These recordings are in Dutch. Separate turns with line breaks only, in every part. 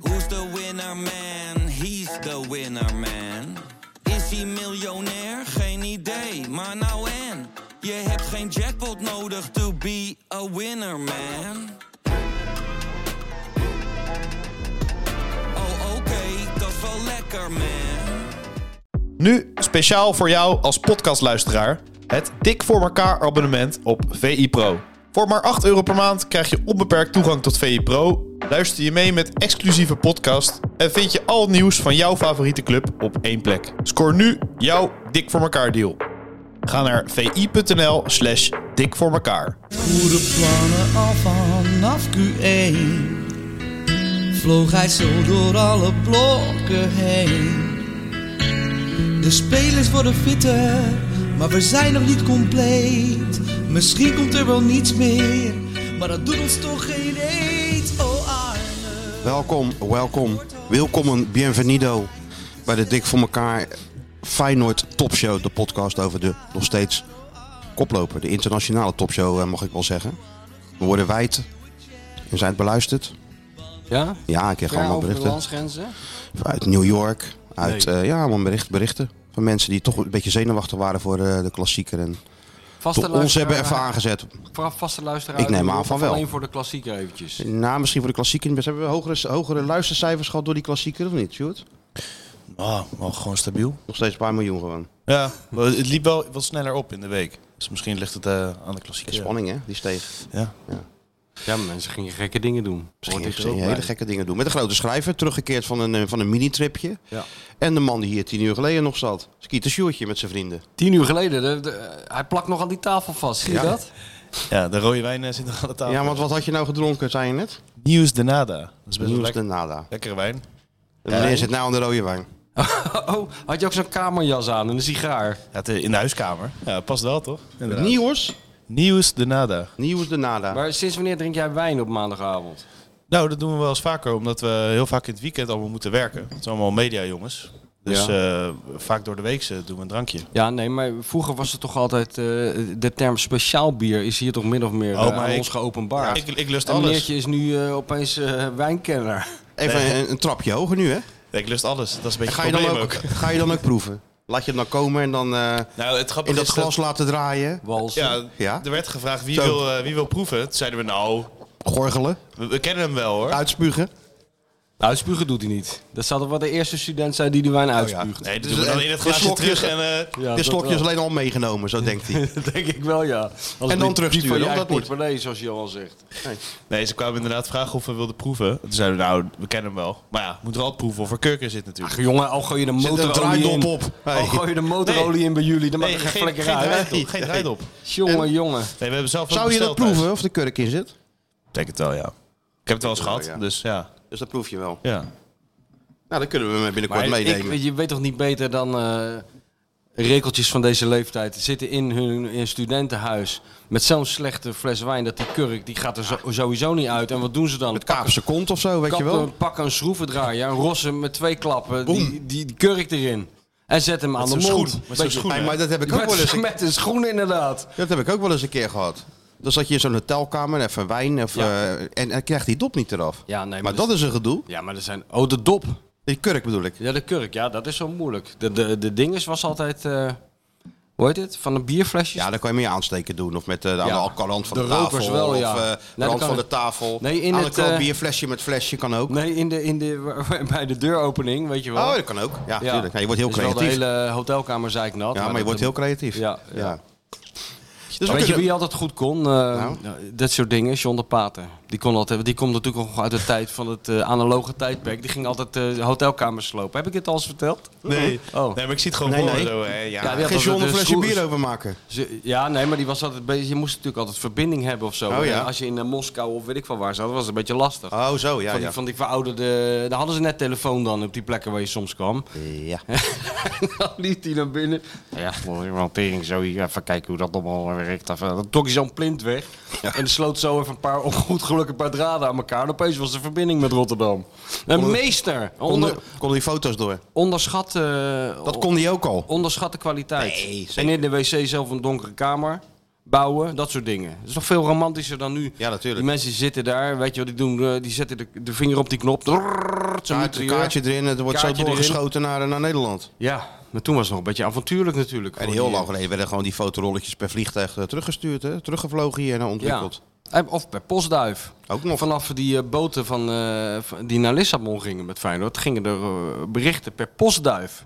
Who's the winner man? He's the winner man. Is hij miljonair? Geen idee, maar nou en. Je hebt geen jackpot nodig to be a winner man. Oh oké, dat is wel lekker man.
Nu speciaal voor jou als podcastluisteraar het Dik voor elkaar abonnement op VI Pro. Voor maar 8 euro per maand krijg je onbeperkt toegang tot VI Pro. Luister je mee met exclusieve podcast en vind je al het nieuws van jouw favoriete club op één plek. Scoor nu jouw Dik voor elkaar deal. Ga naar vi.nl slash dik voor elkaar.
goede plannen al vanaf Q1 Vloog hij zo door alle blokken heen De spelers worden fitter, maar we zijn nog niet compleet Misschien komt er wel niets meer, maar dat doet ons toch geen eet Oh Arne
Welkom, welkom, welkom, bienvenido bij de Dik voor elkaar Feyenoord Topshow, de podcast over de nog steeds koploper, de internationale topshow eh, mag ik wel zeggen. We worden wijd, we zijn het beluisterd.
Ja?
Ja, ik krijg
Ver
allemaal
over de
berichten
landsgrenzen?
uit New York, uit
Nee.
eh, ja, allemaal bericht, berichten van mensen die toch een beetje zenuwachtig waren voor eh, de klassieker en
Vaste
toch ons hebben even
luisteraar-
aangezet.
Voor vaste luisteraar.
Ik neem aan
of
van wel.
Alleen voor de klassieker eventjes.
Nou, misschien voor de klassieker, niet best. hebben we hogere, hogere luistercijfers gehad door die klassieker of niet, Sjoerd?
Oh, gewoon stabiel.
Nog steeds een paar miljoen gewoon.
Ja, het liep wel wat sneller op in de week. Dus misschien ligt het eh, aan de klassieke
Spanning hè, die steeg.
Ja.
Ja, maar mensen gingen gekke dingen doen.
Misschien
Hoort ik er
ging
ook
je
bij.
hele gekke dingen doen. Met een grote schrijver, teruggekeerd van een, eh, van een mini-tripje.
Ja.
En de man die hier tien uur geleden nog zat. Skieten Sjoertje met zijn vrienden.
Tien uur geleden, de- de- hij plakt nog aan die tafel vast. Zie je
Ja.
dat?
Ja, de rode wijn eh, zit nog aan
Oh.
de tafel.
Ja, want wat had je nou gedronken, zei je net?
Nieuws de nada. Dat is best wel
Nieuws de
lekker.
nada.
Lekkere wijn.
En meneer zit nou aan de rode wijn.
Oh, had je ook zo'n kamerjas aan en een sigaar?
Ja, het, eh, in de huiskamer. Ja, past wel toch? Inderdaad.
Nieuws?
Nieuws de nada.
Nieuws de nada.
Maar sinds wanneer drink jij wijn op maandagavond?
Nou, dat doen we wel eens vaker, omdat we heel vaak in het weekend allemaal moeten werken. Het zijn allemaal media jongens. Dus eh, vaak door de week eh, doen we een drankje.
Ja, nee, maar vroeger was het toch altijd... eh, de term speciaal bier is hier toch min of meer
Oh,
eh,
maar
aan
ik-
ons geopenbaard.
Ik, ik lust
en
alles.
meneertje is nu eh, opeens eh, wijnkenner.
Even een, een trapje hoger nu, hè?
Nee, ik lust alles. Dat is een beetje
Ga
het
je, dan
probleem
ook,
ook.
ga je dan ook proeven? Laat je het dan komen en dan eh,
Nou, het
in
grappige
dat
is
glas laten draaien.
Wals. Nou,
Ja,
Ja?
er werd gevraagd wie
Zo.
wil, eh, wie wil proeven. Toen zeiden we nou,
Gorgelen.
we, we kennen hem wel hoor.
Uitspugen.
Uitspugen doet hij niet. Dat zal toch wel de eerste student zijn die de wijn uitspuugt.
Nee, dus
Dus
doen we dan
en-
in het
de
glaasje
slokjes-
terug en... eh,
Ja,
de
dat
slokje is
wel.
alleen al meegenomen, zo denkt hij.
Denk ik wel, ja. Als het
dan
niet
terugsturen,
diep van je
of
eigen
dat niet?
portemonnee, zoals Johan zegt.
Nee, ze kwamen inderdaad vragen of we wilden proeven. Toen zeiden we nou, we kennen hem wel. Maar ja, moet er altijd proeven of er kurken zit natuurlijk.
Ach, jongen, al gooi je de
een
motorolie in.
draaidop op.
Al
Nee.
gooi je de motorolie in bij jullie, dan maakt
Nee,
er geen
geen, geen
flikker uit.
draait op. Geen draait op.
Jongen, jongen.
Nee, we hebben zelf ook
Zou je dat
besteld thuis.
proeven of de kurk in zit?
Ik denk het wel, ja. Ik heb het wel eens gehad,
ja.
dus ja.
Dus dat proef je wel.
ja.
Nou, dan kunnen we hem binnenkort
Maar ik,
meenemen.
je weet toch niet beter dan eh rekeltjes van deze leeftijd zitten in hun in studentenhuis met zo'n slechte fles wijn dat die kurk die gaat er zo- sowieso niet uit. En wat doen ze dan?
Met kaapse kont of zo, weet je wel.
Kappen, pakken een schroevendraaier, een rossen met twee klappen, die, die, die kurk erin. En zet hem aan de
zo'n
mond.
schoen, met zo'n
Beetje-
schoen.
Hey, maar dat heb, ik ook wel eens
Met,
een,
met een schoen inderdaad.
dat heb ik ook wel eens een keer gehad. Dan zat je in zo'n hotelkamer, even wijn, even,
Ja.
eh, en, en krijgt die dop niet eraf.
Ja, nee, maar
maar
dus-
dat is een gedoe.
Ja, maar er zijn... Oh, de dop.
Die kurk bedoel ik.
Ja, de kurk. Ja, dat is zo moeilijk. De, de, de dinges was altijd... eh, hoe heet het? Van de bierflesjes?
Ja, dan kan je mee aansteken doen. Of met eh, aan
Ja.
de alkalant van de,
De rokers
tafel.
wel,
of
ja.
eh,
Nee, dat
rand
kan
van
ik-
de tafel.
Nee, in
aan
het,
de kant
eh,
bierflesje met flesje kan ook.
Nee, in de, in de, bij de deuropening, weet je wel.
Oh, dat kan ook. Ja,
Ja.
tuurlijk. Ja, je wordt heel
Is
creatief.
wel de hele hotelkamer zeiknat.
Ja, maar je
dat-
wordt heel creatief.
Ja, ja.
Dus we
Weet je
kunnen-
wie altijd goed kon? Eh,
Nou?
Dat soort dingen, John de Pater. Die, kon altijd, die komt natuurlijk nog uit de tijd van het eh, analoge tijdperk. Die ging altijd eh, hotelkamers slopen. Heb ik dit al eens verteld?
Nee.
Oh.
nee, maar ik zie het gewoon
Nee,
voor me
nee.
zo. Hè. Ja.
Ja, die-
Geen John een
de
flesje
schoen-
bier overmaken.
Ze- ja, nee, maar die was altijd bezig. Je moest natuurlijk altijd verbinding hebben of zo.
Oh, ja.
En Als je in eh, Moskou of weet ik van waar zat, was het een beetje lastig.
Oh, zo, ja,
van, die,
ja.
van die verouderde... Daar hadden ze net telefoon dan op die plekken waar je soms kwam.
Ja.
Dan liep die naar binnen. Ja, hantering zo hier. Even kijken hoe dat allemaal werkt. Even- Dan trok hij zo'n plint weg. En dan sloot zo even een paar, op goed geluk een paar draden aan elkaar. En opeens was de verbinding met Rotterdam. Een meester.
Konden
Onder,
konden die foto's door.
onderschat, eh,
Dat kon die ook al.
onderschat de kwaliteit.
Nee, zeker.
en in de wc zelf een donkere kamer. bouwen, dat soort dingen. Dat is nog veel romantischer dan nu.
Ja, natuurlijk.
Die mensen zitten daar, weet je wat die doen? Eh, die zetten de, de vinger op die knop. Drrrr, zo
Kaart-
moet die-
kaartje erin, het wordt
Kaartje
zo
erin.
doorgeschoten naar, naar Nederland.
Ja, maar toen was het nog een beetje avontuurlijk natuurlijk.
En
Voor
heel
die- eh,
lang geleden werden gewoon die fotorolletjes per vliegtuig eh, teruggestuurd, hè? teruggevlogen hier en dan ontwikkeld.
Ja. En- Of bij Postduif.
Ook nog.
Vanaf die eh, boten van, eh, van- die naar Lissabon gingen met Feyenoord, gingen er eh, berichten per Postduif.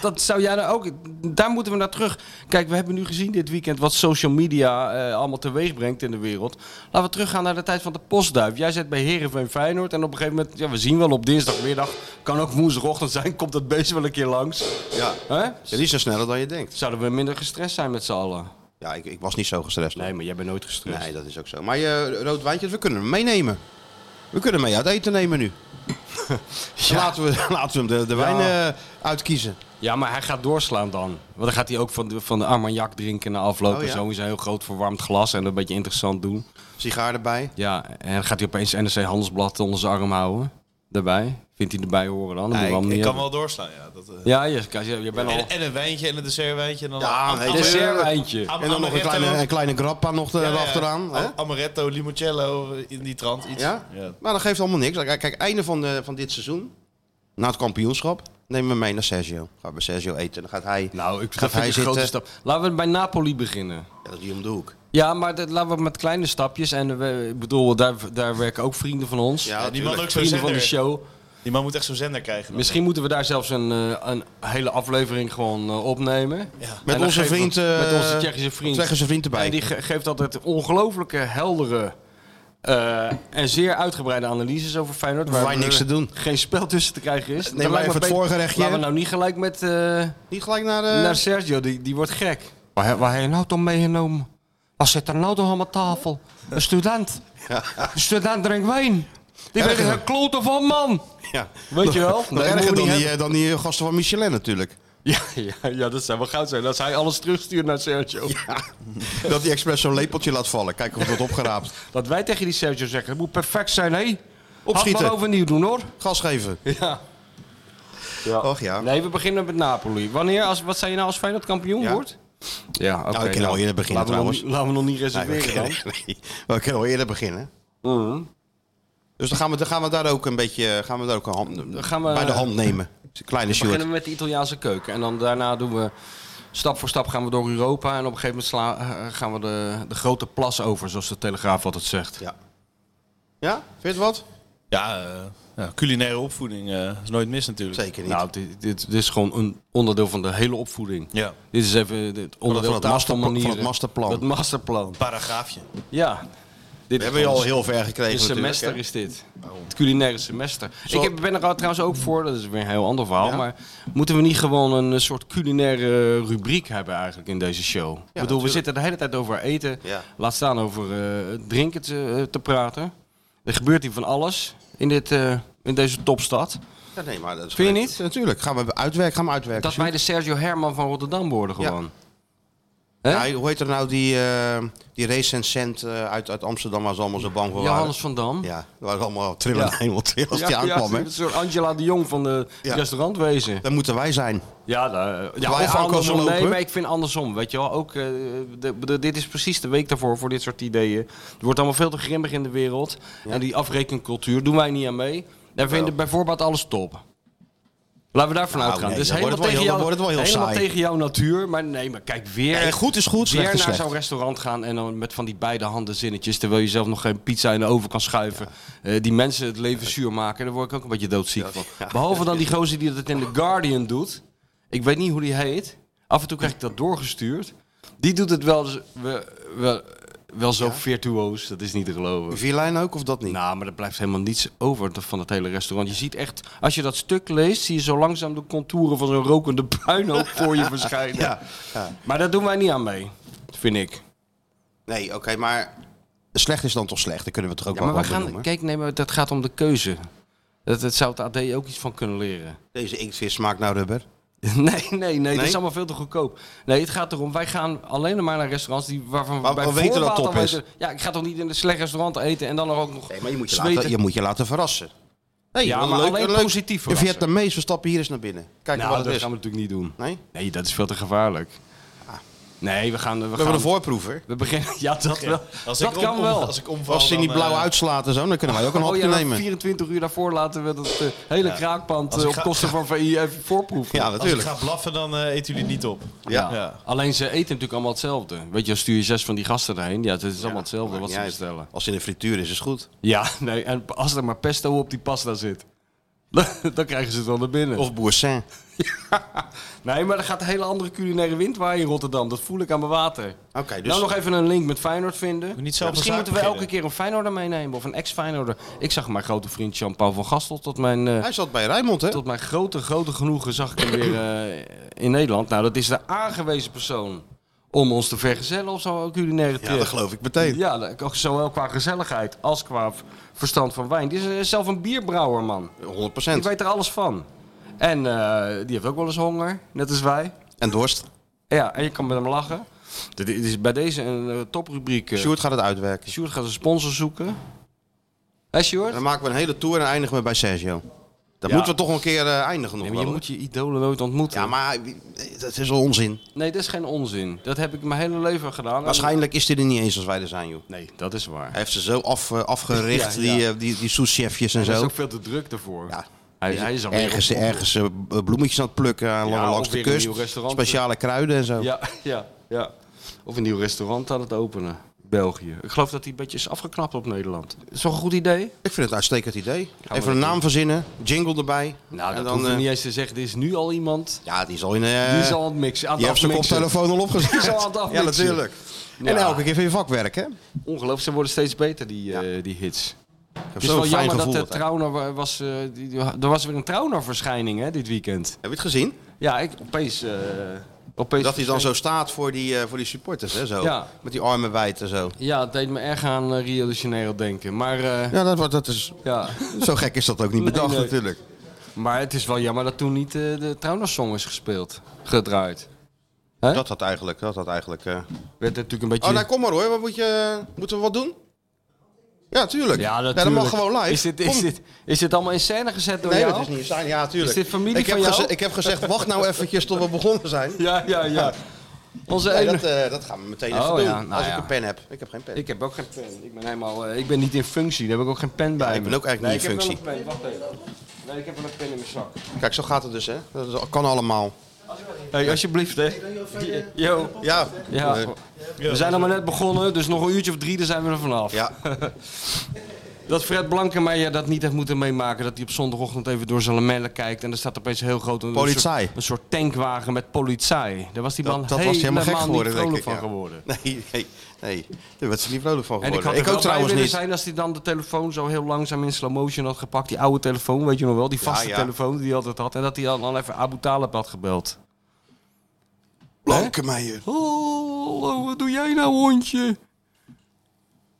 Dat zou jij nou ook. Daar moeten we naar terug. Kijk, we hebben nu gezien dit weekend wat social media eh, allemaal teweeg brengt in de wereld. Laten we teruggaan naar de tijd van de postduif. Jij zit bij Herenveen Feyenoord en op een gegeven moment, ja, we zien wel op dinsdagmiddag, kan ook woensdagochtend zijn, komt dat beest wel een keer langs.
Ja.
Hè?
Ja, die is zo sneller dan je denkt.
Zouden we minder gestrest zijn met z'n allen?
Ja, ik, ik was niet zo gestrest.
Nee, maar dus- jij bent nooit gestrest.
Nee, dat is ook zo. Maar je rood wijntjes, we kunnen hem meenemen. We kunnen hem mee uit eten nemen nu. laten, we, laten we hem de, de wijn
Ja.
eh, uitkiezen.
Ja, maar hij gaat doorslaan dan. Want dan gaat hij ook van de, van de Armagnac drinken na afloop.
Oh,
en
ja.
Zo is een heel groot verwarmd glas en een beetje interessant doen.
Sigaar erbij.
Ja, en dan gaat hij opeens NRC Handelsblad onder zijn arm houden. Daarbij. Vindt hij erbij horen dan? Dat moet
Ja, ik,
je allemaal
ik
niet
kan
hebben.
wel doorslaan, ja. Dat, eh.
Ja, je, je, je bent al...
en, en een wijntje en een dessertwijntje. En dan
Ja, eh,
am-
nee,
am-
dessert-
Dessertwijntje.
am-
En dan nog een
amaretto.
kleine, een kleine grappa nog er-
Ja, ja.
achteraan. hè?
Am-
Oh.
Amaretto, limoncello, eh, in die trant iets.
Ja? Maar dat geeft allemaal niks. Kijk, kijk, einde van, de, van dit seizoen, na het kampioenschap, nemen we mee naar Sergio. Gaan we Sergio eten. Dan gaat hij,
Nou, ik
gaat
dat vind
hij
ik een grote
zitten.
stap. Laten we bij Napoli beginnen.
Ja, dat is hier om de hoek.
Ja, maar dat, laten we met kleine stapjes. En we, ik bedoel, daar, daar werken ook vrienden van ons.
Ja,
Ja, die
natuurlijk.
man ook zo'n
vrienden van de
zender.
show.
Die man moet echt zo'n zender krijgen. dan.
Misschien moeten we daar zelfs een, eh, een hele aflevering gewoon eh, opnemen. En
Met
dan
onze
geven we-
vriend, eh,
met onze Tsjechische vriend.
Tsjechische vriend erbij.
En die ge- geeft altijd ongelooflijke, heldere eh, en zeer uitgebreide analyses over Feyenoord.
Waar
we-
niks te doen.
Geen spel tussen te krijgen is.
maar even het voorgerechtje.
Laten we nou niet gelijk met eh,
Niet gelijk naar de...
naar eh, Sergio, die, die wordt gek. Waar, he- waar heb je nou toch meegenomen? Wat zit er nou toch aan mijn tafel? Een student. Een student drinkt wijn. Die weet er
Erger.
een klote van, man.
Ja.
Weet je wel?
Nog
Nee, moet
erger
niet
dan die,
hebben.
eh, dan die gasten van Michelin natuurlijk.
Ja, ja, ja, dat zou wel goud zijn. Als hij alles terugstuurt naar Sergio.
Dat die expres zo'n lepeltje laat vallen. Kijken of het wordt opgeraapt.
Dat wij tegen die Sergio zeggen, het moet perfect zijn, hé.
Opschieten.
Had maar overnieuw doen, hoor.
Gas geven.
Ja.
Och ja.
Nee, we beginnen met Napoli. Wanneer, als, wat zijn je nou als Feyenoord kampioen
Ja.
wordt? Ja, oké.
we kunnen Nou, al eerder beginnen,
laten we nog
trouwens.
niet- laten we nog niet
Nee, we,
reserveren
kunnen,
dan. Mhm.
nee, we kunnen al eerder beginnen. Dus dan gaan, we, dan gaan we daar ook een beetje eh, gaan we daar ook een hand,
gaan we-
bij de hand nemen. Kleine
We beginnen
short.
met de Italiaanse keuken. En dan daarna doen we... Stap voor stap gaan we door Europa. En op een gegeven moment sla- eh, gaan we de, de grote plas over, zoals de Telegraaf altijd zegt.
Ja. ja, vind je het wat?
Ja, eh, ja, culinaire opvoeding eh, is nooit mis natuurlijk.
Zeker niet.
Nou, dit, dit, dit is gewoon een onderdeel van de hele opvoeding.
Ja,
Dit is even het onderdeel
van het master-
taalmanieren.
van het masterplan.
Dat masterplan.
paragraafje.
Ja. Dit
we hebben je al heel ver gekregen
Een
natuurlijk.
semester
hè?
is dit. Het culinaire semester. Ik heb, ben er al trouwens ook voor, dat is weer een heel ander verhaal. Maar moeten we niet gewoon een eh, soort culinaire rubriek hebben eigenlijk in deze show? ik bedoel, we
natuurlijk.
zitten de hele tijd over eten.
Ja.
Laat staan over eh, drinken te, eh, te praten. Er gebeurt hier van alles in, dit, eh, in deze topstad.
Ja, nee, maar dat is
Vind je
gelijk.
niet?
Natuurlijk. Gaan we uitwerken. Gaan we uitwerken.
Dat wij de Sergio Herman van Rotterdam worden
Ja.
gewoon.
Sjoerd.
Hè?
Ja, hoe heet er nou die, eh, die recensent eh, uit, uit Amsterdam waar ze allemaal zo bang voor waren?
Johannes van Dam.
Ja, er waren allemaal trillende
Ja.
hemel trillen als die aankwam. hè?
een soort Angela de Jong van de
Ja.
restaurantwezen.
Daar moeten wij zijn.
Ja, daar, ja
wij
of
aankomen
andersom. Nee,
lopen.
maar ik vind andersom. Weet je wel, ook, eh, de, de- dit is precies de week daarvoor voor dit soort ideeën. Het wordt allemaal veel te grimmig in de wereld. En die afrekencultuur doen wij niet aan mee. Daar vinden bijvoorbeeld alles top. Laten we daarvan
Nou,
uitgaan.
nee,
dus
dan
helemaal,
wordt het wel
tegen,
heel-
jou-
dan wordt het wel heel
helemaal
saai.
tegen jouw natuur. Maar nee, maar kijk, weer,
Nee, goed is goed, slecht
weer
is
naar
slecht.
zo'n restaurant gaan en dan met van die beide handen zinnetjes. Terwijl je zelf nog geen pizza in de oven kan schuiven. Eh, die mensen het leven zuur maken. Daar word ik ook een beetje doodziek van. Behalve dan die gozer die dat in The Guardian doet. Ik weet niet hoe die heet. Af en toe krijg ik dat doorgestuurd. Die doet het wel, z- wel, wel, wel zo virtuoos. Dat is niet te geloven.
Vierlijn ook of dat niet?
Nou, maar er blijft helemaal niets over te- van het hele restaurant. Je ziet echt, als je dat stuk leest, zie je zo langzaam de contouren van zo'n rokende puinhoop voor je verschijnen.
Ja. ja.
Maar daar doen wij niet aan mee, vind ik.
Nee, oké, maar slecht is dan toch slecht. Dat kunnen we toch ook
Ja, maar
wel
we
wat
gaan,
benoemen?
kijk, nee, maar dat gaat om de keuze. Dat, dat zou het AD ook iets van kunnen leren.
Deze inktvis smaakt nou naar rubber.
Nee, nee, nee, dat
Nee?
is allemaal veel te goedkoop. Nee, het gaat erom, wij gaan alleen maar naar restaurants die, waarvan
Waar-
bij
we weten dat
voorbaat
top
al
is.
weten- Ja, ik ga toch niet in een slecht restaurant eten en dan er ook nog
Nee, maar je moet je,
zweten.
laten, je, moet je laten verrassen. Nee,
Ja,
wel
maar alleen positief
Een
verrassen.
Vietnamees, we stappen hier eens naar binnen. Kijk nou,
Nou,
wat het
dat
is.
gaan we natuurlijk niet doen.
Nee?
Nee, dat is veel te gevaarlijk. Nee, we gaan... We,
We
gaan,
hebben een voorproever.
we beginnen... Ja, dat wel.
Als ik
dat kan
om-
wel.
Als ik omval,
Als ze niet
dan,
blauw
eh,
uitslaat en zo, dan kunnen wij ook een
Oh
hapje
ja, dan
nemen.
24 uur daarvoor laten we dat eh, hele kraakpand eh,
Als ik
op
ga-
kosten van VI even voorproeven.
Ja,
Als ik
natuurlijk.
ga blaffen, dan eh, eten jullie niet op.
Ja.
Ja.
Alleen ze eten natuurlijk allemaal hetzelfde. Weet je, dan stuur je zes van die gasten erheen. Ja, het is allemaal hetzelfde wat ze
Ja,
bestellen.
Als het in de frituur is, is goed.
Ja, nee. En als er maar pesto op die pasta zit, dan krijgen ze het wel naar binnen.
Of boursin.
Nee, maar er gaat een hele andere culinaire wind waaien in Rotterdam. Dat voel ik aan mijn water.
Oké, dus...
Nou, nog even een link met Feyenoord vinden.
niet zelf een
Misschien
zaak
moeten we elke
beginnen.
keer een Feyenoorder meenemen of een ex-Feyenoorder. Ik zag mijn grote vriend Jean-Paul van Gastel tot mijn... eh,
Hij zat bij Rijnmond, hè?
Tot mijn grote, grote genoegen zag ik hem weer eh, in Nederland. Nou, dat is de aangewezen persoon om ons te vergezellen of zo, ook culinaire
Ja, dat
trip.
geloof ik meteen.
Ja, dat- ook zowel qua gezelligheid als qua v- verstand van wijn. Die is eh, zelf een bierbrouwer, man.
100
Die weet er alles van. En eh, die heeft ook wel eens honger, net als wij.
En dorst.
Ja, en je kan met hem lachen. Dit is bij deze een eh, toprubriek. eh.
Sjoerd gaat het uitwerken.
Sjoerd gaat een sponsor zoeken. Hé, Sjoerd?
En dan maken we een hele tour en eindigen we bij Sergio. Dan
Ja.
moeten we toch een keer eh, eindigen nog
Nee, maar je
wel,
moet
hoor.
je idolen nooit ontmoeten.
Ja, maar eh, dat is al onzin.
Nee, dat is geen onzin. Dat heb ik mijn hele leven gedaan.
Waarschijnlijk is dit er niet eens als wij er zijn, joh.
Nee, dat is waar.
Hij heeft ze zo af, eh, afgericht,
Ja, ja.
die, eh, die, die souschefjes en
Hij is
zo.
ook veel te druk daarvoor.
Ja.
Hij, hij is alweer
Ergens,
op-
ergens eh, b- bloemetjes aan het plukken, eh,
Ja,
langs
of
de
weer een
kust.
nieuw restaurant. eh.
Speciale kruiden en zo.
Ja, ja, ja. Of een nieuw restaurant aan het openen. België. Ik geloof dat hij een beetje is afgeknapt op Nederland. Is toch een goed idee?
Ik vind het een uitstekend idee.
dat
Even een
doen.
naam verzinnen, jingle erbij.
Nou,
en
dat hoef je
eh,
niet eens te zeggen. Er is nu al iemand
Ja, die is al in... eh
die is al aan het mixen. Aan
je
het
hebt zijn
afmixen.
koptelefoon al opgezet.
Die is al aan het
ja,
afmixen.
natuurlijk.
Ja.
En elke keer van je vakwerk, hè?
Ongelooflijk, ze worden steeds beter, die, eh, die hits.
Ik
Het
heb
is wel
zo'n fijn
jammer
gevoel.
dat de
altijd.
Trauner wa- was... eh, die, die- er was weer een Trauner-verschijning hè, dit weekend.
Heb je het gezien?
Ja, ik opeens... eh, opeens
Dat hij dan zo staat voor die, eh, voor die supporters, hè? Zo.
Ja.
Met die armen wijd en zo.
Ja, het deed me erg aan eh, Rio de Janeiro denken. Maar, eh,
Ja, dat, wordt- dat is,
ja.
zo gek is dat ook niet
Nee,
bedacht,
nee.
natuurlijk.
maar het is wel jammer dat toen niet eh, de Trauner-song is gespeeld. Gedraaid. Hè?
Dat had eigenlijk, dat had eigenlijk... eh.
Werd natuurlijk een beetje...
Oh, nou kom maar hoor. Wat moet je, moeten we wat doen? Ja, tuurlijk.
ja, natuurlijk.
dat mag gewoon live.
Is dit, is,
Kom.
dit, is dit allemaal in scène gezet door
Nee,
jou?
dat is niet zijn. Ja, tuurlijk.
Is dit familie
ik heb
van jou?
geze- Ik heb gezegd, wacht nou eventjes tot we begonnen zijn.
Ja, ja, ja. Onze
Nee,
enige-
dat, eh, dat gaan we meteen even
Oh,
doen.
ja, nou
als
ja.
ik een pen heb. Ik heb geen pen.
Ik heb ook geen pen. Ik ben, helemaal, eh, ik ben niet in functie. Daar heb ik ook geen pen bij
ik ben
me.
ook eigenlijk
nee,
niet in
ik heb wel een pen. Wacht even. Nee, ik heb wel een pen in mijn zak.
Kijk, zo gaat het dus, hè. Dat is- kan allemaal.
Hey, alsjeblieft, hè. Die- Yo.
Ja.
Ja.
Eh,
We zijn nog maar net begonnen, dus nog een uurtje of drie, dan zijn we er vanaf.
ja.
Dat Fred Blankenmeijer dat niet heeft moeten meemaken. Dat hij op zondagochtend even door zijn lamellen kijkt. En er staat opeens heel groot een,
Politie.
Een, soort, een soort tankwagen met politie. Daar was die man
Dat, dat was helemaal
helemaal,
gek
niet
geworden, denk
vrolijk
ik.
van
ja.
geworden.
Nee, nee, nee. Daar werd ze niet vrolijk van
En ik
geworden.
had
Ik, ook
er wel bij
trouwens
willen
niet.
zijn als hij dan de telefoon zo heel langzaam in slow motion had gepakt. Die oude telefoon, weet je nog wel? Die vaste
ja.
telefoon die hij altijd had. En dat hij dan al even Abu Talib had gebeld.
Blankenmeijer.
Oh, wat doe jij nou, hondje?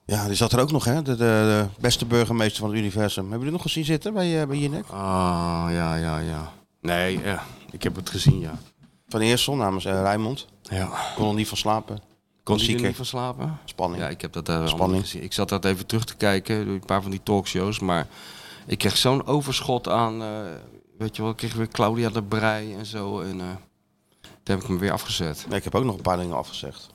Ja, die zat er ook nog, hè? De, de, de beste burgemeester van het universum. Hebben jullie nog gezien zitten bij, eh bij Jinek?
Ah, ja, ja, ja. Nee, ja. ik heb het gezien, ja.
Van Eersel namens eh Rijmond.
Ja.
Kon er niet van slapen.
Kon hij er
Klassieker.
niet van slapen?
Spanning.
Ja, ik heb dat eh, allemaal
Spanning.
gezien. Ik zat dat even terug te kijken, door een paar van die talkshows. Maar ik kreeg zo'n overschot aan, eh, weet je wel, ik kreeg weer Claudia de Brij en zo. En eh, toen heb ik hem weer afgezet.
Nee, ik heb ook nog een paar dingen afgezegd.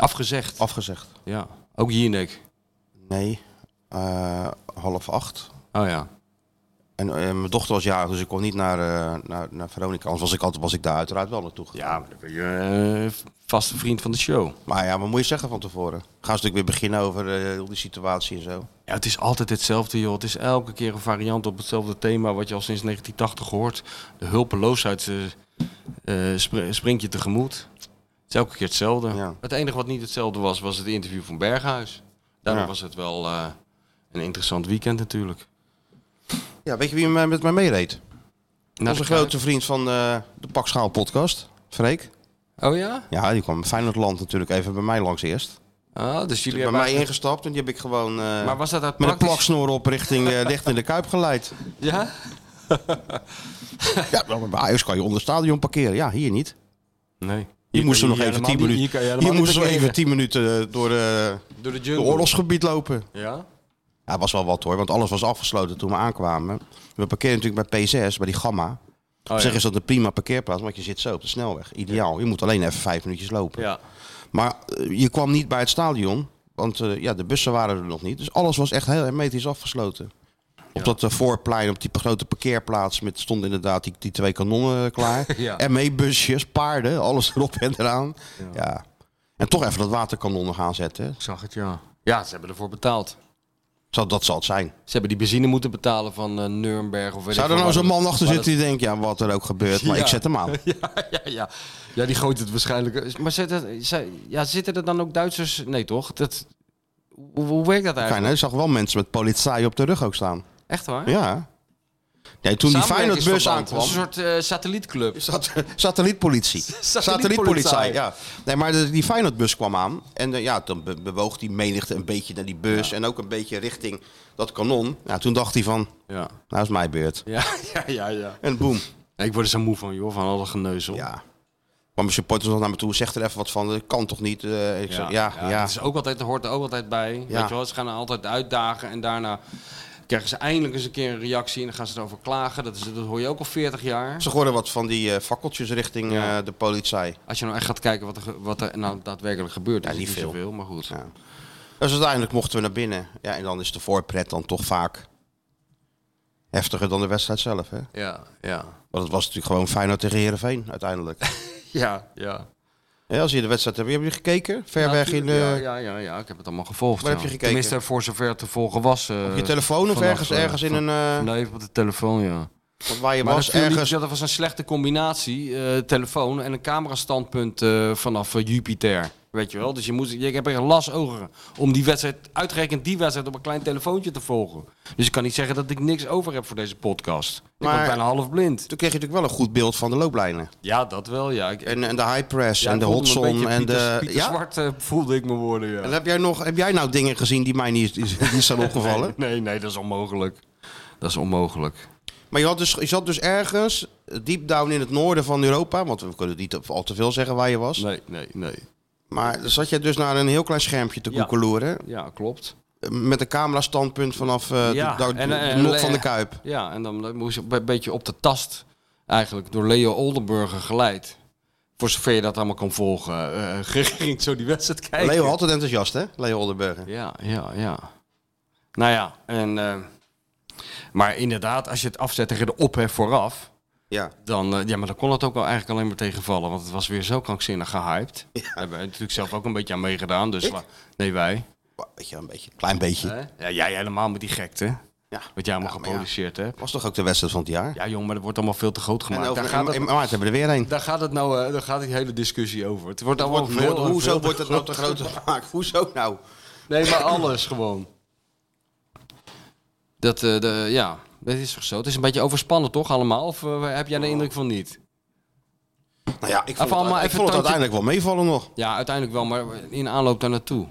Afgezegd?
Afgezegd?
Ja. Ook Jinek.
Nee. Eh, half acht.
Oh ja.
En eh, mijn dochter was jarig, dus ik kon niet naar, eh, naar, naar Veronica. Anders was ik, altijd, was ik daar uiteraard wel naartoe gegaan.
Ja, maar dan ben je eh, vaste vriend van de show.
Maar ja, wat moet je zeggen van tevoren? Gaan ze natuurlijk weer beginnen over eh, heel die situatie en zo.
Ja, het is altijd hetzelfde, joh. Het is elke keer een variant op hetzelfde thema wat je al sinds 1980 hoort. De hulpeloosheid eh, eh, spr- springt je tegemoet. Het is elke keer hetzelfde.
Ja.
Het enige wat niet hetzelfde was, was het interview van Berghuis. Daarom
Ja.
was het wel eh, een interessant weekend natuurlijk.
Ja, weet je wie me- met mij meereed?
Nou, Naar
Onze
de Kuip.
grote vriend van eh, de Pakschaal podcast, Freek.
Oh ja?
Ja, die kwam Feyenoord Land natuurlijk even bij mij langs eerst.
Ah, dus
Die
jullie
bij
hebben...
mij ingestapt en die heb ik gewoon eh,
Maar was dat uit
met een
praktisch...
plaksnoer op richting eh, dicht in de Kuip geleid.
Ja?
Ja, maar bij Ajax kan je onder het stadion parkeren. Ja, hier niet.
Nee.
Hier moesten we
kan
nog
je
even
helemaal
10
niet-
minuten,
Hier, kan je helemaal
hier
niet
moesten we
parkeren.
even 10 minuten eh, door eh,
Door de
de
jungle.
oorlogsgebied lopen.
Ja?
Ja, het was wel wat hoor, want alles was afgesloten toen we aankwamen. We parkeerden natuurlijk bij P6, bij die Gamma.
Oh, ja.
op zich is dat een prima parkeerplaats, want je zit zo op de snelweg. Ideaal. Je moet alleen even vijf minuutjes lopen.
Ja.
Maar eh, je kwam niet bij het stadion, want eh, ja, de bussen waren er nog niet. Dus alles was echt heel hermetisch afgesloten. Op dat eh, voorplein, op die grote parkeerplaats, met, stonden inderdaad die, die twee kanonnen eh, klaar.
Ja.
ME-busjes, paarden, alles erop en eraan. Ja. En toch even dat waterkanon nog aanzetten. hè.
Ik zag het, ja. Ja, ze hebben ervoor betaald.
Zal, dat zal het zijn.
Ze hebben die benzine moeten betalen van eh Nuremberg of weet
Zou
ik
er nou
veel waar
zo'n
dat-
man achter
waar
zitten die denkt, ja, wat er ook gebeurt, maar
Ja.
ik zet hem aan.
Ja, ja, ja. ja, die gooit het waarschijnlijk. eh, Maar zitten, zij- ja, zitten er dan ook Duitsers? Nee, toch? Dat, hoe, hoe werkt dat
Fijn,
eigenlijk?
hè? Ik zag wel mensen met politie op de rug ook staan.
Echt waar?
Ja. Nee, toen die Feyenoordbus
Samenwerkingsverband.
aankwam...
Een soort eh, satellietclub.
Sat- satellietpolitie.
Satellietpolitie.
Satellietpolitie, ja. Nee, maar de, die Feyenoordbus kwam aan. En eh, ja, toen be- bewoog die menigte een beetje naar die bus. En ook een beetje richting dat kanon. Ja, toen dacht hij van,
Ja.
nou is mijn beurt.
Ja, ja, ja, ja.
En boem.
Ik word er zo moe van, joh, van alle geneuzel.
Ja. Kwam mijn supporters nog naar me toe. Zeg er even wat van, dat kan toch niet? Eh, ik zei, ja, ja.
Het is ook altijd, er hoort er ook altijd bij. Weet je wel, ze gaan er altijd uitdagen en daarna krijgen ze eindelijk eens een keer een reactie en dan gaan ze erover klagen. Dat, is, dat hoor je ook al 40 jaar.
Ze gooiden wat van die eh, fakkeltjes richting
Ja.
eh, de politie.
Als je nou echt gaat kijken wat er, ge- wat er nou daadwerkelijk gebeurt,
Ja,
is het
niet
niet
veel.
zoveel, maar goed.
Ja. Dus uiteindelijk mochten we naar binnen. Ja, en dan is de voorpret dan toch vaak heftiger dan de wedstrijd zelf, hè?
Ja, ja.
Want het was natuurlijk gewoon Feyenoord tegen Heerenveen uiteindelijk.
Ja, ja.
Ja, als je de wedstrijd hebt, heb je gekeken? Ver weg in eh, de,
Ja, ja, ja, ja, ik heb het allemaal gevolgd.
Waar
ja.
heb je gekeken?
Tenminste, voor zover te volgen was. eh,
op je telefoon of
vannacht,
ergens,
eh,
ergens in
van-
een... eh,
Nee, op de telefoon, ja.
want waar je
Maar
was,
dat, viel niet-
ergens...
dat was een slechte combinatie. eh, telefoon en een camerastandpunt eh, vanaf eh, Jupiter. Weet je wel? Dus je, moet, je hebt echt las ogen om die wedstrijd, uitgerekend die wedstrijd, op een klein telefoontje te volgen. Dus ik kan niet zeggen dat ik niks over heb voor deze podcast. ik
Maar-
ben bijna half blind.
Toen kreeg je natuurlijk wel een goed beeld van de looplijnen.
Ja, dat wel, ja. Ik,
En, en de high press
ja,
en
ik
de
voelde
hot
me een
zone
beetje
en de...
Pieter- Pieter
ja?
Zwart eh, voelde ik me worden, ja.
En heb jij, nog, heb jij nou dingen gezien die mij niet, niet zijn opgevallen?
Nee, nee, dat is onmogelijk. Dat is onmogelijk.
Maar je, had dus, je zat dus ergens, diep down in het noorden van Europa... want we kunnen niet al te veel zeggen waar je was.
Nee, nee, nee.
Maar dan zat je dus naar een heel klein schermpje te
Ja.
koekeloeren...
Ja, klopt.
met een camerastandpunt vanaf eh
Ja,
de, daar-
en- en-
de nok van de
en-
Kuip.
Ja, en dan dan moest je een beetje op de tast eigenlijk door Leo Oldenburger geleid. Voor zover je dat allemaal kan volgen. eh, eh, ging zo die wedstrijd kijken.
Leo altijd enthousiast, hè? Leo Oldenburger.
Ja, ja, ja. Nou ja, en... eh, maar inderdaad, als je het afzet tegen de ophef vooraf...
Ja.
Dan, eh, ja, maar dan kon het ook wel eigenlijk alleen maar tegenvallen. Want het was weer zo krankzinnig gehyped. Daar hebben we natuurlijk zelf ook een beetje aan meegedaan. Dus la- nee, wij.
Weet je, een beetje, klein beetje.
Hè? Ja, jij helemaal met die gekte.
Ja.
Wat jij allemaal
Ja, maar
geproduceerd hebt.
Was toch ook de wedstrijd van het jaar?
Ja, jong, maar dat wordt allemaal veel te groot
en
gemaakt.
over,
Daar gaat,
in, in
het,
maart hebben we er weer een.
daar gaat het nou, eh, daar gaat die hele discussie over. Het wordt allemaal
Wordt-
veel,
wordt- hoezo
veel
wordt het nou te groot gemaakt? Hoezo nou?
Nee, maar alles gewoon. Dat, eh, de, ja, dat is toch zo. Het is een beetje overspannen, toch, allemaal? Of eh, heb jij de indruk van niet?
Nou ja, ik vond,
allemaal
het, ik
even
vond het
tandje-
uiteindelijk wel meevallen nog.
Ja, uiteindelijk wel, maar in aanloop daar naartoe.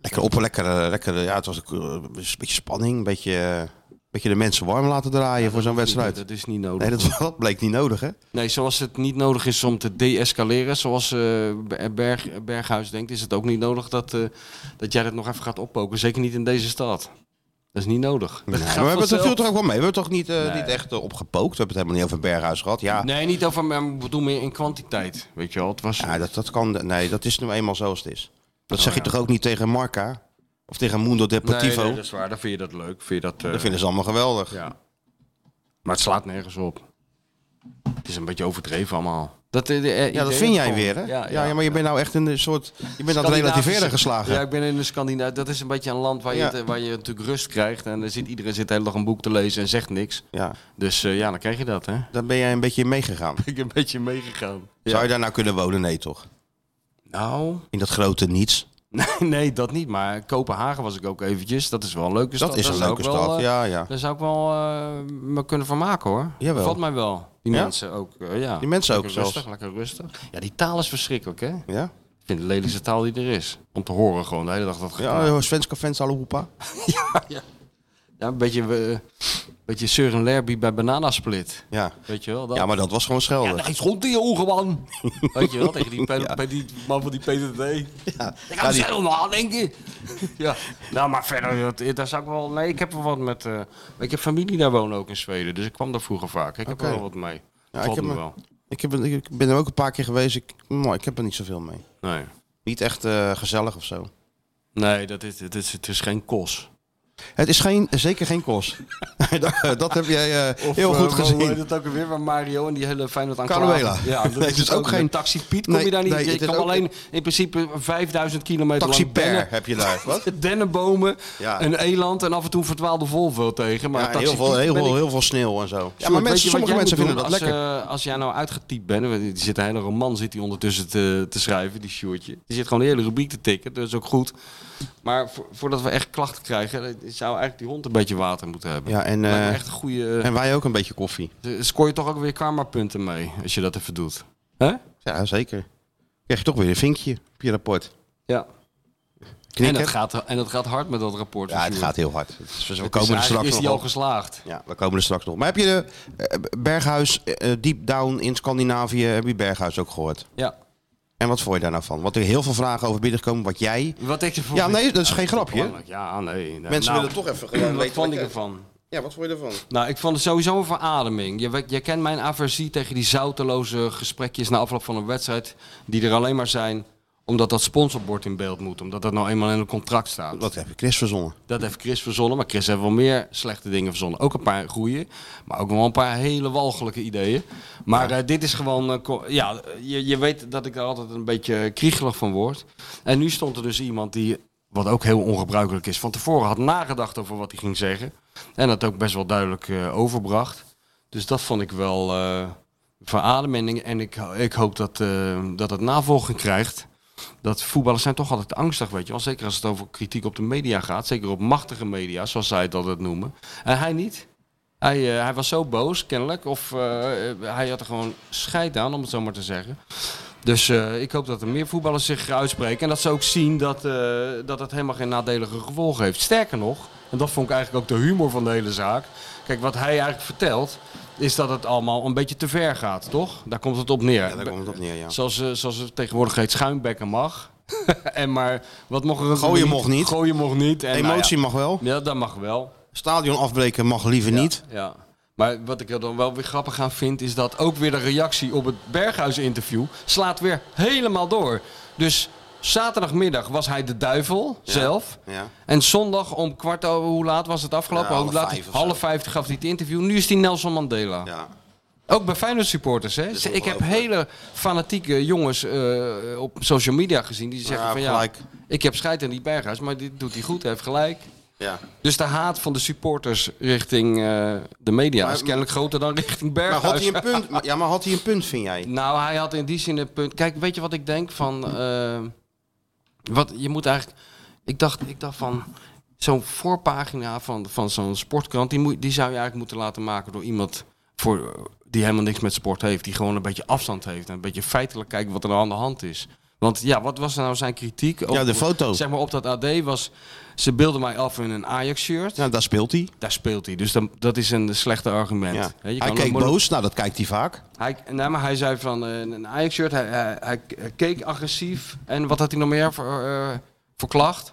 Lekker op, lekker, eh, lekker eh, ja, het was ook, eh, een beetje spanning, een beetje, eh, een beetje de mensen warm laten draaien voor zo'n wedstrijd.
Dat is niet nodig.
Nee, dat, dat bleek niet nodig, hè?
Nee, zoals het niet nodig is om te deescaleren, zoals eh, Be- Berg, Berghuis denkt, is het ook niet nodig dat, eh, dat jij dat nog even gaat oppoken. Zeker niet in deze stad. Dat is niet nodig.
Nee,
Dat
maar
gaat
we hebben het
vanzelf.
veel toch ook wel mee. We hebben het toch niet, eh,
Nee.
niet echt eh, opgepookt. We hebben het helemaal niet over een berghuis gehad. Ja,
Nee, niet over, maar ik bedoel meer in kwantiteit. Weet je wel, het was...
ja dat, dat kan. Nee, dat is nu eenmaal zoals het is. Dat zeg je toch ook niet tegen Marca? Of tegen Mundo Deportivo?
Oh, Nee, nee, dat is waar. Dan vind je dat leuk. Vind je dat, eh,
Dat vinden ze allemaal geweldig.
ja. Maar het slaat nergens op. Het is een beetje overdreven allemaal. Dat, eh, de- eh,
Ja, dat
idee
vind jij
ervan.
weer, hè?
Ja,
Ja,
ja.
maar je bent nou echt in een soort... Je bent aan het
Scandinavische-
relativeren geslagen.
Ja, ik ben in de Scandinavië. Dat is een beetje een land waar,
Ja.
je, het- waar je natuurlijk rust krijgt. En er zit, iedereen zit de hele dag een boek te lezen en zegt niks.
Ja,
Dus eh, ja, dan krijg je dat, hè?
daar ben jij een beetje in meegegaan.
Ik een beetje meegegaan.
Zou je daar nou kunnen wonen? Nee, toch?
Nou,
In dat grote niets.
nee, nee, dat niet. Maar Kopenhagen was ik ook eventjes. Dat is wel een
Dat
leuke stad.
is een
zou
leuke
ik wel,
stad.
eh,
ja, ja.
Daar zou ik wel eh, me kunnen vermaken, hoor.
Jawel.
Valt mij wel. Die
Ja?
mensen ook, eh, ja.
Die mensen ook
lekker rustig,
zelfs.
lekker rustig. Ja, die taal is verschrikkelijk, hè?
Ja?
Ik vind het de lelijkste taal die er is. Om te horen gewoon de hele dag dat
Ja,
ja.
eh, Svenska fans alle hoepa.
ja, een beetje, eh beetje Sir en Lerby bij Bananasplit.
Ja.
Weet je wel? Dat.
ja, maar dat was gewoon schelden.
Ja, is goed in je ogen, man. Weet je wel, tegen die, pe- pe- die man van die PTT. Ja. Ik ga
Ja, die-
zelf aan denken. ja. Nou, maar verder, dat- daar zou ik wel... Nee, ik heb wel wat met... eh, ik heb familie daar wonen ook in Zweden, dus ik kwam daar vroeger vaak. Ik heb er wel wat mee.
Ja, ik,
Valt
heb
me
me-
wel.
ik, heb, ik ben er ook een paar keer geweest. Ik, nou, ik heb er niet zoveel mee.
Nee.
Niet echt eh, gezellig of zo.
Nee, dat is, het, is, het is geen kos.
Het is geen, zeker geen kos. dat, dat heb jij eh, heel goed gezien.
Hoe heet het ook alweer waar Mario en die hele Feyenoord aan
Caruela.
klagen? Ja, dat
Nee,
is
dus
het
ook geen-
Met Taxi Piet kom
Nee,
je daar niet.
nee,
je
het is
kan
ook-
alleen in principe 5000 kilometer
Taxi
lang dennen-
per heb je daar. Wat?
dennenbomen,
Ja.
een eland en af en toe een verdwaalde Volvo tegen. Maar
Ja,
Taxi
heel, veel,
Piet
heel,
ben ik-
veel, heel veel sneeuw en zo. Ja,
Sjoerd,
maar
weet
mensen,
je
sommige
wat jij
mensen
moet
vinden dat
doen
lekker.
als, eh, als jij nou uitgetypt bent, want er zit een hele roman zit die ondertussen te, te schrijven, die Sjoerdje. Die zit gewoon de hele rubriek te tikken, dat is ook goed. Maar vo- voordat we echt klachten krijgen, eh, zou eigenlijk die hond een beetje water moeten hebben.
Ja, en,
Lijkt me
eh,
echt een goede...
en wij ook een beetje koffie.
eh, scoor je toch ook weer karmapunten mee, als je dat even doet. Hè?
Ja, zeker. Krijg je toch weer een vinkje op je rapport.
Ja. En
Knikken.
dat, gaat, en dat gaat hard met dat rapport.
ja,
van
het
Sjoerd.
gaat heel hard. Het is- we
Het
komen
is
er
eigenlijk-
straks
Is
nog
die al
op.
geslaagd?
Ja, we komen er straks nog. Maar heb je de eh, Berghuis, eh, deep down in Scandinavië, heb je Berghuis ook gehoord?
Ja.
En wat vond je daar nou van? Want er heel veel vragen over binnengekomen, wat jij...
Wat ik ervoor
Ja, nee, dat is geen
vind,
grapje.
belangrijk. Ja, nee. nee.
Mensen
Nou,
willen toch even gewoon
Wat
weten
vond ik
jij-
ervan?
Ja, wat vond je ervan?
Nou, ik vond het sowieso een verademing. Je, weet- je kent mijn aversie tegen die zouteloze gesprekjes na afloop van een wedstrijd. Die er alleen maar zijn omdat dat sponsorbord in beeld moet. Omdat dat nou eenmaal in een contract staat.
Dat heb je Chris verzonnen.
Dat heeft Chris verzonnen. Maar Chris heeft wel meer slechte dingen verzonnen. Ook een paar goede. Maar ook wel een paar hele walgelijke ideeën. Maar eh, dit is gewoon... eh, ko- ja, je, je weet dat ik daar altijd een beetje kriegelig van word. En nu stond er dus iemand die... Wat ook heel ongebruikelijk is. Van tevoren had nagedacht over wat hij ging zeggen. En dat ook best wel duidelijk eh, overbracht. Dus dat vond ik wel eh verademing. En ik, ik hoop dat, eh, dat het navolging krijgt dat voetballers zijn toch altijd angstig, weet je wel. Zeker als het over kritiek op de media gaat. Zeker op machtige media, zoals zij het altijd noemen. En hij niet. Hij, eh, hij was zo boos, kennelijk. Of eh, eh, hij had er gewoon scheid aan, om het zo maar te zeggen. Dus eh, ik hoop dat er meer voetballers zich uitspreken. En dat ze ook zien dat, eh, dat het helemaal geen nadelige gevolgen heeft. Sterker nog, en dat vond ik eigenlijk ook de humor van de hele zaak. Kijk, wat hij eigenlijk vertelt, is dat het allemaal een beetje te ver gaat, toch? Daar komt het op neer.
Ja, daar komt het op neer, ja.
Zoals, eh, zoals het tegenwoordig heet, schuimbekken mag. en maar wat mocht er
Gooien mocht niet.
Gooien mocht niet. En nou
Emotie mag wel.
ja. ja, dat mag wel.
Stadion afbreken mag liever
Ja,
niet.
Ja. Maar wat ik er dan wel weer grappig aan vind, is dat ook weer de reactie op het Berghuis-interview slaat weer helemaal door. Dus zaterdagmiddag was hij de duivel zelf.
Ja.
En zondag om kwart over, hoe laat was het afgelopen?
Ja, half
Hoe laat?
vijf of zo.
half vijf gaf hij het interview. Nu is hij Nelson Mandela.
Ja.
Ook bij Feyenoord supporters, hè?
is
Ik heb
ongelooflijk.
hele fanatieke jongens eh, op social media gezien die zeggen
Ja,
van
gelijk.
ja, ik heb scheid aan die Berghuis, maar dit doet hij goed, hij heeft gelijk.
ja.
Dus de haat van de supporters richting eh, de media
Maar-
is kennelijk groter dan richting
Maar
Berghuis.
had hij een punt? maar- Ja, maar had hij een punt, vind jij?
Nou, hij had in die zin een punt. Kijk, weet je wat ik denk van. eh, wat je moet eigenlijk. Ik dacht, ik dacht van. Zo'n voorpagina van, van zo'n sportkrant. Die, moet, die zou je eigenlijk moeten laten maken door iemand. Voor, eh, die helemaal niks met sport heeft. Die gewoon een beetje afstand heeft. En een beetje feitelijk kijkt wat er aan de hand is. Want ja, wat was nou zijn kritiek? Op,
Ja, de foto.
Zeg maar op dat AD was. Ze beelden mij af in een Ajax-shirt.
Ja, Nou, daar speelt hij.
Daar speelt hij. Dus dan, dat is een slechte argument.
Ja.
Hè, je
Hij
kan
keek
ook moeilijk-
boos. Nou, dat kijkt hij vaak.
hij, nee, maar hij zei van eh, een Ajax-shirt, hij, hij, hij keek agressief. En wat had hij nog meer voor, eh, voor klacht?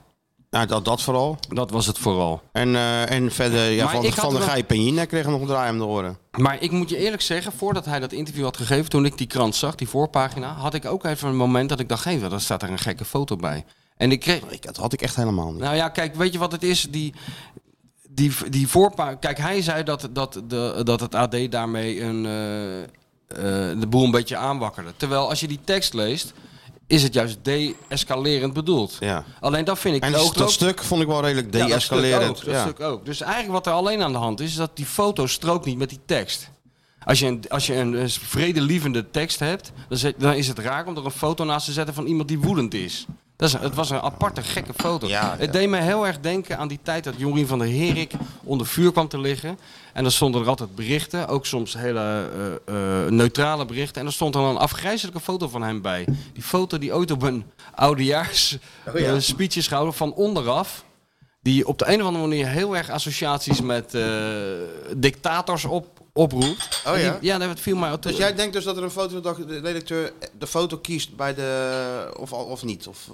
Nou, dat, dat vooral.
Dat was het vooral.
En, eh, en verder, ja,
Maar
van,
ik had
van de
wel-
Gijp en Jina kregen nog een draai om de oren.
Maar ik moet je eerlijk zeggen, voordat hij dat interview had gegeven, toen ik die krant zag, die voorpagina, had ik ook even een moment dat ik dacht, hé, daar staat er een gekke foto bij. En ik kreeg,
Ik, dat had ik echt helemaal niet.
Nou ja, kijk, weet je wat het is? Die, die, die voorpa. Kijk, hij zei dat, dat, de, dat het AD daarmee een, eh, eh, de boel een beetje aanwakkerde. Terwijl als je die tekst leest, is het juist de-escalerend bedoeld.
Ja.
Alleen dat vind ik.
En
die
ook
strook-
dat stuk vond ik wel redelijk
Ja, dat stuk
de-escalerend.
ook,
Ja,
dat stuk ook. Dus eigenlijk wat er alleen aan de hand is, is dat die foto strookt niet met die tekst. Als je een, als je een eh, vredelievende tekst hebt, dan, zet- dan is het raar om er een foto naast te zetten van iemand die woedend is. Dat is het was een aparte, gekke foto.
Ja,
het
ja.
deed me heel erg denken aan die tijd dat Jorien van der Herik onder vuur kwam te liggen. En dan stonden er altijd berichten, ook soms hele eh, eh, neutrale berichten. En er stond dan een afgrijzelijke foto van hem bij. Die foto die ooit op een oudejaars
Oh
eh, speech is gehouden van onderaf die op de een of andere manier heel erg associaties met eh, dictators op, oproept.
Oh
En die-
ja?
ja, dat viel mij op.
Dus jij denkt dus dat er een fotodag de redacteur de foto kiest bij de... of, of niet? Of,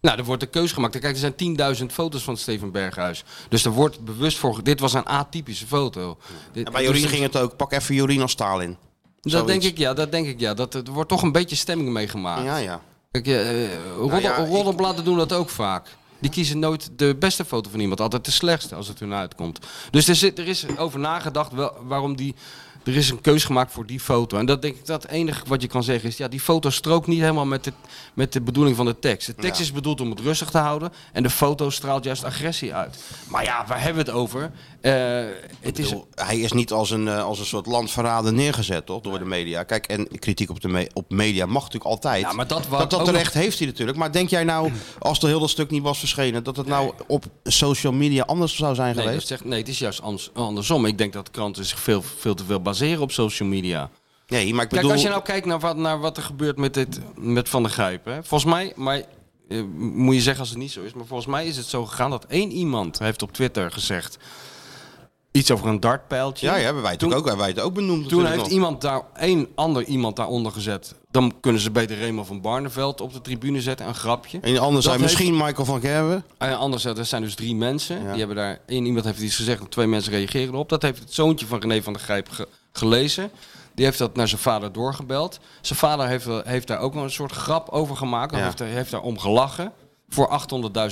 Nou, er wordt de keus gemaakt. Kijk, er zijn 10.000 foto's van Steven Berghuis. Dus er wordt bewust voor... ge- Dit was een atypische foto. Dit-
en bij
dus
Jorien
het-
ging het ook. Pak even Jorien als Stalin.
Dat
Zoiets.
denk ik, ja. Dat denk ik, ja. Dat, er wordt toch een beetje stemming meegemaakt.
Ja, ja.
Kijk, eh, eh, Rotterdam,
Nou ja, ik-
Rotterdam-bladen doen dat ook vaak. Die kiezen nooit de beste foto van iemand, altijd de slechtste als het hun uitkomt. Dus er, zit, er is over nagedacht wel, waarom die. Er is een keus gemaakt voor die foto. En dat denk ik, dat enige wat je kan zeggen is: ja, die foto strookt niet helemaal met de, met de bedoeling van de tekst. De tekst
Ja.
is bedoeld om het rustig te houden. En de foto straalt juist agressie uit. Maar ja, waar hebben we het over? Eh, het is,
bedoel, hij is niet als een, eh, als een soort landverrader neergezet, toch? Door de media. Kijk, en kritiek op, de me- op media mag natuurlijk altijd.
Ja, maar dat was
dat, dat
ook
terecht heeft hij natuurlijk. Maar denk jij nou, als er heel dat stuk niet was verschenen, dat het nou op social media anders zou zijn
Nee, dat
geweest?
zegt, nee, het is juist anders- andersom. Ik denk dat kranten zich veel, veel te veel baseren op social media.
Nee, maar ik
Kijk,
bedoel...
als je nou kijkt naar wat, naar wat er gebeurt met, dit, met Van der Grijp. Hè? Volgens mij, maar eh, moet je zeggen als het niet zo is. Maar volgens mij is het zo gegaan dat één iemand heeft op Twitter gezegd. Iets over een dartpijltje.
Ja, ja, hebben wij het
Toen-
ook, hebben wij het ook benoemd
Toen
natuurlijk
heeft
nog.
iemand daar, één ander iemand daaronder gezet. Dan kunnen ze beter Raymond van Barneveld op de tribune zetten. Een grapje.
En anders
Dat
zijn
heeft-
misschien Michael van Gerwen.
Eh, anders, eh, er zijn dus drie mensen.
Ja.
Die hebben daar, één iemand heeft iets gezegd en twee mensen reageren erop. Dat heeft het zoontje van René van der Grijp ge- gelezen. Die heeft dat naar zijn vader doorgebeld. Zijn vader heeft, wel- heeft daar ook wel een soort grap over gemaakt. Hij
Ja.
Heeft, daar- heeft daar om gelachen. Voor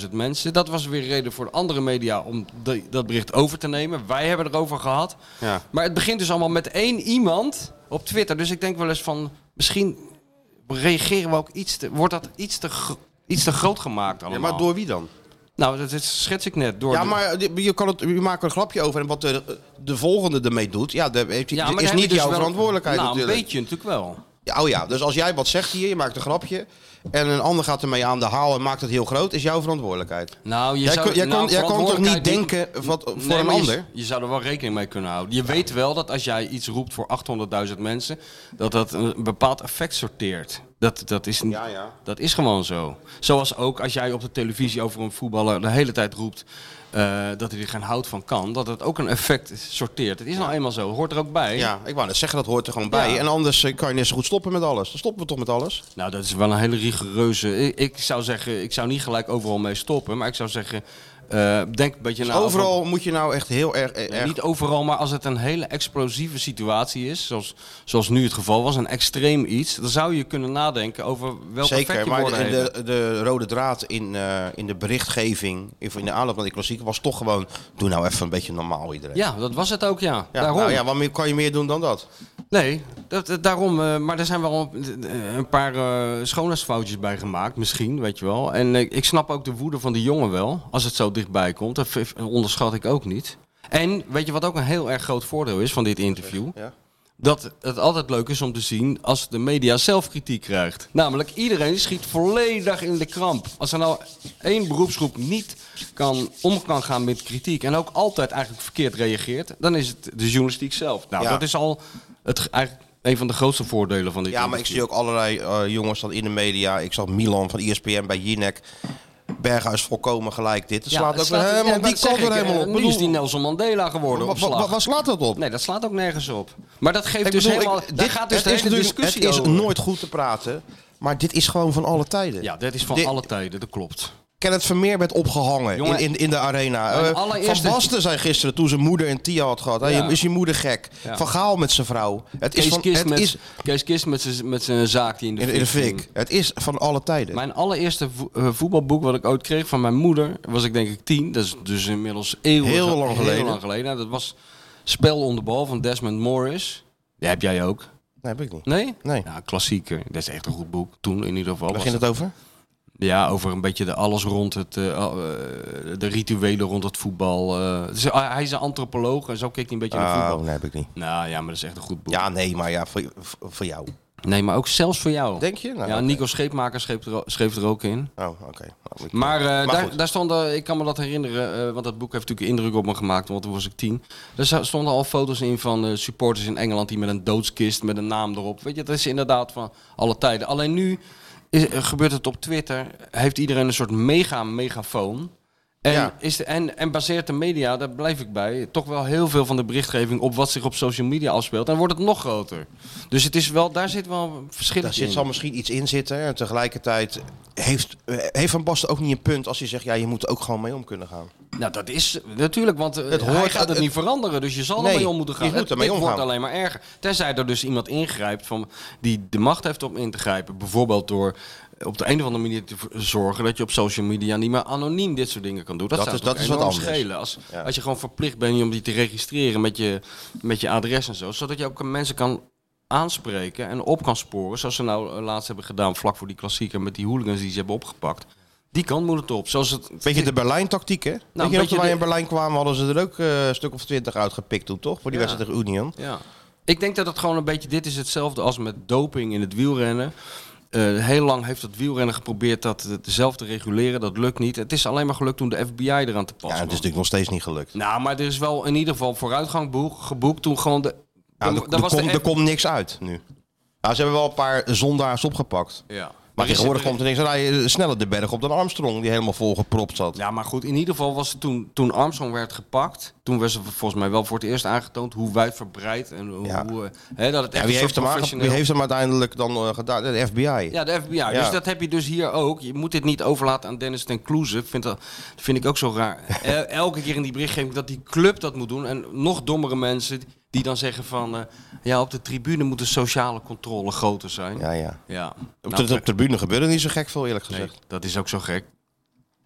800.000 mensen. Dat was weer reden voor de andere media om de- dat bericht over te nemen. Wij hebben erover gehad.
Ja.
Maar het begint dus allemaal met één iemand op Twitter. Dus ik denk wel eens van, misschien reageren we ook iets te... Wordt dat iets te, gro- iets te groot gemaakt
Ja,
allemaal?
maar door wie dan?
Nou, dat is- schets ik net. Door
Ja,
de-
maar die- je, kan het, je maakt er een grapje over. En wat de, de volgende ermee doet, ja, dat heeft,
Ja, maar
is
daar
niet
heb ik dus
jouw
wel-
verantwoordelijkheid
nou,
natuurlijk.
een beetje natuurlijk wel.
Ja, oh ja, dus als jij wat zegt hier, je maakt een grapje. En een ander gaat ermee aan de haal en maakt het heel groot, is jouw verantwoordelijkheid.
Nou, je
jij
zou,
kon, jij
nou,
kon, jij kon toch niet
verantwoordelijkheid
denken wat, voor
Nee,
een
maar je-
ander?
Je, zou er wel rekening mee kunnen houden. Je weet wel dat als jij iets roept voor 800.000 mensen, dat dat een bepaald effect sorteert. Dat, dat, is, niet-
Ja, ja.
dat is gewoon zo. Zoals ook als jij op de televisie over een voetballer de hele tijd roept eh, dat hij er geen hout van kan, dat dat ook een effect sorteert. Het is nou eenmaal zo, hoort er ook bij.
Ja, ik wou net zeggen, dat hoort er gewoon bij.
Ja.
En anders eh, kan je net zo goed stoppen met alles. Dan stoppen we toch met alles?
Nou, dat is wel een hele rigoureuze. Ik, ik zou zeggen, ik zou niet gelijk overal mee stoppen, maar ik zou zeggen, eh, denk een beetje na. over-
Overal moet je nou echt heel erg... eh,
Nee,
erg-
Niet overal, maar als het een hele explosieve situatie is, zoals, zoals nu het geval was, een extreem iets, dan zou je kunnen nadenken over welke effect
Zeker,
je
maar
woorden
de,
hebben.
de, de rode draad in, eh, in de berichtgeving, in in de aanloop naar die klassieker, was toch gewoon... Doe nou even een beetje normaal iedereen.
Ja, dat was het ook, ja.
Ja,
daarom.
nou ja, wat meer- kan je meer doen dan dat?
Nee, dat, dat- daarom. eh, maar er zijn wel een, een paar eh schoonheidsfoutjes bij gemaakt, misschien, weet je wel. En eh, ik snap ook de woede van de jongen wel, als het zo dichtbij komt. Dat v- onderschat ik ook niet. En weet je wat ook een heel erg groot voordeel is van dit interview?
Ja.
dat het altijd leuk is om te zien als de media zelf kritiek krijgt. Namelijk, iedereen schiet volledig in de kramp. Als er nou één beroepsgroep niet kan, om kan gaan met kritiek... en ook altijd eigenlijk verkeerd reageert... dan is het de journalistiek zelf. Nou,
Ja.
dat is al het, ge- eigenlijk een van de grootste voordelen van dit
Ja, maar ik
interview.
zie ook allerlei eh, jongens dan in de media. Ik zag Milan van E ESPN bij Jinek. Berghuis volkomen gelijk dit. Het
Ja,
slaat
het
ook
slaat- ja,
helemaal
maar
die
dat zeg
kant er
ik,
helemaal
eh,
op.
Nu
Bedoel,
is die Nelson Mandela geworden
wa-
op
wa- wa-
slag.
waar slaat dat op?
Nee, dat slaat ook nergens op. Maar dat geeft
Ik
dus
bedoel, ik-
helemaal...
dit-
daar gaat dus
het
de
is
hele
natuurlijk-
discussie
Het is
over.
nooit goed te praten. Maar dit is gewoon van alle tijden.
Ja, dat is van
Dit-
alle tijden, dat klopt.
Kenneth Vermeer werd opgehangen
Jongen,
in, in, in de arena.
mijn
Eh,
allereerste-
Van Basten zei gisteren toen zijn moeder en Tia had gehad. hey,
Ja.
is je moeder gek?
Ja.
Van Gaal met zijn vrouw. Het is
Kees
van,
Kist
het
met-
is
Kees Kist met zijn- met zijn zaak die in de
in, in de
fik ging.
fik. Het is van alle tijden.
Mijn allereerste vo- eh, voetbalboek wat ik ooit kreeg van mijn moeder, was ik denk ik tien. Dat is dus inmiddels eeuwen
Heel lang geleden.
lang geleden. Nou, dat was Spel onder bal van Desmond Morris. Die heb jij ook.
Nee, heb ik niet.
Nee?
Nee.
Ja, klassieker. Dat is echt een goed boek. Toen in ieder geval.
Waar
Was
ging
het-
het over?
ja, over een beetje de alles rond het, eh, al- eh, de rituelen rond het voetbal. eh. Dus, eh, hij is een antropoloog en zo keek hij een beetje naar
Oh,
voetbal.
nee, heb ik niet.
Nou ja, maar dat is echt een goed boek.
Ja, nee, maar ja, voor, voor voor jou.
Nee, maar ook zelfs voor jou.
Denk je? Nou,
ja,
oké.
Nico Scheepmaker schreef er, o- schreef er ook in.
Oh, oké. Nou, ik-
Maar, eh, daar,
goed.
daar stonden, ik kan me dat herinneren, eh, want dat boek heeft natuurlijk indruk op me gemaakt, want toen was ik tien. Er za- stonden al foto's in van eh, supporters in Engeland die met een doodskist, met een naam erop. Weet je, dat is inderdaad van alle tijden. Alleen nu is, eh, gebeurt het op Twitter, heeft iedereen een soort mega megafoon. En,
Ja.
is de, en, en baseert de media, daar blijf ik bij, toch wel heel veel van de berichtgeving op wat zich op social media afspeelt. Dan wordt het nog groter. Dus het is wel, daar zit wel een verschil
Daar
in.
zit, zal misschien iets in zitten. En tegelijkertijd heeft, eh, heeft Van Basten ook niet een punt als hij zegt... ja, je moet er ook gewoon mee om kunnen gaan.
Nou, dat is natuurlijk, want eh,
Het
hij
hoort-
gaat het,
het-
niet veranderen. Dus je zal
Nee,
ermee om moeten gaan.
je moet
Het-
ermee
dit wordt
omgaan.
alleen maar erger. Tenzij er dus iemand ingrijpt van, die de macht heeft om in te grijpen. Bijvoorbeeld door op de een of andere manier te v- zorgen dat je op social media niet meer anoniem dit soort dingen kan doen. Dat,
Dat
zou
is-
toch
dat is wat
enorm
anders.
schelen. Als,
Ja.
als je gewoon verplicht bent om die te registreren met je, met je adres en zo. Zodat je ook mensen kan aanspreken en op kan sporen. Zoals ze nou eh, laatst hebben gedaan vlak voor die klassieker met die hooligans die ze hebben opgepakt. Die kant moet het op. Zoals het
Beetje de Berlijn-tactiek, hè? Weet je
Nou, beetje
nog, toen wij
de-
in Berlijn kwamen, hadden ze er ook eh, een stuk of twintig uitgepikt toen, toch? Voor die
Ja.
wedstrijd tegen Union.
Ja. Ik denk dat het gewoon een beetje, dit is hetzelfde als met doping in het wielrennen. Eh, heel lang heeft het wielrennen geprobeerd dat eh, zelf te reguleren. Dat lukt niet. Het is alleen maar gelukt toen de FBI eraan te
Ja, het is dus-
pas kwam.
natuurlijk nog steeds niet gelukt.
Nou, maar er is wel in ieder geval vooruitgang boek- geboekt toen gewoon de...
Nou,
toen-
er,
daar
er komt-
de
er komt niks uit nu. Nou, ze hebben wel een paar zondaars opgepakt.
F- Ja.
Maar
Er is-
tegenwoordig komt er niks. Dan rij je sneller de berg op dan Armstrong, die helemaal volgepropt zat.
Ja, maar goed, in ieder geval was het toen, toen Armstrong werd gepakt... toen werd ze volgens mij wel voor het eerst aangetoond hoe wijdverbreid... en hoe,
Ja.
hoe, eh, hè, dat het echt
Ja, wie, heeft
een soort
hem aange-
professioneel-
wie heeft hem uiteindelijk dan eh, gedaan? De FBI.
Ja, de FBI. Dus dat heb je dus hier ook. Je moet dit niet overlaten aan Dennis ten Kloeze. Ik Vind dat, dat vind ik ook zo raar. El- Elke keer in die berichtgeving dat die club dat moet doen. En nog dommere mensen die dan zeggen van... eh, ja, op de tribune moet de sociale controle groter zijn. Ja.
ja, ja. Op
Nou,
de, op de tribune gebeurde niet zo gek veel, eerlijk
nee,
gezegd.
dat is ook zo gek.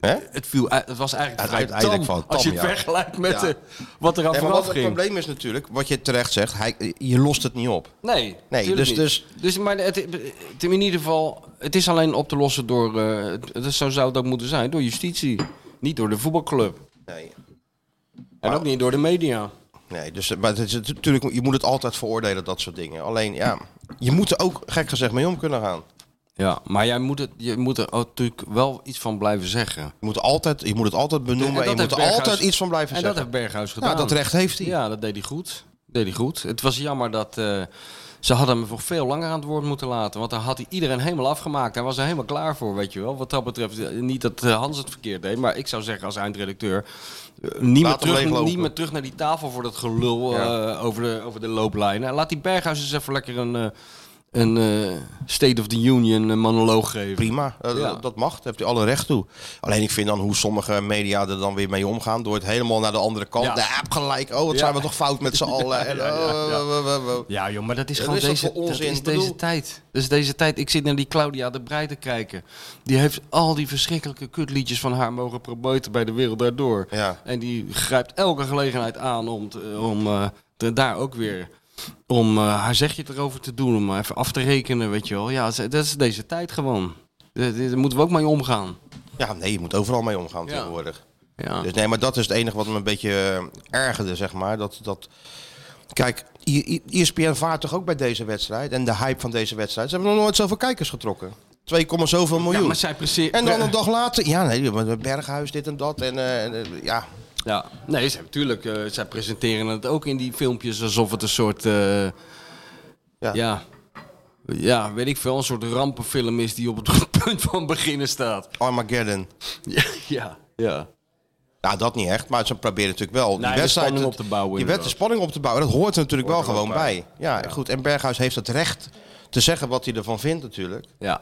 Hè?
Het, viel, uit- het was eigenlijk
Het
vrij
uiteindelijk
tam,
van
Als je
tam,
het
ja.
vergelijkt met
Ja.
eh, wat er aan
Ja, maar
vooraf
wat het
ging.
probleem is natuurlijk, wat je terecht zegt, hij, je lost het niet op.
Nee,
Nee,
tuurlijk
dus-
niet.
dus-
dus maar het, het- in ieder geval, het is alleen op te lossen door, eh, het- het, is- zo zou het ook moeten zijn, door justitie. Niet door de voetbalclub.
Nee.
En ook niet door de media.
Nee, dus eh, maar het is natuurlijk, je moet het altijd veroordelen, dat soort dingen. Alleen ja, je moet er ook gek gezegd mee om kunnen gaan.
Ja, maar jij moet, het, je moet er ook natuurlijk wel iets van blijven zeggen. En
Je moet, altijd, je moet het altijd benoemen en,
dat
je moet
heeft
er
Berghuis-
altijd iets van blijven
En dat
zeggen.
heeft Berghuis gedaan.
nou, dat recht heeft hij.
Ja, dat deed hij goed. Deed hij goed. Het was jammer dat eh, ze hadden hem voor veel langer aan het woord moeten laten. Want dan had hij iedereen helemaal afgemaakt. Hij was er helemaal klaar voor, weet je wel. Wat dat betreft, eh, niet dat eh, Hans het verkeerd deed. Maar ik zou zeggen als eindredacteur, eh, niet, meer
hem
terug,
leeglopen.
niet meer terug naar die tafel voor dat gelul
Ja.
eh, over, de, over de looplijnen. Laat die Berghuis eens even lekker een, eh, een eh, State of the Union eh, monoloog geven.
Prima, eh,
Ja.
dat mag, daar heeft hij alle recht toe. Alleen ik vind dan hoe sommige media er dan weer mee omgaan, door het helemaal naar de andere kant.
Ja.
Ja, heb gelijk, oh wat
Ja.
zijn we toch fout met z'n allen. En, oh, oh, oh, oh, oh.
Ja, joh, maar dat is
Ja,
gewoon
dat is
deze,
toch voor
dat
onzin?
is
Ik bedoel-
deze tijd. Dat is deze tijd. Ik zit naar die Claudia de Breij te kijken. Die heeft al die verschrikkelijke kutliedjes van haar mogen promoten bij de wereld daardoor.
Ja.
En die grijpt elke gelegenheid aan om, te- om eh, te- daar ook weer om eh, haar zegje erover te doen. Om even af te rekenen, weet je wel. Ja, ze- dat is deze tijd gewoon. Eh, dit- Daar moeten we ook mee omgaan.
Ja, nee, je moet overal mee omgaan
Ja.
tegenwoordig.
Ja.
Dus nee, maar dat is het enige wat me een beetje eh, ergerde, zeg maar. Dat, dat... Kijk, I- E I- ESPN vaart toch ook bij deze wedstrijd en de hype van deze wedstrijd. Ze hebben nog nooit zoveel kijkers getrokken. 2, zoveel miljoen.
Ja, maar zij presteert...
En dan een dag later, ja, nee, met Berghuis, dit en dat. En eh, en, eh, ja,
Ja, nee, ze, natuurlijk. eh, zij presenteren het ook in die filmpjes alsof het een soort. eh, ja.
Ja.
ja. weet ik veel. Een soort rampenfilm is die op het punt van beginnen staat.
Armageddon.
Ja, ja. ja.
Nou, dat niet echt, maar ze proberen natuurlijk wel
Nee, de spanning op te bouwen,
Je werd de
inderdaad.
spanning op te bouwen, dat hoort er natuurlijk
Hoort
wel
er ook
gewoon bij. Ja, goed. En Berghuis heeft het recht te zeggen wat hij ervan vindt, natuurlijk.
ja.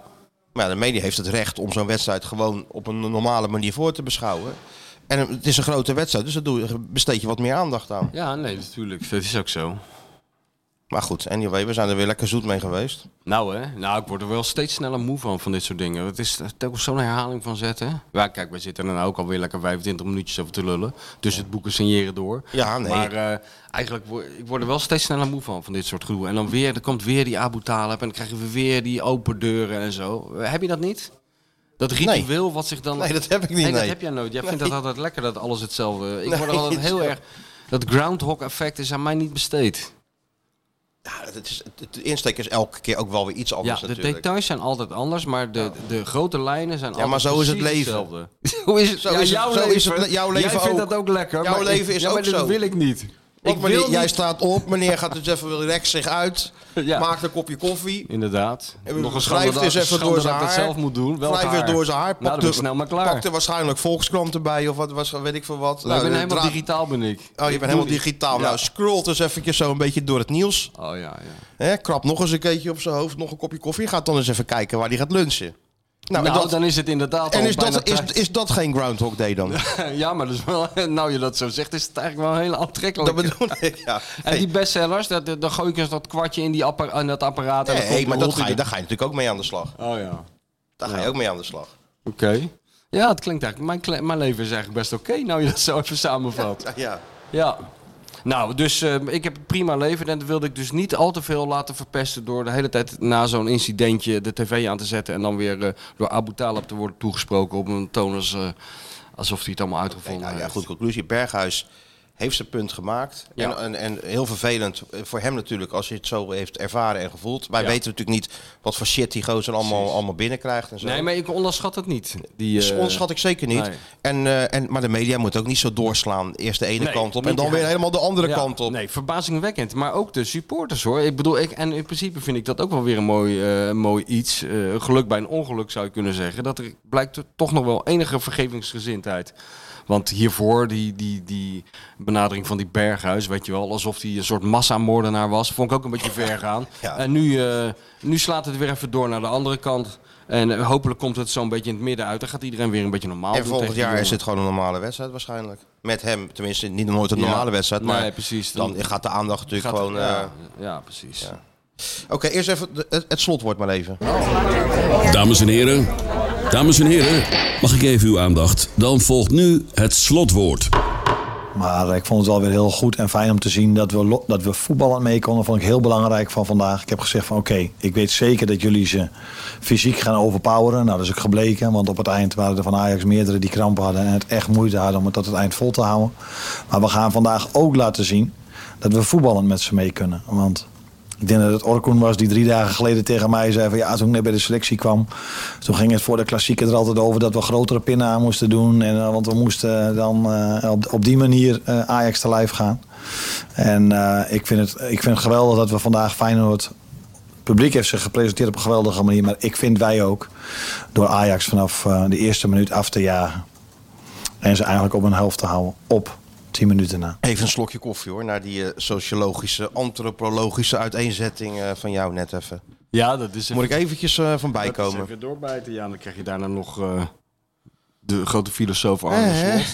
Maar ja, de media heeft het recht om zo'n wedstrijd gewoon op een normale manier voor te beschouwen. En het is een grote wedstrijd, dus daar doe je- besteed je wat meer aandacht aan.
Ja, nee, natuurlijk. Dat is ook zo.
Maar goed, anyway, we zijn er weer lekker zoet mee geweest.
Nou, hè? Nou, ik word er wel steeds sneller moe van, van dit soort dingen. Het is telkens zo'n herhaling van zetten. Ja, kijk, wij zitten er nou ook alweer lekker 25 minuutjes over te lullen. Dus het boeken signeren door.
Ja, nee.
Maar eh, eigenlijk, word, ik word er wel steeds sneller moe van, van dit soort gedoe. En dan weer, er komt weer die Abu Talib en dan krijgen we weer die open deuren en zo. Eh, Heb je dat niet? Dat ritueel wat zich dan...
Nee, dat heb ik niet,
dat
nee.
heb jij nooit. Jij vindt
Nee.
dat altijd lekker, dat alles hetzelfde... Ik
Nee,
word er altijd heel
ja.
erg... Dat groundhog effect is aan mij niet besteed.
Ja, het is, het- de insteek is elke keer ook wel weer iets anders
Ja, de
natuurlijk.
details zijn altijd anders, maar de, de grote lijnen zijn
maar
altijd
zo is het
precies
leven.
hetzelfde. hoe is het?
Zo
ja,
is het-
jouw
zo
leven.
is het le- jouw
Jij
leven
vindt
ook.
dat ook lekker.
Jouw
maar
leven is
ja, maar
ook
dat
zo.
wil ik niet.
Want
Ik
meneer,
wil
jij
niet-
staat op, meneer gaat dus even relax zich uit.
Ja.
Maakt een kopje koffie.
Inderdaad.
En
Nog een
wrijft
schande
eens
dat-
even
schande
door zijn
dat ik
haar.
dat zelf moet doen. Welk
Wrijft
haar?
weer door zijn haar.
Nou, dan ben ik snel maar klaar.
Pakte waarschijnlijk Volkskrant erbij of wat was, weet ik veel wat.
Nou, ik ben
de
helemaal
draad-
digitaal ben ik.
Oh, je bent helemaal digitaal. Nou, scrollt dus eventjes zo een beetje door het nieuws.
Oh ja, ja.
Hè, krap nog eens een keetje op zijn hoofd, nog een kopje koffie. Gaat dan eens even kijken waar hij gaat lunchen.
Nou,
en dat-
dan is het inderdaad
En
al
is
bijna
dat, is,
tijd.
is dat geen Groundhog Day dan?
Ja, maar dat is wel, nou je dat zo zegt, is het eigenlijk wel heel aantrekkelijk.
Dat bedoel ik, ja.
En Eh, die bestsellers, dat- dat- dan gooi ik eens dat kwartje in, die appara- in dat apparaat. en
Nee,
dan komt-
maar dat
rolt
ga
hij
je, daar ga je natuurlijk ook mee aan de slag.
er- Oh ja, oké.
Daar ga je ook mee aan de slag.
Ja, het klinkt eigenlijk, mijn, kle- mijn leven is eigenlijk best oké, nou je dat zo even samenvat.
Ja.
Ja. Nou, dus eh, ik heb een prima leven en dat wilde ik dus niet al te veel laten verpesten door de hele tijd na zo'n incidentje de tv aan te zetten en dan weer eh, door Abu Talib te worden toegesproken op een toon als, eh, alsof hij het allemaal
Nee,
uitgevonden
nou ja,
heeft.
goed, conclusie. Berghuis heeft zijn punt gemaakt.
Ja.
En, en, en heel vervelend voor hem natuurlijk, als je het zo heeft ervaren en gevoeld. Wij
Ja.
weten natuurlijk niet wat voor shit die gozer allemaal, allemaal binnenkrijgt en zo.
Nee, maar ik onderschat het niet. Die,
Dus
eh,
Onderschat ik zeker niet.
nee.
En, eh, en, maar de media moet ook niet zo doorslaan. Eerst de ene
Nee,
kant op en
niet
dan
die-
weer helemaal de andere
Ja,
kant op.
Nee, verbazingwekkend. Maar ook de supporters hoor. Ik bedoel, ik, en in principe vind ik dat ook wel weer een mooi, eh, een mooi iets. Eh, een geluk bij een ongeluk zou je kunnen zeggen. Dat er blijkt toch nog wel enige vergevingsgezindheid. Want hiervoor, die, die, die benadering van die Berghuis, weet je wel, alsof hij een soort massamoordenaar was, vond ik ook een beetje ver gaan.
Ja.
En nu, eh, nu slaat het weer even door naar de andere kant. En eh, hopelijk komt het zo'n beetje in het midden uit. Dan gaat iedereen weer een beetje normaal
En
doen
volgend
tegen die
jaar is
jongen.
het gewoon een normale wedstrijd waarschijnlijk. Met hem, tenminste, niet nooit een normale
Ja.
wedstrijd.
Nee,
Maar
precies.
dan gaat de aandacht natuurlijk
Gaat-
gewoon...
ja,
eh,
ja, precies.
Oké, eerst even de- het, het slotwoord maar even.
Dames en heren, dames en heren, mag ik even uw aandacht? Dan volgt nu het slotwoord.
Maar eh, ik vond het wel weer heel goed en fijn om te zien dat we, lo- dat we voetballend mee konden. Vond ik heel belangrijk van vandaag. Ik heb gezegd van oké, ik weet zeker dat jullie ze fysiek gaan overpoweren. Nou, dat is ook gebleken. Want op het eind waren er van Ajax meerdere die kramp hadden. En het echt moeite hadden om het tot het eind vol te houden. Maar we gaan vandaag ook laten zien dat we voetballend met ze mee kunnen. Want ik denk dat het Orkoen was die drie dagen geleden tegen mij zei van ja, toen ik net bij de selectie kwam, toen ging het voor de klassieker er altijd over dat we grotere pinnen aan moesten doen. En, eh, want we moesten dan eh, op, op die manier eh, Ajax te lijf gaan. En eh, ik, vind het, ik vind het geweldig dat we vandaag Feyenoord het publiek heeft zich gepresenteerd op een geweldige manier. Maar ik vind wij ook door Ajax vanaf eh, de eerste minuut af te jagen. En ze eigenlijk op een helft te houden op 10 minuten na.
Even een slokje koffie hoor, naar die eh, sociologische, antropologische uiteenzetting eh, van jou net even.
Ja, dat is
Moet ik eventjes eh, van bijkomen?
even doorbijten, ja. Dan krijg je daarna nog eh, de grote filosoof Arne
Eh, Hè?
Slot.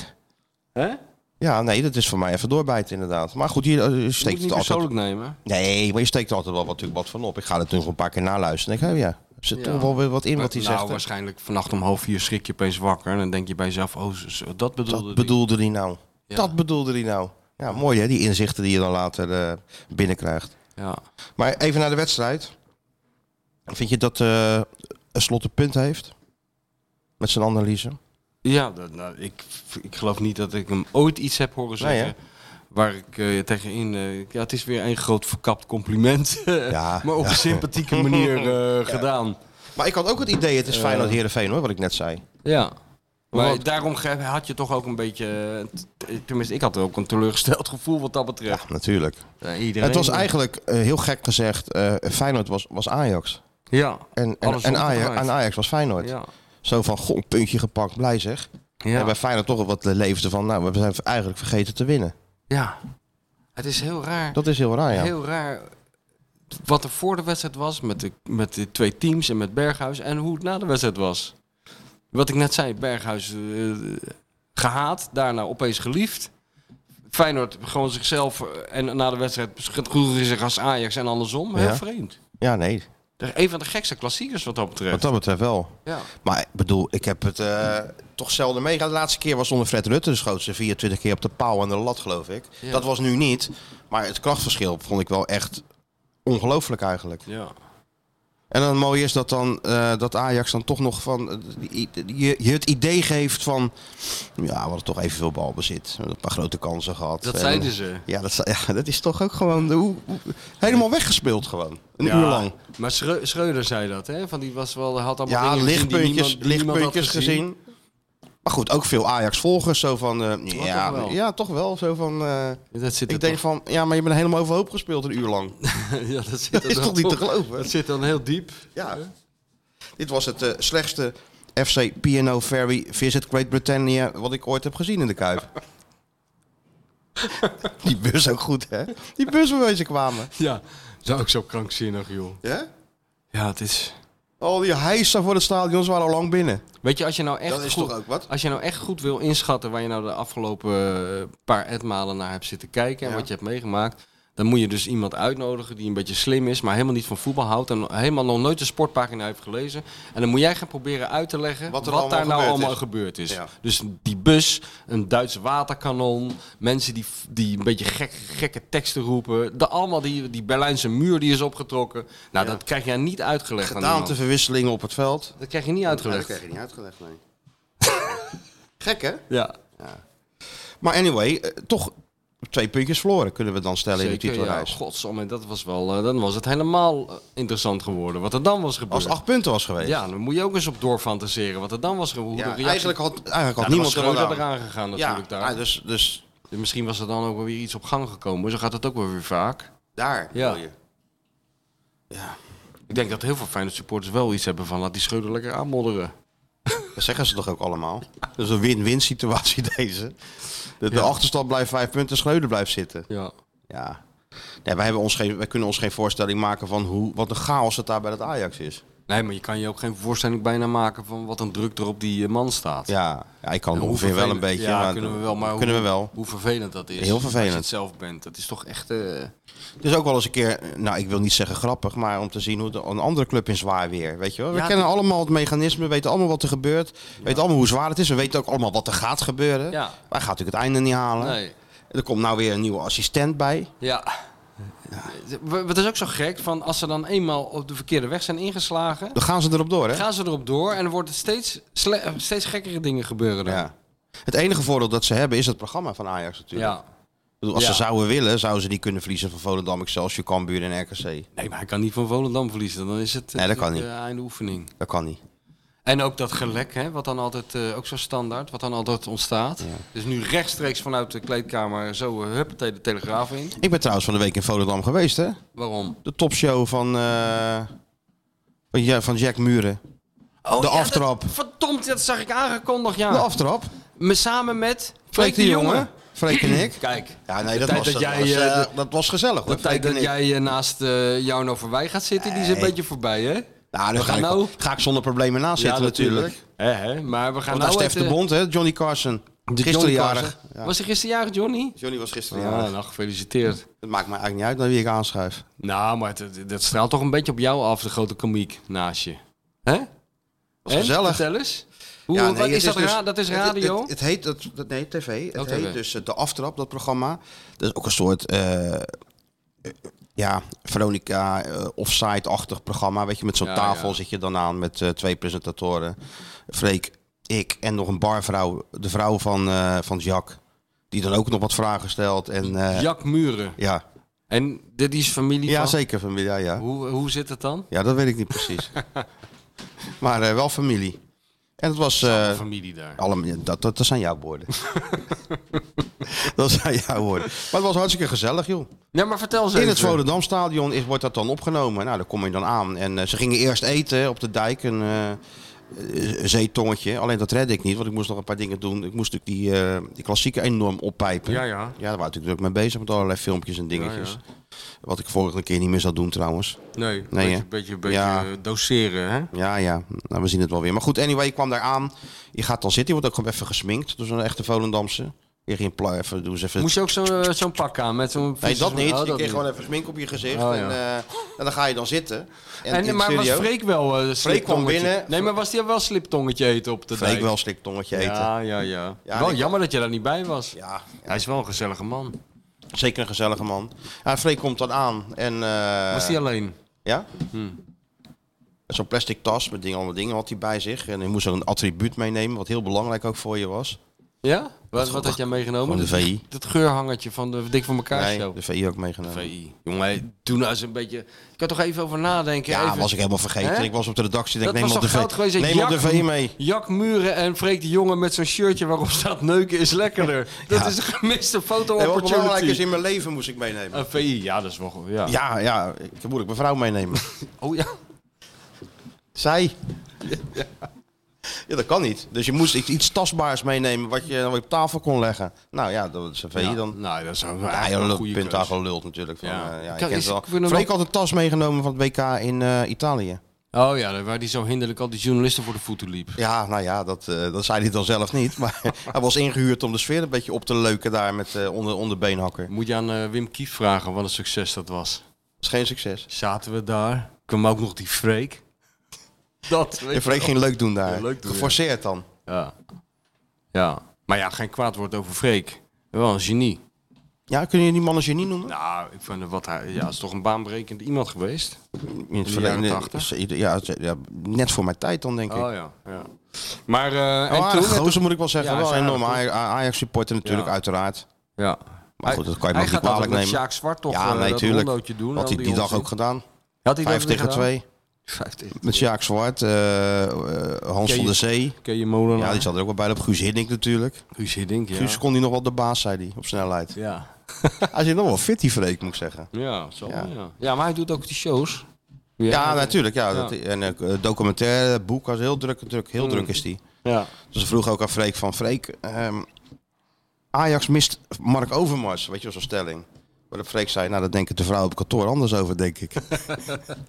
Hè? Je
Ja, nee, dat is voor mij even doorbijten inderdaad. Maar goed, hier eh, je
moet
steekt
niet
het altijd...
persoonlijk nemen.
Nee, maar je steekt er altijd wel wat, natuurlijk wat van op. Ik ga het nu nog een paar keer naluisteren. Ik denk, oh ja, er zit
Ja.
toch wel weer wat in wat hij
nou,
zegt. hè?
waarschijnlijk vannacht om half vier schrik je opeens wakker. En dan denk je bij jezelf, oh, zo- zo, dat bedoelde
Dat
die.
bedoelde hij nou.
Ja.
Dat bedoelde hij nou. Ja, mooi hè, die inzichten die je dan later eh, binnenkrijgt.
Ja.
Maar even naar de wedstrijd. Vind je dat eh Slot een punt heeft? Met zijn analyse?
Ja, dat, nou, ik, ik geloof niet dat ik hem ooit iets heb horen
Nee, hè?
zeggen. waar ik eh, tegenin... eh, ja, het is weer een groot verkapt compliment.
Ja,
maar op een sympathieke manier eh, gedaan.
Maar ik had ook het idee, het is fijn dat Heerenveen hoor, wat ik net zei.
Ja. Maar
Want-
daarom ge- had je toch ook een beetje... eh, t- Tenminste, ik had ook een teleurgesteld gevoel wat dat betreft.
Natuurlijk.
Ja, iedereen.
Het was eigenlijk, eh, heel gek gezegd, eh Feyenoord was, was Ajax.
Ja.
En, en,
Alles
en,
omgedraaid.
Ajax, en Ajax was Feyenoord.
Ja.
Zo van, goh, een puntje gepakt, blij zeg. En bij Feyenoord toch wat leefde van, nou, we zijn eigenlijk vergeten te winnen.
ja. Het is heel raar.
Dat is heel raar, ja.
Heel raar. Wat er voor de wedstrijd was met de, met de twee teams en met Berghuis. En hoe het na de wedstrijd was. Wat ik net zei, Berghuis eh, gehaat, daarna opeens geliefd. Feyenoord gewoon zichzelf eh, en na de wedstrijd schroegen zich als Ajax en andersom. Heel
Ja.
vreemd.
Ja, nee.
De- Een van de gekste klassiekers wat dat
Wat
betreft.
dat betreft wel.
Ja.
Maar ik bedoel, ik heb het eh, toch zelden meegemaakt. De laatste keer was onder Fred Rutte. Dus schoot ze 24 keer op de paal en de lat, geloof ik.
Ja.
Dat was nu niet. Maar het krachtverschil vond ik wel echt ongelooflijk eigenlijk.
Ja.
En dan mooi is dat dan eh, dat Ajax dan toch nog van eh, die- die- je, je het idee geeft van ja, we hadden toch even veel balbezit, we hebben een paar grote kansen gehad.
Dat dus-
En-
zeiden ze.
Ja, dat, zei- ja, dat is toch ook gewoon de, hoe, hoe- helemaal weggespeeld gewoon. Een
Ja,
uur lang.
Maar Schreu- Schreuder zei dat, hè? Van die was wel, had allemaal
Ja,
dingen gezien die
lichtpuntjes,
niemand- die niemand had
lichtpuntjes gezien. Maar goed, ook veel Ajax-volgers. Zo van, eh, ja,
toch wel.
ja, toch wel. Zo van, eh,
Dat zit er
ik denk van, ja, maar je bent helemaal overhoop gespeeld een uur lang.
toch- ja, dat zit
Dat
er
is
dan
toch niet te geloven?
Dat zit dan heel diep.
Ja. Dit was het eh, slechtste FC P&O Ferry Visit Great Britannia wat ik ooit heb gezien in de Kuip. Die bus ook goed, hè? Die bus waarmee ze kwamen.
Ja, dat is ook zo krankzinnig, joh.
Ja?
Ja, het is...
Al die hijsen voor het stadion ze waren al lang binnen.
Weet je, als je nou echt
dat is
goed,
toch ook wat?
Als je nou echt goed wil inschatten waar je nou de afgelopen eh, paar etmalen naar hebt zitten kijken en
Ja.
wat je hebt meegemaakt, dan moet je dus iemand uitnodigen die een beetje slim is, maar helemaal niet van voetbal houdt en helemaal nog nooit de sportpagina heeft gelezen. En dan moet jij gaan proberen uit te leggen
Wat
wat,
er allemaal
daar nou
gebeurd
allemaal
is.
gebeurd is.
Ja.
Dus die bus, een Duitse waterkanon, mensen die, die een beetje gek, gekke teksten roepen, de, allemaal die, die Berlijnse muur die is opgetrokken. Nou, dat krijg jij niet uitgelegd. aan iemand.
Gedaanteverwisselingen op het veld.
Dat krijg je niet
dat
uitgelegd.
krijg je niet uitgelegd, nee. Gek, hè?
Ja.
Maar anyway, eh, toch twee puntjes verloren kunnen we dan stellen in de
Zeker, ja.
titelreis.
Godsamme, dat was wel, eh, dan was het helemaal eh, interessant geworden. Wat er dan was gebeurd.
Als het acht punten was geweest.
ja, dan moet je ook eens op doorfantaseren. Wat er dan was gebeurd.
Ja,
Ja,
eigenlijk had, eigenlijk had
niemand
niemand er wat aan.
eraan
Ja,
gegaan natuurlijk
ah,
daar.
dus, dus
Dus Misschien was er dan ook wel weer iets op gang gekomen. Zo gaat het ook wel weer vaak.
daar
Ja.
wil je.
Ik denk dat heel veel fijne supporters wel iets hebben van laat die scheuder lekker aanmodderen.
Dat zeggen ze toch ook allemaal? Dat is een win-win situatie deze. De, de achterstand blijft vijf punten, Schreuder blijft zitten.
Ja.
Ja. Nee, wij, hebben ons geen, wij kunnen ons geen voorstelling maken van hoe, wat een chaos het daar bij het Ajax is.
Nee, maar je kan je ook geen voorstelling bijna maken van wat een druk er op die eh, man staat.
Ja, ja ik kan het
En hoe
ongeveer wel een
vervelend-
beetje.
Ja,
maar-
kunnen we wel. Maar
kunnen
hoe,
we wel.
Hoe vervelend dat is.
Heel
Als
vervelend.
je het zelf bent. Dat is toch echt... eh,
Het is ook wel eens een keer, nou ik wil niet zeggen grappig, maar om te zien hoe de, een andere club in zwaar weer. Weet je wel? We
Ja,
kennen
die-
allemaal het mechanisme, weten allemaal wat er gebeurt. weten allemaal hoe zwaar het is. We weten ook allemaal wat er gaat gebeuren.
Ja.
Wij gaan natuurlijk het einde niet halen.
nee.
Er komt nou weer een nieuwe assistent bij.
Ja. W- Wat is ook zo gek, van als ze dan eenmaal op de verkeerde weg zijn ingeslagen,
Dan gaan ze erop door, hè?
gaan ze erop door en er worden steeds, sle- eh, steeds gekkere dingen gebeuren dan.
Ja. Het enige voordeel dat ze hebben is het programma van Ajax natuurlijk.
Ja.
Ik bedoel, als
Ja.
ze zouden willen, zouden ze die kunnen verliezen van Volendam, Excelsior, Cambuur en RKC.
Nee, maar hij kan niet van Volendam verliezen, dan is het eh,
Nee, dat kan
de
niet.
einde oefening.
Dat kan niet.
En ook dat gelek, hè, wat dan altijd, eh, ook zo standaard, wat dan altijd ontstaat. Dus nu rechtstreeks vanuit de kleedkamer zo eh, hup, de telegraaf in.
Ik ben trouwens van de week in Volendam geweest, hè?
Waarom?
De topshow van, eh, van, ja, van Jack Muren.
Oh,
De
ja, dat- Ah.
aftrap.
verdomd, dat zag ik aangekondigd,
De
ja.
aftrap.
Me samen met
Freek de Jonge. Freek en ik.
Kijk,
Ja,
de
nee, dat
tijd
was,
dat
dat,
jij,
was,
eh,
eh, dat was gezellig hoor.
De tijd
Freek en
dat
ik.
jij eh, naast eh Jarno voorbij gaat zitten, die is een
Nee.
beetje voorbij, hè?
Nou, daar
We
ga,
gaan
ik,
nou-
ga ik zonder problemen naast zitten natuurlijk.
Hè, hè? Maar we
Want
gaan
daar
nou
Stef de
het, eh,
Bond, hè? Johnny Carson.
de
Gisteren
Johnny
jarig.
Carson.
Ja.
Was hij gisteren jarig, Johnny?
Johnny was gisteren
Ja,
jarig.
nou, gefeliciteerd.
Het maakt me eigenlijk niet uit naar wie ik aanschuif.
Nou, maar het- het- dat straalt toch een beetje op jou af, de grote komiek naast je. Hè?
Was
En?
gezellig.
Vertel eens. Hoe,
Ja,
wat
nee,
is
het
dat,
dus-
ra- dat is
het-
radio?
Het, het, heet, dat, dat, nee, tv. Het
Oh,
heet
TV.
dus eh, De Aftrap, dat programma. Dat is ook een soort, eh, eh, ja, Veronica eh, offside-achtig programma. Weet je, met zo'n
Ja,
tafel
ja.
zit je dan aan met eh, twee presentatoren. Freek, ik en nog een barvrouw. De vrouw van, eh, van Jack. Die dan ook nog wat vragen stelt. En, eh,
Jack Muren.
Ja,
En dit is familie
ja
van...
zeker familie. Ja, ja.
Hoe, hoe zit het dan?
ja, dat weet ik niet precies. maar eh, wel familie. En het was... eh,
familie daar.
Allemaal, dat, dat, dat zijn jouw woorden. dat zijn jouw woorden. Maar het was hartstikke gezellig, joh.
Ja, maar vertel eens
In
even.
het Volendamstadion is, wordt dat dan opgenomen. Nou, daar kom je dan aan. En eh, ze gingen eerst eten op de dijk, een eh, eh, zeetongetje. Alleen dat redde ik niet, want ik moest nog een paar dingen doen. Ik moest natuurlijk die, eh die klassieke enorm oppijpen.
Ja, ja.
Ja, daar was ik natuurlijk mee bezig met allerlei filmpjes en dingetjes.
Ja,
Wat ik vorige keer niet meer zou doen trouwens.
Nee, een
Nee,
beetje,
hè?
beetje, beetje
Ja.
eh, doseren, hè?
Ja, ja. Nou, we zien het wel weer. Maar goed, anyway, je kwam daar aan. Je gaat dan zitten. Je wordt ook gewoon even gesminkt door zo'n echte Volendamse. Je ging pla- even, doe eens even...
Moest je ook zo- eh, zo'n pak aan met zo'n...
Nee, dat niet.
Oh,
je kreeg
niet.
gewoon even smink op je gezicht.
Oh, ja.
en, eh, en dan ga je dan zitten. En,
En,
in
maar
de
was
studio,
Freek wel uh,
binnen.
Nee, maar was hij wel sliptongetje eten op de
Freek
dijk?
wel een sliktongetje eten. Ja.
Ja, ja, ja.
Ja,
wel
ik-
jammer dat je daar niet bij was.
Ja,
Hij is wel een gezellige man.
zeker een gezellige man. Ja, Freek komt dan aan. En, eh,
was Hmm. hij alleen?
Ja? Zo'n plastic tas met dingen, allemaal dingen had hij bij zich. En hij moest ook een attribuut meenemen, wat heel belangrijk ook voor je was.
Ja? Wat, wat had jij meegenomen?
Van de VI.
Dat geurhangertje van de Dik voor elkaar
Nee,
show.
de VI ook meegenomen.
VI. Jongen, hey, toen nou eens een beetje... Ik kan toch even over nadenken.
Ja,
even...
was ik helemaal vergeten.
Hè?
Ik was op de redactie. Denk,
Dat
neem
was
op de
toch goud
VI
geweest?
neem op de
Jack-
VI mee.
Jack Muren en Freek de Jonge met zo'n shirtje waarop staat neuken is lekkerder. Dat is een gemiste foto
En wat belangrijk is
opportunity.
in mijn leven moest ik meenemen.
Een VI, ja, dat is wel goed. Ja.
Ja, ja. Ik moet ik mijn vrouw meenemen.
Oh ja.
Zij. Ja, dat kan niet. Dus je moest iets, iets tastbaars meenemen wat je dan op tafel kon leggen. Nou ja, dat is een VI dan.
Nou, dat is een,
Ja,
eigenlijk
je
een
lult-
goede
punt
keus.
daar geluld natuurlijk. Van,
Ja.
eh, ja, je
Kijk,
kent
is-
het wel.
ik vind hem
Freek
wel-
had een tas meegenomen van het WK in eh, Italië.
Oh ja, waar die zo hinderlijk al die journalisten voor de voeten liep.
Ja, nou ja, dat, eh, dat zei hij dan zelf niet. Maar hij was ingehuurd om de sfeer een beetje op te leuken daar met eh onder, onderbeenhakker.
Moet je aan eh, Wim Kief vragen wat een succes dat was.
Dat is geen succes.
Zaten we daar, kwam ook nog die Freek. Dat, weet
En
je
Freek ging leuk doen daar.
Ja, leuk doen,
Geforceerd dan.
Ja. ja. Maar ja, geen kwaad woord over Freek. Wel een genie.
Ja, kun je die man als je niet noemen?
Nou, ik vind het wat hij... Ja, is toch een baanbrekend iemand geweest.
in het
de
verleden.
jaren 80?
is- Ja, het- ja, net voor mijn tijd dan denk ik.
Oh ja. ja. Maar... eh
Oh,
en toen...
aardige gozer moet ik wel zeggen.
Ja,
wel
hij
een
is
enorme
aardig,
Ajax supporter natuurlijk,
Ja.
uiteraard.
Ja.
Maar goed, dat kan je
Hij
nog niet
gaat altijd
kwalijk
met
nemen.
Sjaak Zwart toch
ja,
eh,
nee,
dat
tuurlijk.
rollootje doen.
Had
al
hij die dag
onzin.
ook gedaan.
Had hij dat
Vijf
weer
tegen
gedaan?
twee.
Vijf tegen
Met Sjaak Zwart, eh, eh, Hans van
Ken
der
je-
Zee.
Ken je Molenaar?
Ja, die zat er ook wel bij. Op Guus Hiddink natuurlijk.
Guus Hiddink, ja.
Guus kon die nog wel de baas, zei hij, op snelheid.
Ja.
Hij zit nog wel fit, die Freek, moet ik zeggen.
Ja, zo,
Ja.
ja. Ja. maar hij doet ook die shows.
Ja, natuurlijk. Ja, Dat, en eh, documentaire, boek, was heel druk, druk,
Hmm.
heel druk is die.
Ja.
Dus ze vroeg ook aan Freek van Freek, ehm, Ajax mist Mark Overmars, weet je wel, zo'n stelling. Waarop Freek zei, nou dat denken de vrouwen op kantoor anders over, denk ik.
Dat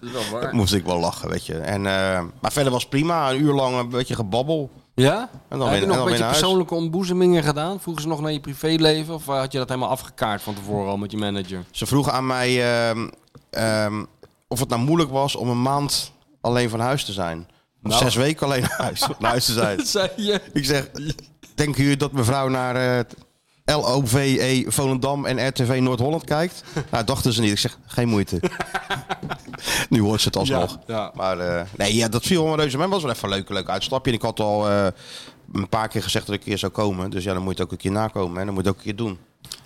is wel waar.
Moest ik wel lachen, weet je. En, eh, maar verder was het prima, een uur lang een beetje gebabbel.
Ja?
En dan
Heb
weer-
je
en dan
nog
weer
een beetje
naar huis.
persoonlijke ontboezemingen gedaan? Vroegen ze nog naar je privéleven? Of eh, had je dat helemaal afgekaart van tevoren al met je manager?
Ze vroeg aan mij ehm, ehm, of het nou moeilijk was om een maand alleen van huis te zijn. Om
Nou.
zes weken alleen naar huis, naar huis te zijn.
Dat zei je.
Ik zeg, denken jullie dat mevrouw naar eh LOVE Volendam en RTV Noord-Holland kijkt? Nou, dachten ze niet. Ik zeg, geen moeite. nu hoort ze het alsnog.
Ja, ja.
Maar eh, nee, ja, dat viel me reuze mee. Het was wel even een leuk, leuk uitstapje. En ik had al eh, een paar keer gezegd dat ik een keer zou komen. Dus ja, dan moet je het ook een keer nakomen. En dan moet je het ook een keer doen.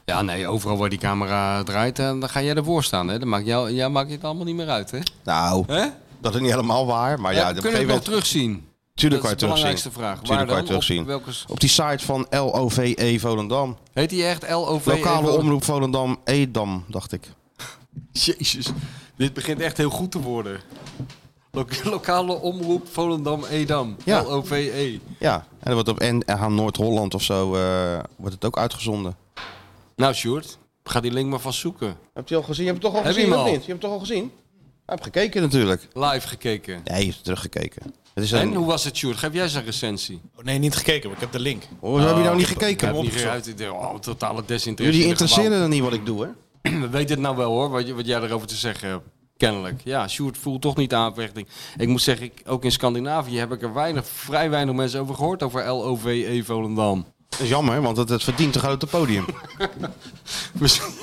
Ja, nee, overal waar die camera draait, eh, dan ga jij ervoor staan. Hè? Dan maakt jou, jij maakt het allemaal niet meer uit, hè?
Nou,
Hè?
dat is niet helemaal waar. Maar ja,
Ja,
op een
kunnen we het
gegeven
wel
moment...
terugzien?
Tuurlijk
dat
kan je
is de
terugzien.
belangrijkste vraag.
Tuurlijk
Waar
kan je
dan? Op
terugzien.
welke s-
Op die site van LOVE E Volendam.
Heet die echt LOV?
Lokale omroep Volendam Edam, dacht ik.
Jezus, dit begint echt heel goed te worden. Lo- lokale omroep Volendam-Edam.
Ja.
LOVE.
Ja, en dat wordt op NH Noord-Holland of zo eh, wordt het ook uitgezonden.
Nou, Sjoerd, ga die link maar vast zoeken.
Heb je al gezien? Je hebt het toch al
Heb je
gezien,
hem
of
al?
niet? Je hebt het toch al gezien? Ik heb gekeken natuurlijk.
Live gekeken.
Nee, je hebt teruggekeken. Het is
En
een...
hoe was het, Sjoerd? Geef jij eens een recensie.
Oh, nee, niet gekeken, maar ik heb de link.
Hoezo heb je nou niet gekeken?
Heb niet geruid. Ik dacht, Oh, totale desinteresse.
Jullie
in de
interesseren dan niet wat ik doe, hè?
gebouw. We weten het nou wel hoor, wat, je- wat jij erover te zeggen hebt. Kennelijk. Ja, Sjoerd voelt toch niet de aanvechting. Ik moet zeggen, ik, ook in Scandinavië heb ik er weinig, vrij weinig mensen over gehoord over LOVE E Volendam.
Dat is jammer, want het, het verdient een grote podium.
Misschien-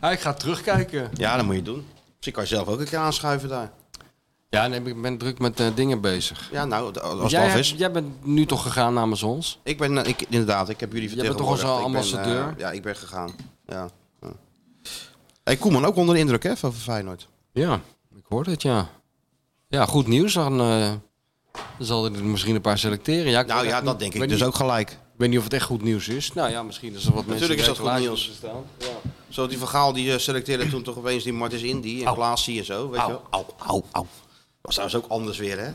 Ja, ik ga terugkijken.
ja, dat moet je doen. Misschien kan je zelf ook een keer aanschuiven daar.
Ja, nee, ik ben druk met eh, dingen bezig.
Ja, nou, als het
jij,
af
hebt-
is.
jij bent nu toch gegaan namens ons?
Ik ben, eh, ik, inderdaad, ik heb jullie
Jij bent toch
vertegenwoordigd. Ik
onze
ben,
ambassadeur?
eh, ja, ik ben gegaan. Ja. ja. Hey, Koeman, ook onder de indruk, hè, van Feyenoord.
Ja, ik hoor het, ja. Ja, goed nieuws. Dan eh, zal hij er misschien een paar selecteren. Ja, ik
Nou
weet
ja,
echt
dat
niet-
denk
weet
ik dus
niet-
ook gelijk.
Ik weet niet of het echt goed nieuws is. Nou ja, misschien is er wat mensen...
Natuurlijk is dat
die
goed
klaar
nieuws. Zo die verhaal die eh, selecteerde toen toch opeens die Martens Indy en Klaasie en zo, weet je wel? Au, au, au. Was trouwens ook anders weer, hè?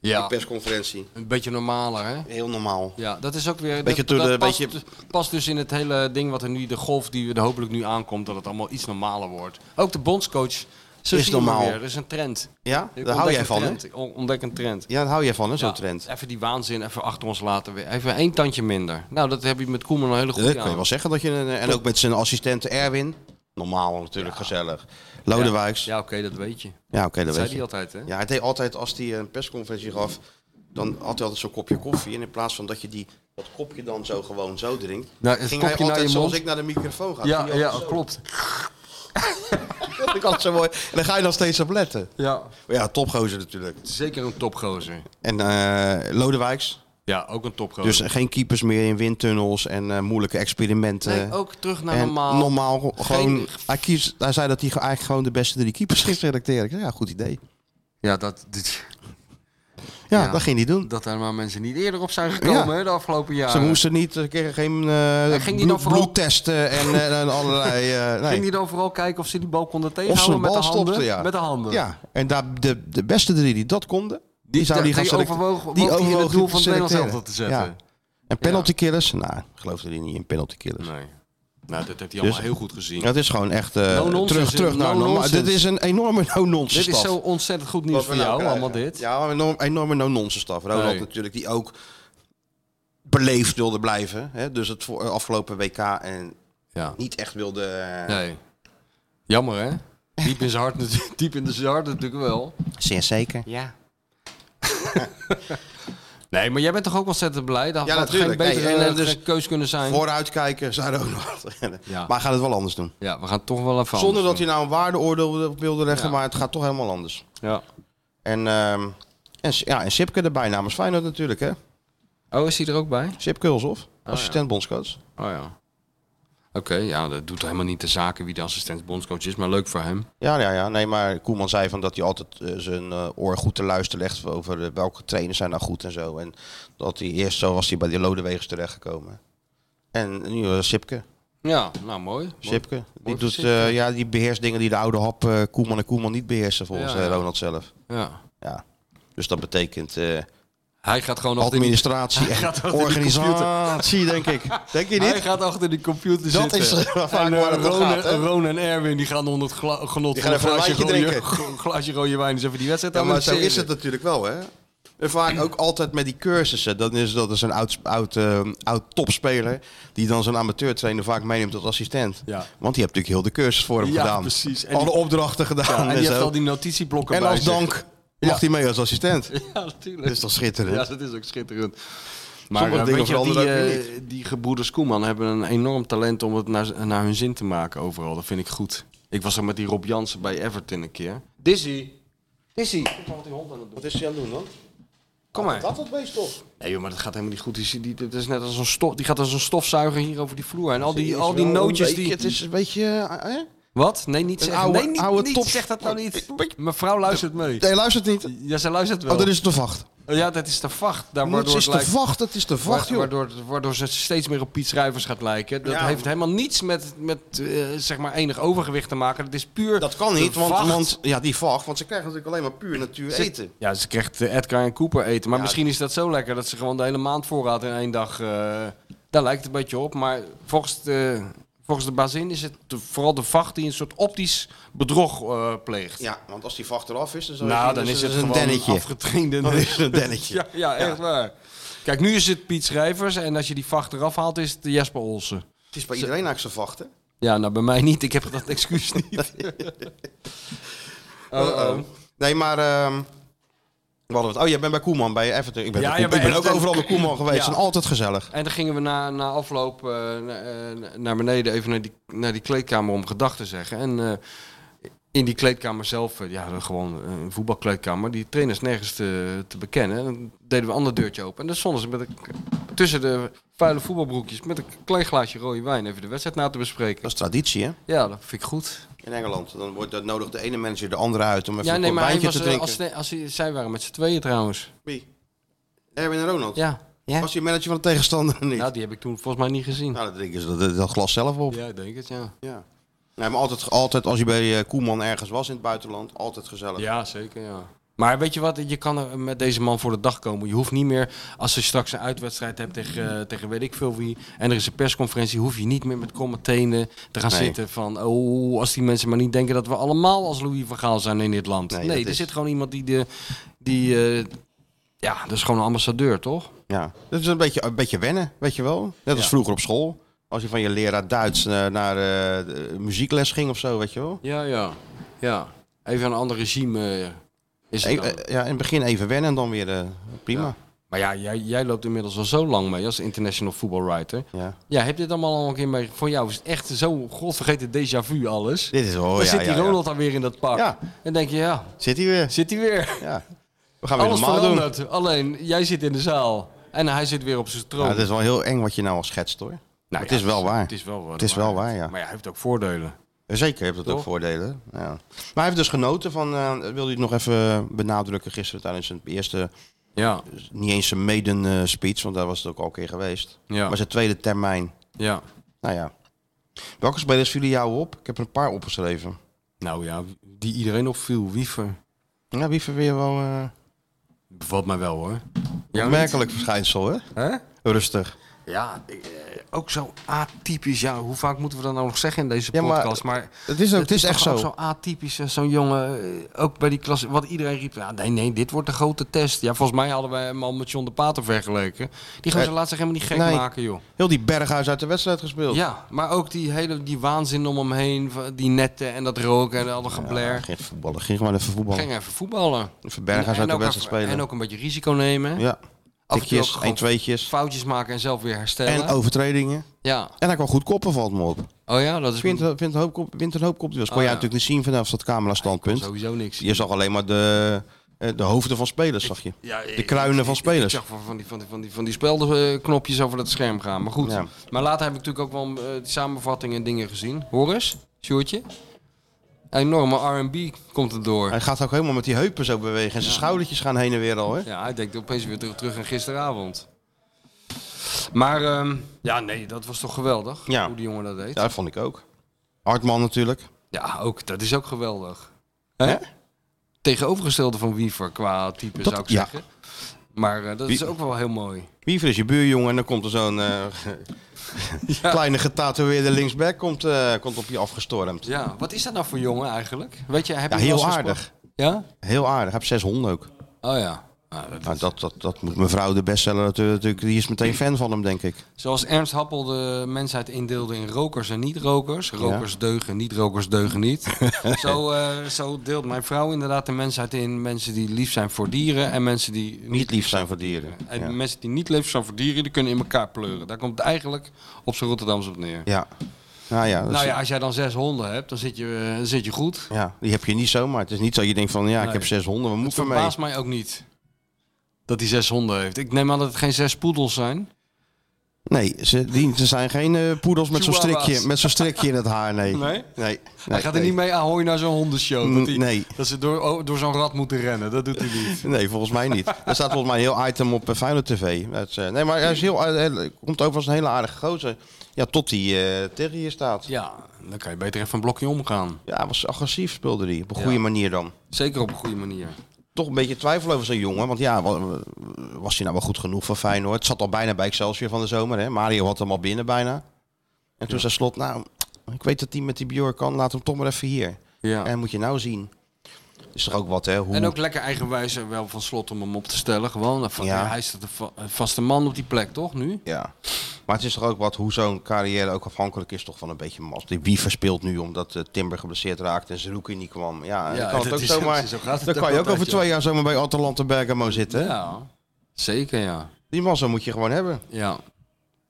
Die
Ja,
persconferentie.
een beetje normaler, hè?
Heel normaal.
Ja, dat is ook weer...
Beetje
dat,
door de-
dat past,
beetje-
past dus in het hele ding wat er nu... De golf die er hopelijk nu aankomt, dat het allemaal iets normaler wordt. Ook de bondscoach... Zo
Is
zie je maar
normaal.
Weer. Er is een trend.
Ja?
Ik
Daar hou
ontdek
jij
een
van, hè?
trend. Ik on- Ontdek een trend.
Ja, daar hou jij van, hè, zo'n
Ja,
trend.
Even die waanzin even achter ons laten. weer. Even één tandje minder. Nou, dat heb je met Koeman een hele
Dat
goede
Eh, kan je
aan.
wel zeggen dat je... een- eh, en ook met zijn assistent Erwin. Normaal natuurlijk, gezellig. Lodewijks. Ja,
Ja, oké, dat weet je.
oké, dat
Dat zei
weet
hij
je.
altijd, hè?
Ja, hij deed altijd, als hij een persconferentie gaf, dan had hij altijd zo'n kopje koffie. En in plaats van dat je die, dat kopje dan zo gewoon zo drinkt,
Nou, het
ging hij
kopje naar
altijd
je
zoals
mond.
ik naar de microfoon ga.
Ja,
Ging hij
ja,
altijd zo.
klopt.
Dat ik altijd zo mooi. En dan ga je nog steeds op letten.
Ja.
Maar ja, topgozer natuurlijk.
Zeker een topgozer.
En eh Lodewijks,
Ja, ook een topgoal.
Dus geen keepers meer in windtunnels en eh, moeilijke experimenten.
nee, ook terug naar
en
normaal.
normaal gewoon.
Geen-
Hij, kiest, hij zei dat hij eigenlijk gewoon de beste drie keepers ging selecteren. Ik zei, ja, goed idee.
Ja, dat, dit-
Ja,
Ja.
dat ging hij doen.
dat er maar mensen niet eerder op zijn gekomen
Ja.
hè, de afgelopen jaren.
Ze moesten niet, ze kregen geen eh
ging die
bloed-
dan vooral-
bloedtesten en, eh, en allerlei. eh, nee.
Ging hij dan vooral kijken of ze die bal konden
Of ze
tegenhouden
een
met,
bal
de handen,
stopten, ja.
met de handen?
Ja, en daar, de, de beste drie die dat konden, die,
Die,
zouden die gaan selecteren. die
overwogen die in het
overwogen
doel
te
van het Nederlands
selecteren.
elftal te zetten.
En penalty killers, nou, geloofde hij niet in penalty killers.
Nee. Nou, dat heeft hij allemaal
Dus-
heel goed gezien.
Dat is gewoon echt eh,
No-nonsense,
terug, terug naar normaal.
no-nonsense.
Dit is een enorme no-nonsense
Dit is
staf.
zo ontzettend goed nieuws
wat we
voor
nou
jou,
krijgen.
allemaal dit.
Ja, een enorm, enorme no-nonsense staf. Ronald
Nee.
natuurlijk, die ook beleefd wilde blijven. Hè? Dus het voor, afgelopen WK en
Ja.
niet echt wilde... eh,
Nee. Jammer, hè? Diep in zijn hart, natu- diep in zijn hart natuurlijk wel.
Zeer zeker.
Ja. nee, maar jij bent toch ook ontzettend blij? Dat
Ja,
had er geen
natuurlijk.
betere
Nee, en, eh,
eh,
dus-
keus kunnen zijn.
Vooruitkijken, zou er ook nog wat rennen.
Ja.
Maar hij gaat het wel anders doen.
Ja, we gaan toch wel even
Zonder dat
anders
hij nou een waardeoordeel op wilde leggen,
Ja.
maar het gaat toch helemaal anders.
doen.
En, ehm en, S- ja, en Sipke erbij namens Feyenoord natuurlijk, hè?
Ja. Oh, is hij er ook bij?
Sipke Hulshoff, assistent bondscoach.
Oh ja. Oké, ja, dat doet helemaal niet de zaken wie de assistent bondscoach is, maar leuk voor hem.
Ja, ja, ja. Nee, maar Koeman zei van dat hij altijd eh, zijn eh, oor goed te luisteren legt over eh, welke trainers zijn nou goed en zo. En dat hij eerst zo was hij bij die Lodewegens terechtgekomen. En nu eh, Sipke.
Ja, nou mooi.
Sipke. Die,
voor
doet,
Sipke.
eh, ja, die beheerst dingen die de oude hap eh, Koeman en Koeman niet beheersen volgens
Ja,
eh,
ja.
Ronald zelf.
Ja.
Ja. Dus dat betekent eh,
Hij gaat gewoon achter die,
administratie
achter
en
die
organisatie, denk ik. Denk je
hij
niet?
gaat achter die computer
Dat
zitten.
is vaak
en, eh,
waar het om
Ron,
gaat, hè?
en Ron en Erwin die gaan onder het gla- genot
Die
van
gaan even
een
een
glaasje
wijntje
rode,
drinken.
gro- glaasje rode wijn eens even die wedstrijd
Ja, maar zo
analyseren.
is het natuurlijk wel, hè? En vaak ook altijd met die cursussen. Dan is dat is een oud, oud, eh, oud topspeler die dan zo'n amateurtrainer vaak meeneemt als assistent.
Ja.
Want die hebt natuurlijk heel de cursus voor hem
Ja,
gedaan.
precies. En
Alle
die-
opdrachten
Ja,
gedaan
en
en
die heeft
zo.
al die notitieblokken
dus En
bij
als
zich.
dank mag hij mee als assistent.
Ja, natuurlijk.
Dus Dat is toch schitterend?
Ja, dat is ook schitterend. Maar
Sommige
eh,
dingen
weet je, die,
veranderen ook
eh, die gebroeders Koeman hebben een enorm talent om het naar, naar hun zin te maken overal. Dat vind ik goed. Ik was er met die Rob Jansen bij Everton een keer. Dizzy. Dizzy.
Wat is hij aan het doen dan?
Kom maar.
dat beest op.
Nee joh, maar dat gaat helemaal niet goed. Die, die, die- dat is net als een stof, die gaat als een stofzuiger hier over die vloer. En al die, al die nootjes die...
Het is een beetje... eh, hè?
Wat? Nee, niet zeggen.
oude-
nee, niet,
oude
niet,
top-
zeg dat nou niet. Mevrouw luistert mee.
Nee, luistert niet.
Ja, zij luistert wel.
Oh, dat is de vacht.
Ja, dat is de vacht. Daar
Het
waardoor
is
het
de
lijkt...
vacht, het is de vacht,
Wa-
joh.
waardoor, waardoor ze steeds meer op Piet Schrijvers gaat lijken. Dat heeft helemaal niets met, met eh, zeg maar enig overgewicht te maken. Dat is puur.
Dat kan niet,
de
want,
vacht.
want ja, die vacht, want ze krijgen natuurlijk alleen maar puur natuur eten.
Ja, ze krijgt eh, Edgar en Cooper eten. Maar misschien is dat zo lekker dat ze gewoon de hele maand voorraad in één dag. eh, daar lijkt het een beetje op. Maar volgens de, volgens de bazin is het de- vooral de vacht die een soort optisch bedrog eh, pleegt.
Ja, want als die vacht eraf is, dan, zou je
nou,
zien,
dan
dus
is
het
het
een
gewoon
dennetje. Oh,
een afgetrainde.
Dan is het een dennetje.
ja, ja, echt waar. Kijk, nu is het Piet Schrijvers. En als je die vacht eraf haalt, is het Jesper Olsen.
Het is bij iedereen eigenlijk zijn vacht, hè?
Ja, nou bij mij niet. Ik heb dat excuus niet. Oh, Ehm,
Uh-oh. Nee, maar... ehm, we hadden het. Oh, jij bent bij Koeman, bij Everton. Ik ben,
Ja,
bij
ja,
Koeman.
bij
ik ben ook
Everton.
overal bij Koeman geweest.
Ja.
En altijd gezellig.
En dan gingen we na, na afloop eh, na- eh, naar beneden even naar die, naar die kleedkamer om gedachten te zeggen. En eh, in die kleedkamer zelf, eh, ja, gewoon een voetbalkleedkamer, die trainers nergens te, te bekennen. En dan deden we een ander deurtje open. En dan stonden ze met een, tussen de vuile voetbalbroekjes met een klein glaasje rode wijn even de wedstrijd na te bespreken.
Dat is traditie, hè?
Ja, dat vind ik goed.
In Engeland. Dan wordt dat nodig de ene manager de andere uit om even
Ja,
een
nee,
kort
maar hij
wijntje
was,
te
eh,
drinken.
als, nee, als, hij- zij waren met z'n tweeën trouwens.
Wie? Erwin en Ronald.
Ja. ja.
Was hij manager van de tegenstander of niet?
Nou, die heb ik toen volgens mij niet gezien.
Nou, dan drinken ze dat, dat glas zelf op.
Ja, ik denk het, ja.
Ja. Nee, maar altijd, altijd als je bij eh, Koeman ergens was in het buitenland, altijd gezellig.
Ja, zeker, ja. Maar weet je wat, je kan er met deze man voor de dag komen. Je hoeft niet meer, als je straks een uitwedstrijd hebt tegen, eh, tegen weet ik veel wie... en er is een persconferentie, hoef je niet meer met kromme tenen te gaan
Nee.
zitten van... oh, als die mensen maar niet denken dat we allemaal als Louis van Gaal zijn in dit land.
Nee,
Nee,
dat
er
is-
zit gewoon iemand die... De, die eh, ja, dat is gewoon een ambassadeur, toch?
Ja. Dat is een beetje, een beetje wennen, weet je wel. Net als
Ja.
vroeger op school. Als je van je leraar Duits eh, naar eh, de muziekles ging of zo, weet je wel.
Ja, ja. ja. Even een ander regime eh, is het
E-
dan.
eh, ja, in het begin even wennen en dan weer eh, prima.
Maar ja, jij, jij loopt inmiddels al zo lang mee als international football writer.
Ja.
Ja, heb je dit allemaal al een keer mee? Voor jou is het echt zo godvergeten déjà vu alles.
Dit is wel,
dan
ja,
zit
ja,
die
ja.
Ronald dan weer in dat pak.
Ja.
En denk je, ja,
Zit hij weer.
zit hij weer.
Ja. We gaan weer
Alles
normaal doen.
verandert. Alleen, jij zit in de zaal. En hij zit weer op zijn troon.
Ja, dat is wel heel eng wat je nou al schetst hoor.
Nou
het is wel waar.
Het is wel,
Het is wel waar, ja.
Maar ja, hij heeft ook voordelen.
Zeker heeft dat ook
Toch?
voordelen. Ja. Maar hij heeft dus genoten van, eh wilde hij nog even benadrukken gisteren tijdens zijn eerste,
Ja,
niet eens zijn maiden eh, speech, want daar was het ook al een keer geweest.
ja,
Maar zijn tweede termijn,
ja.
nou ja. Welke spelers vielen jou op? Ik heb er een paar opgeschreven.
Nou ja, die iedereen opviel. Wiever.
Ja, wie vind je wel eh
Bevalt mij wel hoor. niet?
opmerkelijk verschijnsel, hè?
Hè?
Rustig.
Ja, ik, eh, ook zo atypisch. Ja, hoe vaak moeten we dat nou nog zeggen in deze
Ja, maar-
podcast? Maar,
Het is, ook, het is
toch
echt zo.
ook zo atypisch, eh, zo'n jongen. eh, Ook bij die klas, wat iedereen riep. Ja, nee, nee, dit wordt de grote test. Ja, volgens mij hadden wij hem al met John de Pater vergeleken. Die gaan ze
Eh,
laat zich helemaal niet gek
nee. Oh.
maken, joh.
Heel die berghuis uit de wedstrijd gespeeld.
Ja, maar ook die hele die waanzin om hem heen. van Die netten en dat roken en al dat gebler.
Geen voetballen, ging gewoon even voetballen.
Ging even voetballen.
Even berghuis uit de
ook
wedstrijd
even-
spelen.
En ook een beetje risico nemen.
ja,
Af en toe ook
tikjes,
gewoon
één tweetjes.
Foutjes maken en zelf weer herstellen.
En overtredingen.
Ja.
En hij kwam goed koppen, valt me op.
Oh ja, dat is
Vindt een hoop kop, Winter een hoop kop. Dat kon
Ah,
jij
ja.
natuurlijk niet zien vanaf dat camera-standpunt.
sowieso niks.
Je zag alleen maar de, eh, de hoofden van spelers, zag je.
Ja, ik-
De kruinen
ik-
van
ik-
spelers.
Ik zag van, van die, van die, van die, van die speldenknopjes over dat scherm gaan. Maar goed.
Ja.
Maar later heb ik natuurlijk ook wel eh, die samenvattingen en dingen gezien. Hoor eens, Sjoertje. Enorme R&B komt er door.
Hij gaat ook helemaal met die heupen zo bewegen. En zijn schoudertjes gaan heen en weer al, hè?
Ja, hij denkt opeens weer terug, terug aan gisteravond. Maar ehm, ja, nee, dat was toch geweldig
Ja.
hoe die jongen dat deed.
Ja, dat vond ik ook. Hartman natuurlijk.
Ja, ook, dat is ook geweldig. Hè?
Hè?
Tegenovergestelde van Wiever qua type zou ik
ja.
zeggen. Maar eh, dat
Wie-
is ook wel heel mooi.
Wiever is je buurjongen en dan komt er zo'n eh, kleine getatoeëerde linksback komt, eh, komt op je afgestormd.
Ja, wat is dat nou voor jongen eigenlijk? Weet je, heb
Ja,
je wel
heel
eens gesproken?
aardig.
Ja?
Heel aardig. Hij heeft zes honden ook.
Oh ja. Nou, dat-
Nou, dat, dat, dat moet mevrouw de bestseller natuurlijk. Die is meteen fan van hem, denk ik.
Zoals Ernst Happel de mensheid indeelde in rokers en niet-rokers. Rokers deugen, niet-rokers deugen niet. zo, eh, zo deelt mijn vrouw inderdaad de mensheid in. Mensen die lief zijn voor dieren en mensen die niet,
Niet lief zijn voor dieren.
En
Ja.
mensen die niet lief zijn voor dieren, die kunnen in elkaar pleuren. Daar komt het eigenlijk op zijn Rotterdams op neer.
Ja. Nou ja, dat is-
Nou ja, als jij dan zes honden hebt, dan zit je, eh, dan zit je goed.
ja, die heb je niet zomaar. Het is niet zo dat je denkt van, ja, ik
Nee.
heb zes honden, wat moet
Het
ik ermee?
verbaast mij ook niet dat hij zes honden heeft. Ik neem aan dat het geen zes poedels zijn.
Nee, ze, die, ze zijn geen eh, poedels met zo'n
Chihuahuas.
strikje, met zo'n strikje in het haar, nee.
Nee?
Nee.
hij gaat er niet mee ahoy naar zo'n hondenshow. Dat,
Mm,
hij-
nee.
dat ze door, oh, door zo'n rat moeten rennen. Dat doet hij niet.
Nee, volgens mij niet. Er staat volgens mij een heel item op uh, Feyenoord TV. Dat is, eh, nee, maar hij is heel, aard- heel- komt over als een hele aardige gozer. Ja, tot die eh tegen je staat. Ja.
Ja, dan kan je beter even een blokje omgaan.
hij was agressief speelde hij. Op een
Ja.
goede manier dan.
Zeker op een goede manier.
Toch een beetje twijfel over zo'n jongen. Want ja, wa- was, hij nou wel goed genoeg voor Feyenoord? Het zat al bijna bij Excelsior van de zomer. Hè? Mario had hem al binnen bijna. En toen zei Slot, nou, ik weet dat hij met die Bjork kan. Laat hem toch maar even hier.
Ja.
En moet je nou zien. Is toch ook wat, hè? Hoe...
En ook lekker eigenwijs en wel van slot om hem op te stellen. Gewoon. Van,
Ja.
Hij is de va- een vaste man op die plek, toch? Nu?
Ja. Maar het is toch ook wat hoe zo'n carrière ook afhankelijk is toch van een beetje mast. Die wie verspeelt nu omdat eh, Timber geblesseerd raakt en Zerouki niet kwam. Ja,
Ja,
dan kan het
dat
ook
is-
zomaar.
zo gaat het
dan
ook
kan je ook
altijd,
over
ja.
twee jaar zomaar bij Atalanta Bergamo zitten. hè?
Ja. Zeker, ja.
Die massa moet je gewoon hebben.
Ja.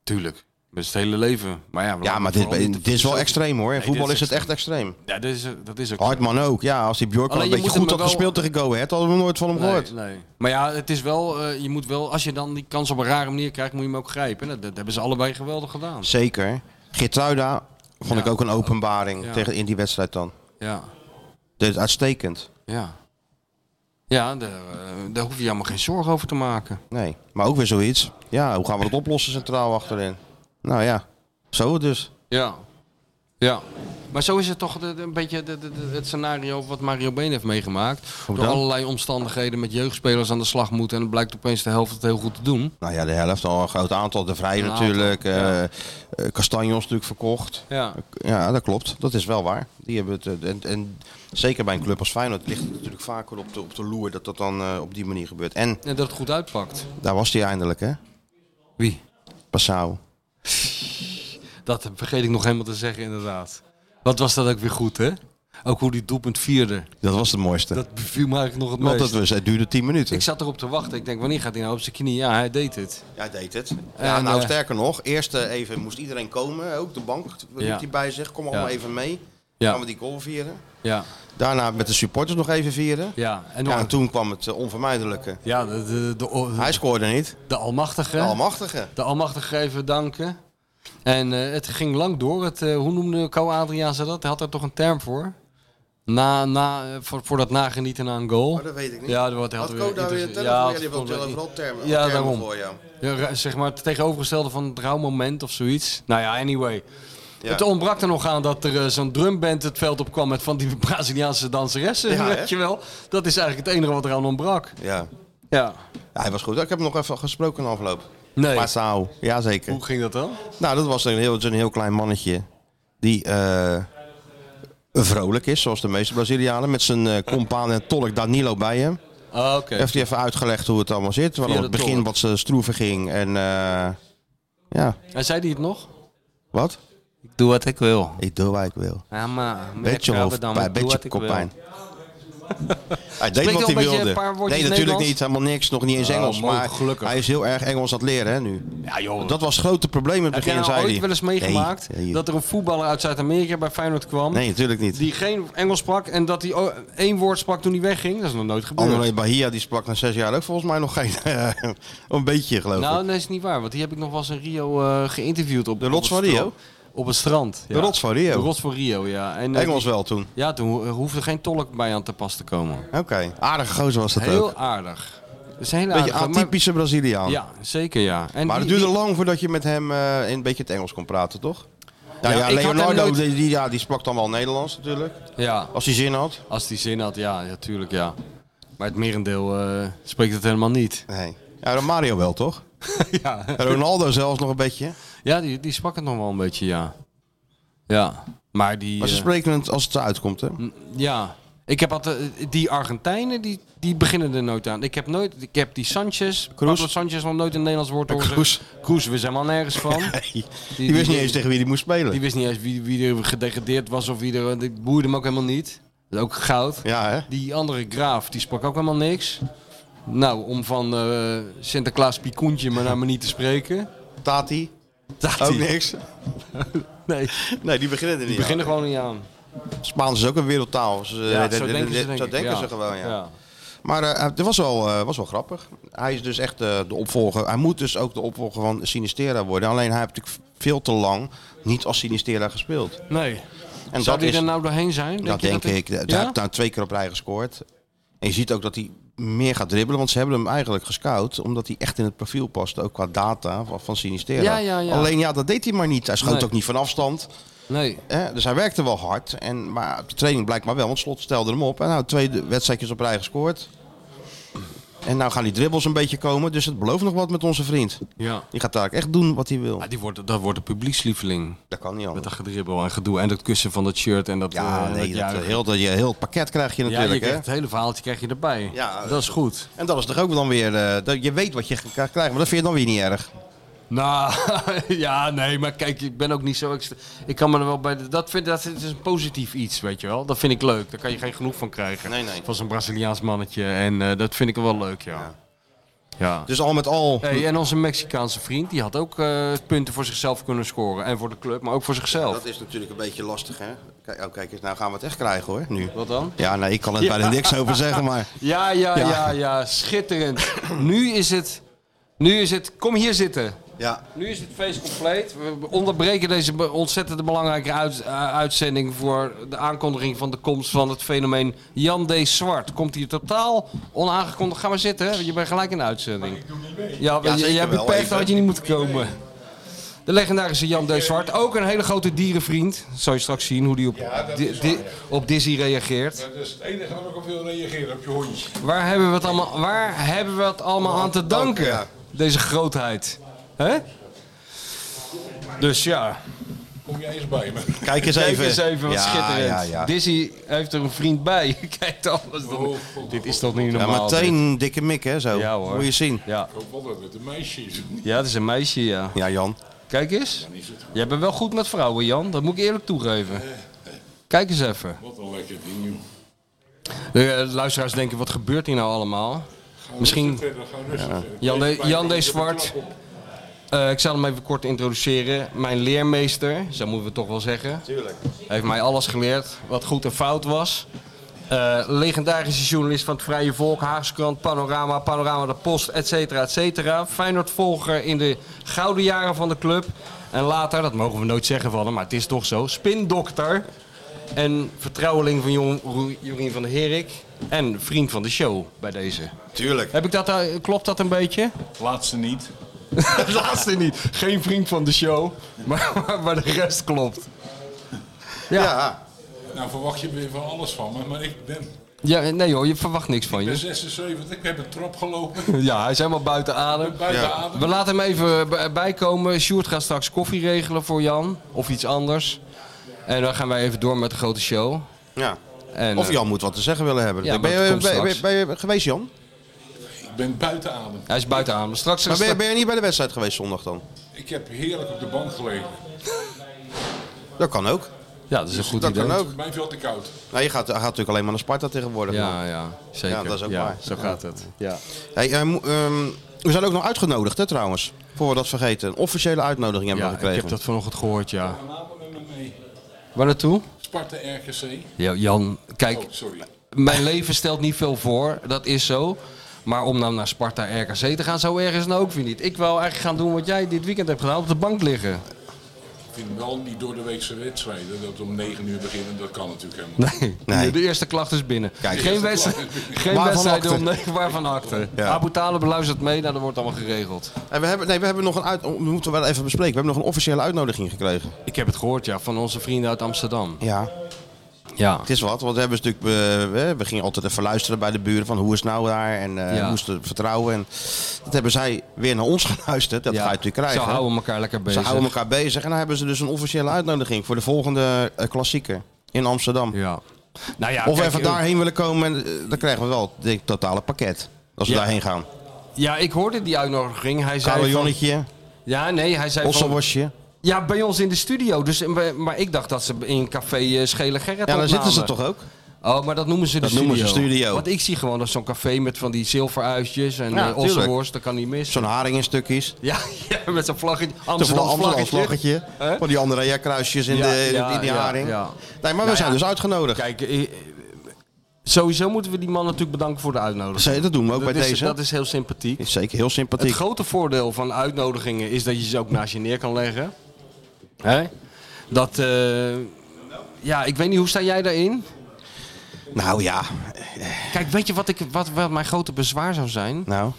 Tuurlijk. Dat is het hele leven. Maar ja, we
Ja,
laten
maar
het
dit,
vooral niet te
dit is wel
filosofie-
extreem hoor. In
Nee,
voetbal
dit
is
is
het echt extreem.
Ja, dat is, dat is ook zo.
Hartman ook. Ja, als die Bjork al
Alleen
een
je
beetje
moet
goed
hem
had
wel-
gespeeld tegen Go Ahead, hadden we nooit van hem gehoord.
Nee, nee. Maar ja, het is wel, eh, je moet wel, als je dan die kans op een rare manier krijgt, moet je hem ook grijpen. Dat, dat hebben ze allebei geweldig gedaan.
Zeker. Geertruida vond
Ja.
ik ook een openbaring
Ja.
tegen, in die wedstrijd dan.
Ja,
Dit is uitstekend.
ja. Ja, daar, eh, daar hoef je allemaal geen zorgen over te maken.
Nee, maar ook weer zoiets. Ja, hoe gaan we dat oplossen centraal achterin? Nou ja, zo dus.
Ja. Ja. Maar zo is het toch de- de- een beetje de- de- de- het scenario wat Mario Been heeft meegemaakt. Door
dan?
allerlei omstandigheden met jeugdspelers aan de slag moeten. En het blijkt opeens de helft het heel goed te doen.
Nou ja, de helft al een groot aantal. De Vrij
Een
natuurlijk. eh
aantal, ja.
eh, Castanjos natuurlijk verkocht.
Ja.
Ja, dat klopt. Dat is wel waar. Die hebben het, eh, en, en zeker bij een club als Feyenoord ligt het natuurlijk vaker op de, op de loer dat dat dan eh, op die manier gebeurt. En
En dat het goed uitpakt.
daar was hij eindelijk, hè?
Wie?
Passau.
Dat vergeet ik nog helemaal te zeggen, inderdaad. Wat was dat ook weer goed, hè? Ook hoe die doelpunt vierde.
Dat was het mooiste.
Dat beviel me eigenlijk nog het
Want
meest.
dat was, het duurde 10 minuten.
Ik zat erop te wachten. Ik denk, wanneer gaat hij nou op zijn knie? Ja, hij deed het.
Ja, deed het. Ja,
En,
nou,
eh,
sterker nog, eerst eh, even moest iedereen komen, ook de bank,
Ja.
riep hij bij zich, kom allemaal
Ja.
even mee.
Ja.
Gaan we die goal vieren.
Ja,
Daarna met de supporters nog even vieren.
ja. En,
Ja,
dan-
en toen kwam het eh, onvermijdelijke.
ja de, de, de,
Hij scoorde niet.
de almachtige.
De almachtige.
De Almachtige even danken. En eh, het ging lang door. Het, eh, hoe noemde Co Adriaanse dat? Hij had er toch een term voor? Na, na, eh, voor, voor dat nagenieten aan een goal.
Oh, dat weet ik niet.
Ja, dat wordt
Had
heel
Ko daar weer een telefoon? Ja, die heeft wel overal termen,
Ja,
termen
daarom.
voor, ja.
Ja, ra- zeg maar het tegenovergestelde van het rouwmoment of zoiets. Nou ja, anyway.
Ja.
Het ontbrak er nog aan dat er eh, zo'n drumband het veld op kwam met van die Braziliaanse danseressen.
Ja, hè?
weet je wel. Dat is eigenlijk het enige wat eraan ontbrak.
Ja.
Ja.
Ja, hij was goed. Ik heb hem nog even gesproken in de afloop.
Nee.
Passau, jazeker.
Hoe ging dat dan?
Nou, dat was een heel, dat is een heel klein mannetje die eh, vrolijk is, zoals de meeste Brazilianen. Met zijn eh, compaan en tolk Danilo bij hem.
Ah, Oké.
Heeft hij even uitgelegd hoe het allemaal zit. Waarom
Via
het
de
begin
tolk.
wat ze stroeven ging. En eh, ja,
En zei hij het nog?
wat?
Ik doe wat ik wil.
Ik doe wat ik wil.
Ja, maar meneer
Beetje
Krabbedam,
hoofdpijn,
ik doe wat
beetje
ik wil.
koppijn. Hij deed
Spreekt
wat hij
wel een beetje
wilde.
een paar woordjes
nee, natuurlijk
Nederlands?
niet. Helemaal niks. Nog niet eens
Oh,
Engels.
mooi,
maar
gelukkig.
hij is heel erg Engels aan het leren hè, nu.
Ja, joh.
Dat was het grote probleem in het
Heb jij
begin,
nou
zei
ooit
hij.
wel eens meegemaakt
Nee, nee.
dat er een voetballer uit Zuid-Amerika bij Feyenoord kwam...
Nee, natuurlijk niet.
die geen Engels sprak en dat hij o- één woord sprak toen hij wegging? Dat is nog nooit gebeurd.
André Bahia die sprak na zes jaar ook volgens mij nog geen... een beetje geloof ik.
nou, dat is niet waar, want die heb ik nog wel eens in Rio eh, geïnterviewd. Op,
De rots
op het
van Rio?
strand. Op het strand.
de rots van Rio.
De rots van Rio, ja. En, eh,
Engels wel toen.
Ja, toen ho- hoefde geen tolk bij aan te pas te komen.
Oké. Aardige gozer was dat ook.
Heel aardig. Dat is een hele
Beetje
aardige, maar-
atypische Braziliaan.
Ja, zeker ja. En
Maar
die-
het duurde
die-
lang voordat je met hem eh, in een beetje het Engels kon praten, toch? Nou
Ja,
ja,
ik had hem
Leonardo
nooit-
die, die- ja, die sprak dan wel Nederlands natuurlijk.
Ja.
Als hij zin had.
Als die zin had, ja, ja, tuurlijk ja. Maar het merendeel eh, spreekt het helemaal niet.
Nee. Ja, dan Mario wel, toch?
ja,
En Ronaldo zelfs nog een beetje. Maar
ja die, die sprak het nog wel een beetje, ja. Ja, maar die...
ze
eh,
spreken het als het eruit komt, hè?
ja, ik heb altijd... eh, die Argentijnen, die, die beginnen er nooit aan. Ik heb nooit... Ik heb die Sanchez, Pablo Sanchez nog nooit een Nederlands woord horen
Kroes.
zeggen. Kroes, we zijn maar nergens van. die,
Die, wist niet eens tegen wie hij moest spelen.
Die wist niet eens wie, wie er gedegradeerd was of wie er... Ik boeide hem ook helemaal niet. Dat is ook goud.
Ja, hè?
Die andere graaf, die sprak ook helemaal niks. Nou, om van eh, Sinterklaas Picoentje maar naar me niet te spreken.
Tati.
Tati.
Ook niks.
Nee,
Nee, die beginnen er
die
niet
beginnen gewoon niet aan.
aan. Spaans is ook een wereldtaal. Ze,
Ja,
dat-
zo
dat-
denken ze,
dat-
denk
zo
ik.
denken
Ja.
ze gewoon, ja.
Ja.
Maar eh, het was wel, eh, was wel grappig. Hij is dus echt eh, de opvolger. Hij moet dus ook de opvolger van Sinistera worden. Alleen hij heeft natuurlijk veel te lang niet als Sinistera gespeeld.
Nee.
En
Zou
dat
die
is,
er nou doorheen zijn?
dat
je
denk ik. Hij
Ja?
heeft nou twee keer op rij gescoord. En je ziet ook dat hij meer gaat dribbelen. Want ze hebben hem eigenlijk gescout. Omdat hij echt in het profiel past. Ook qua data van, van Sinistera.
Ja, ja, ja.
Alleen ja, dat deed hij maar niet. Hij schoot
Nee.
ook niet van afstand.
Nee.
Hè? Dus hij werkte wel hard. En, maar op de training blijkbaar wel, want Slot stelde hem op. En nou, twee wedstrijdjes op rij gescoord. En nou gaan die dribbles een beetje komen. Dus het belooft nog wat met onze vriend.
Ja.
Die gaat daar echt doen wat hij wil.
Ah, die wordt, dat wordt een publiekslieveling.
Dat kan niet
Met
anders.
dat gedribbel en gedoe en dat kussen van dat shirt en dat...
Ja,
eh, dat
nee, dat,
juichen.
heel, dat, je- heel het pakket krijg je
ja, je
natuurlijk. hè?
krijgt het hele verhaaltje krijg je erbij.
Ja.
Dat is goed.
En dat is toch ook dan weer... eh, dat, je weet wat je gaat krijgen, maar dat vind je dan weer niet erg.
Nou, ja, nee, maar kijk, ik ben ook niet zo. extra- Ik kan me er wel bij. de- Dat, vind, dat is een positief iets, weet je wel. Dat vind ik leuk. Daar kan je geen genoeg van krijgen.
Nee, nee.
Van zo'n Braziliaans mannetje. En eh, dat vind ik wel leuk, ja. ja.
Dus al met al...
Hey, en onze Mexicaanse vriend, die had ook eh, punten voor zichzelf kunnen scoren. En voor de club, maar ook voor zichzelf.
Dat is natuurlijk een beetje lastig, hè? Kijk, oh, kijk eens, nou gaan we het echt krijgen, hoor, nu.
Wat dan?
Ja, nee, ik kan er bijna niks over zeggen, maar...
Ja, ja, ja, ja, schitterend. nu is het. Nu is het. Kom hier zitten.
Ja,
Nu is het feest compleet. We onderbreken deze be- ontzettend belangrijke uit- eh, uitzending voor de aankondiging van de komst van het fenomeen Jan D. Zwart. Komt hier totaal onaangekondigd. Ga maar zitten, hè, want je bent gelijk in de uitzending. Ja,
Ja,
want je-
zeker
jij
wel,
beperkt
even.
had je niet moeten komen. De legendarische Jan D. Zwart, ook een hele grote dierenvriend. Zal je straks zien hoe die op, di- di- op Dizzy reageert.
Dat is dus het enige wat ik op wil reageren, op je hondje.
Waar hebben we het allemaal, waar hebben we het allemaal aan te danken?
ja.
Deze grootheid. hè? Dus ja.
Kom jij eens bij me.
kijk eens
Kijk
even.
eens even, wat
Ja,
schitterend.
ja, ja.
Dizzy heeft er een vriend bij. Kijk dan. wat is dat? Dit is toch niet
Ja,
normaal?
meteen een dikke mik, hè, zo.
Ja, hoor.
Moet je zien.
dit? Ja.
Ik hoop wel dat het een meisje is.
ja, het is een meisje, ja.
Ja, Jan.
Kijk eens. Jij bent wel goed met vrouwen, Jan. Dat moet ik eerlijk toegeven. Kijk eens even.
Wat een lekker ding, joh.
De eh, luisteraars denken, wat gebeurt hier nou allemaal? Misschien
Rustig verder, ga rustig verder.
Jan D.
Deze
Jan D.
pijn-
Zwart Eh, ik zal hem even kort introduceren. Mijn leermeester, zo moeten we het toch wel zeggen. Tuurlijk. Heeft mij alles geleerd wat goed en fout was. Eh, legendarische journalist van het Vrije Volk, Haagse Krant, Panorama, Panorama de Post, et cetera, et cetera. Feyenoord-volger in de gouden jaren van de club. En later, dat mogen we nooit zeggen van hem, maar het is toch zo, spindokter. En vertrouweling van Jon- Roe- Jorien van der Herik. En vriend van de show bij deze.
Tuurlijk.
Heb ik dat, eh, klopt dat een beetje?
Het laatste niet.
Het laatste niet. Geen vriend van de show, maar, maar, maar de rest klopt.
Ja.
Nou verwacht je weer van alles van me, maar ik ben,
Ja, nee hoor, je verwacht niks van
ik ben
je.
76, ik heb een trap gelopen.
Ja, hij is helemaal buiten adem.
Ik ben buiten
Ja.
adem.
We laten hem even b- bijkomen. Sjoerd gaat straks koffie regelen voor Jan. Of iets anders. En dan gaan wij even door met de grote show.
Ja.
En,
Of
eh,
Jan moet wat te zeggen willen hebben.
Ja,
ben,
maar dat
je,
komt
ben,
straks.
ben- ben je geweest, Jan?
Ik ben buiten adem.
hij is buiten adem. Straks
Maar ben, je- ben je niet bij de wedstrijd geweest zondag dan?
Ik heb heerlijk op de bank gelegen.
Dat kan ook.
Ja, dat is een goed
Dus dat
idee.
kan ook.
Mij veel te koud.
Nou, je gaat, hij gaat natuurlijk alleen maar naar Sparta tegenwoordig. man.
Ja, ja, zeker.
Ja, dat is ook waar.
Zo gaat het. Ja.
Hey, eh, mo- ehm, we zijn ook nog uitgenodigd, hè, trouwens. Voor we dat vergeten. Een officiële uitnodiging hebben
Ja,
we
ik
gekregen.
heb dat vanochtend gehoord, ja.
Vanavond met me mee.
Waar naartoe?
Sparta RGC.
Ja, Jan, kijk,
Oh, sorry.
mijn leven stelt niet veel voor, dat is zo. Maar om nou naar Sparta RKC te gaan, zo erg is het nou ook weer niet. Ik wil eigenlijk gaan doen wat jij dit weekend hebt gedaan, op de bank liggen.
Ik vind wel die door de weekse wedstrijden, dat we om 9 uur beginnen, dat kan natuurlijk helemaal niet.
Nee,
Nee.
de eerste klacht is binnen.
Kijk.
geen
Eerste
wedstrijd,
klacht is binnen.
geen
Waarvan
wedstrijd
akte?
om negen, waarvan akte.
Ja.
Abu Talib beluistert mee, nou, dat wordt allemaal geregeld.
En we hebben, nee, we hebben nog een uit, we moeten wel even bespreken. We hebben nog een officiële uitnodiging gekregen.
Ik heb het gehoord, ja, van onze vrienden uit Amsterdam.
Ja.
Ja,
Het is wat, want we hebben natuurlijk, eh, we, we gingen altijd even luisteren bij de buren van hoe is het nou daar en eh,
Ja.
hoe is het vertrouwen. En dat hebben zij weer naar ons geluisterd. Dat
ja.
ga je natuurlijk krijgen.
Ze houden elkaar lekker
Ze
bezig.
houden elkaar bezig en dan hebben ze dus een officiële uitnodiging voor de volgende eh, klassieker in Amsterdam.
Ja. Nou ja,
Of we
kijk,
even
eh,
daarheen willen komen, en, eh, dan krijgen we wel het totale pakket. Als we
Ja.
daarheen gaan.
Ja, ik hoorde die uitnodiging. Hij zei van,
Carillonnetje,
Ja, nee, hij zei van...
osselwasje.
Ja, bij ons in de studio. Dus, maar ik dacht dat ze in café eh, Schele Gerrit
Ja, daar
opnamen.
zitten ze toch ook?
Oh, maar dat noemen ze de
Dat
studio.
noemen ze studio.
Want ik zie gewoon dat zo'n café met van die zilveruitjes en
Ja,
ja,
tuurlijk.
dat kan niet mis.
Zo'n haring in stukjes.
Ja, ja, met zo'n vlaggetje.
Amsterdam,
Amsterdam,
Amsterdam
vlaggetje.
vlaggetje.
Hè?
Van die andere ja, kruisjes in,
Ja,
de, in
ja,
die
ja,
haring.
ja.
Nee, maar we
Nou
zijn
ja.
dus uitgenodigd.
Kijk, eh, sowieso moeten we die man natuurlijk bedanken voor de uitnodiging.
Zee, dat doen we ook
dat
bij
is,
deze.
Dat is heel sympathiek.
Is zeker heel sympathiek.
Het grote voordeel van uitnodigingen is dat je ze ook naast je neer kan leggen. Hè? Dat, eh, ja, ik weet niet, hoe sta jij daarin?
Nou ja,
Kijk, weet je wat, ik, wat, wat mijn grote bezwaar zou zijn?
nou.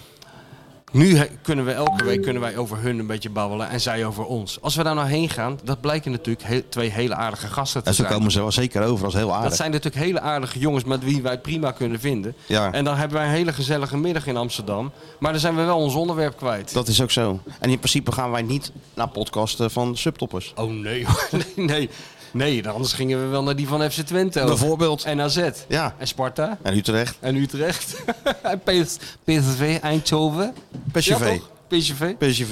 Nu he- kunnen we elke week kunnen wij over hun een beetje babbelen en zij over ons. Als we daar nou heen gaan, dat blijken natuurlijk he- twee hele aardige gasten te
En zo
zijn.
komen ze wel zeker over als heel
Dat
aardig.
zijn natuurlijk hele aardige jongens met wie wij het prima kunnen vinden.
Ja.
En dan hebben wij een hele gezellige middag in Amsterdam. Maar dan zijn we wel ons onderwerp kwijt.
Dat is ook zo. En in principe gaan wij niet naar podcasten van subtoppers.
Oh nee, hoor. nee, nee. Nee, anders gingen we wel naar die van FC Twente. ook.
Bijvoorbeeld.
En AZ.
Ja.
En Sparta.
En Utrecht.
En Utrecht. en PS PSV, Eindhoven.
PSV.
toch? PSV.
PSV.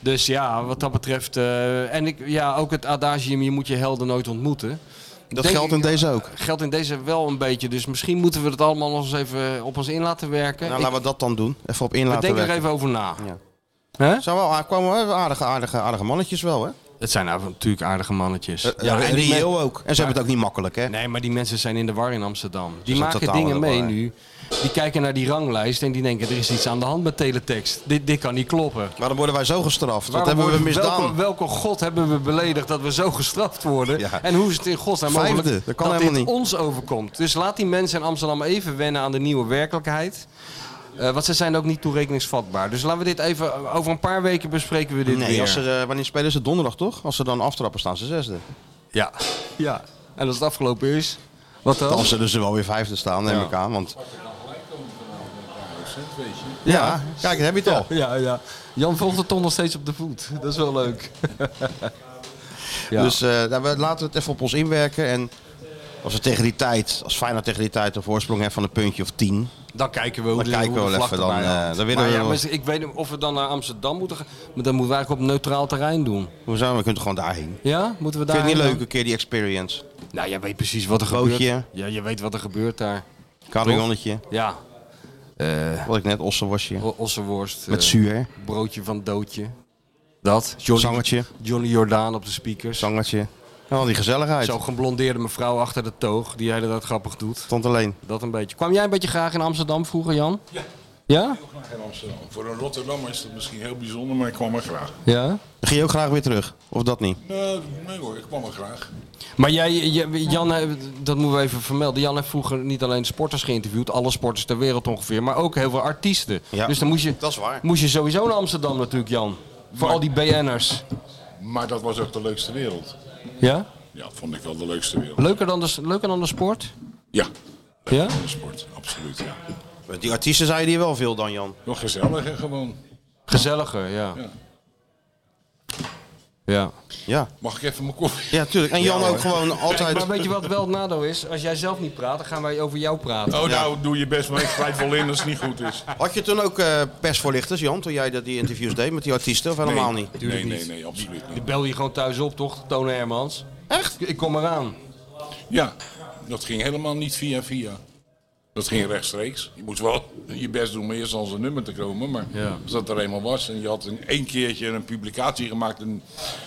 Dus ja, wat dat betreft. eh, en ik, ja, ook het adagium, je moet je helden nooit ontmoeten.
Dat
Denk
geldt
ik-
in deze ook.
Geldt in deze wel een beetje. Dus misschien moeten we het allemaal nog eens even op ons in laten werken.
Nou,
Ik-
laten we dat dan doen. Even op in
we
laten
denken er
werken.
even over na.
Ja.
Hè?
Zijn wel, a- kwamen wel aardige, aardige, aardige mannetjes wel, hè?
Het zijn nou natuurlijk aardige mannetjes.
Ja, Eh, en
die men-
reëel ook. En ze hebben het ook niet makkelijk, hè?
Nee, maar die mensen zijn in de war in Amsterdam. Dus Die
zijn
maken
totaal
dingen
in de
mee
war.
nu. Die kijken naar die ranglijst en die denken, er is iets aan de hand met teletext. Dit, dit kan niet kloppen.
Maar dan worden wij zo gestraft. Wat
Waarom
hebben we
worden-
misdaan?
Welke, welke god hebben we beledigd dat we zo gestraft worden?
Ja.
En hoe is het in godsnaam
Vijfde,
mogelijk
dat kan
dit
helemaal niet.
ons overkomt? Dus laat die mensen in Amsterdam even wennen aan de nieuwe werkelijkheid. Eh want ze zijn ook niet toerekeningsvatbaar. Dus laten we dit even, over een paar weken bespreken we dit
Nee,
weer.
als er, eh, wanneer spelen ze donderdag, toch? Als ze dan aftrappen, staan ze zesde.
Ja. ja, en als het afgelopen is, wat dan?
Dan zullen ze wel weer vijfde staan, neem ik aan. Want,
Procent, weet je.
ja. kijk, daar heb je het al.
Ja, ja. Jan volgt het toch nog steeds op de voet. Dat is wel leuk. ja.
Dus eh, nou, we laten we het even op ons inwerken. En als we tegen die tijd, als Feyenoord tegen die tijd een voorsprong heeft van een puntje of tien.
dan kijken we hoe
Dan
de,
kijken
hoe
we
de
wel
vlag
even, dan,
erbij
eh,
hangt.
dan winnen
maar
we
ja,
wel.
maar ik weet niet of we dan naar Amsterdam moeten gaan. Maar dan moeten we eigenlijk op neutraal terrein doen.
Hoezo? We kunnen toch gewoon daarheen.
Ja? Moeten we
Vind
daar...
je het niet leuk een keer die experience?
Nou, jij weet precies wat er
Bootje.
gebeurt. Ja, je weet wat er gebeurt daar.
Carillonnetje,
Ja.
wat ik net, ossenwasje.
o- Ossenworst. eh,
Met zuur.
Broodje van doodje. Dat. Johnny,
Zangertje.
Johnny Jordaan op de speakers.
Zangertje. En al die gezelligheid.
Zo'n geblondeerde mevrouw achter de toog die de hele tijd grappig doet.
Stond alleen.
Dat een beetje. Kwam jij een beetje graag in Amsterdam vroeger, Jan?
Ja.
Ja?
In Amsterdam. Voor een Rotterdammer is dat misschien heel bijzonder, maar ik kwam er graag.
Ja.
Ging je ook graag weer terug? Of dat niet?
Nee, nee hoor, ik kwam er graag.
Maar jij, jij- Jan, eh, dat moeten we even vermelden. Jan heeft vroeger niet alleen sporters geïnterviewd, alle sporters ter wereld ongeveer, maar ook heel veel artiesten.
Ja.
Dus dan moest je,
Dat is waar.
moest je sowieso naar Amsterdam natuurlijk, Jan. Voor al die BN'ers.
Maar dat was echt de leukste wereld.
Ja?
Ja, vond ik wel de leukste wereld.
Leuker dan de, leuker dan de sport?
Ja.
Ja?
Van de sport, absoluut. Ja.
Met Die artiesten zeiden hier wel veel dan, Jan.
Nog gezelliger gewoon.
Gezelliger, ja.
Ja.
Ja.
Ja.
Mag ik even mijn koffie?
Ja, tuurlijk. En Jan ook gewoon altijd...
Maar weet je wat wel het nadeel is? Als jij zelf niet praat, dan gaan wij over jou praten.
Oh, nou doe je best, maar ik grijp wel in als het niet goed is.
Had je toen ook eh, persvoorlichters, Jan, toen jij dat die interviews deed met die artiesten? Of helemaal niet?
Nee, nee,
niet.
nee, absoluut niet.
Ik bel je gewoon thuis op, toch? Toon Hermans. Echt? Ik kom eraan.
Ja, dat ging helemaal niet via via. Dat ging rechtstreeks. Je moest wel je best doen om eerst aan zijn nummer te komen. Maar
Ja.
als dat er eenmaal was en je had een, één keertje een publicatie gemaakt en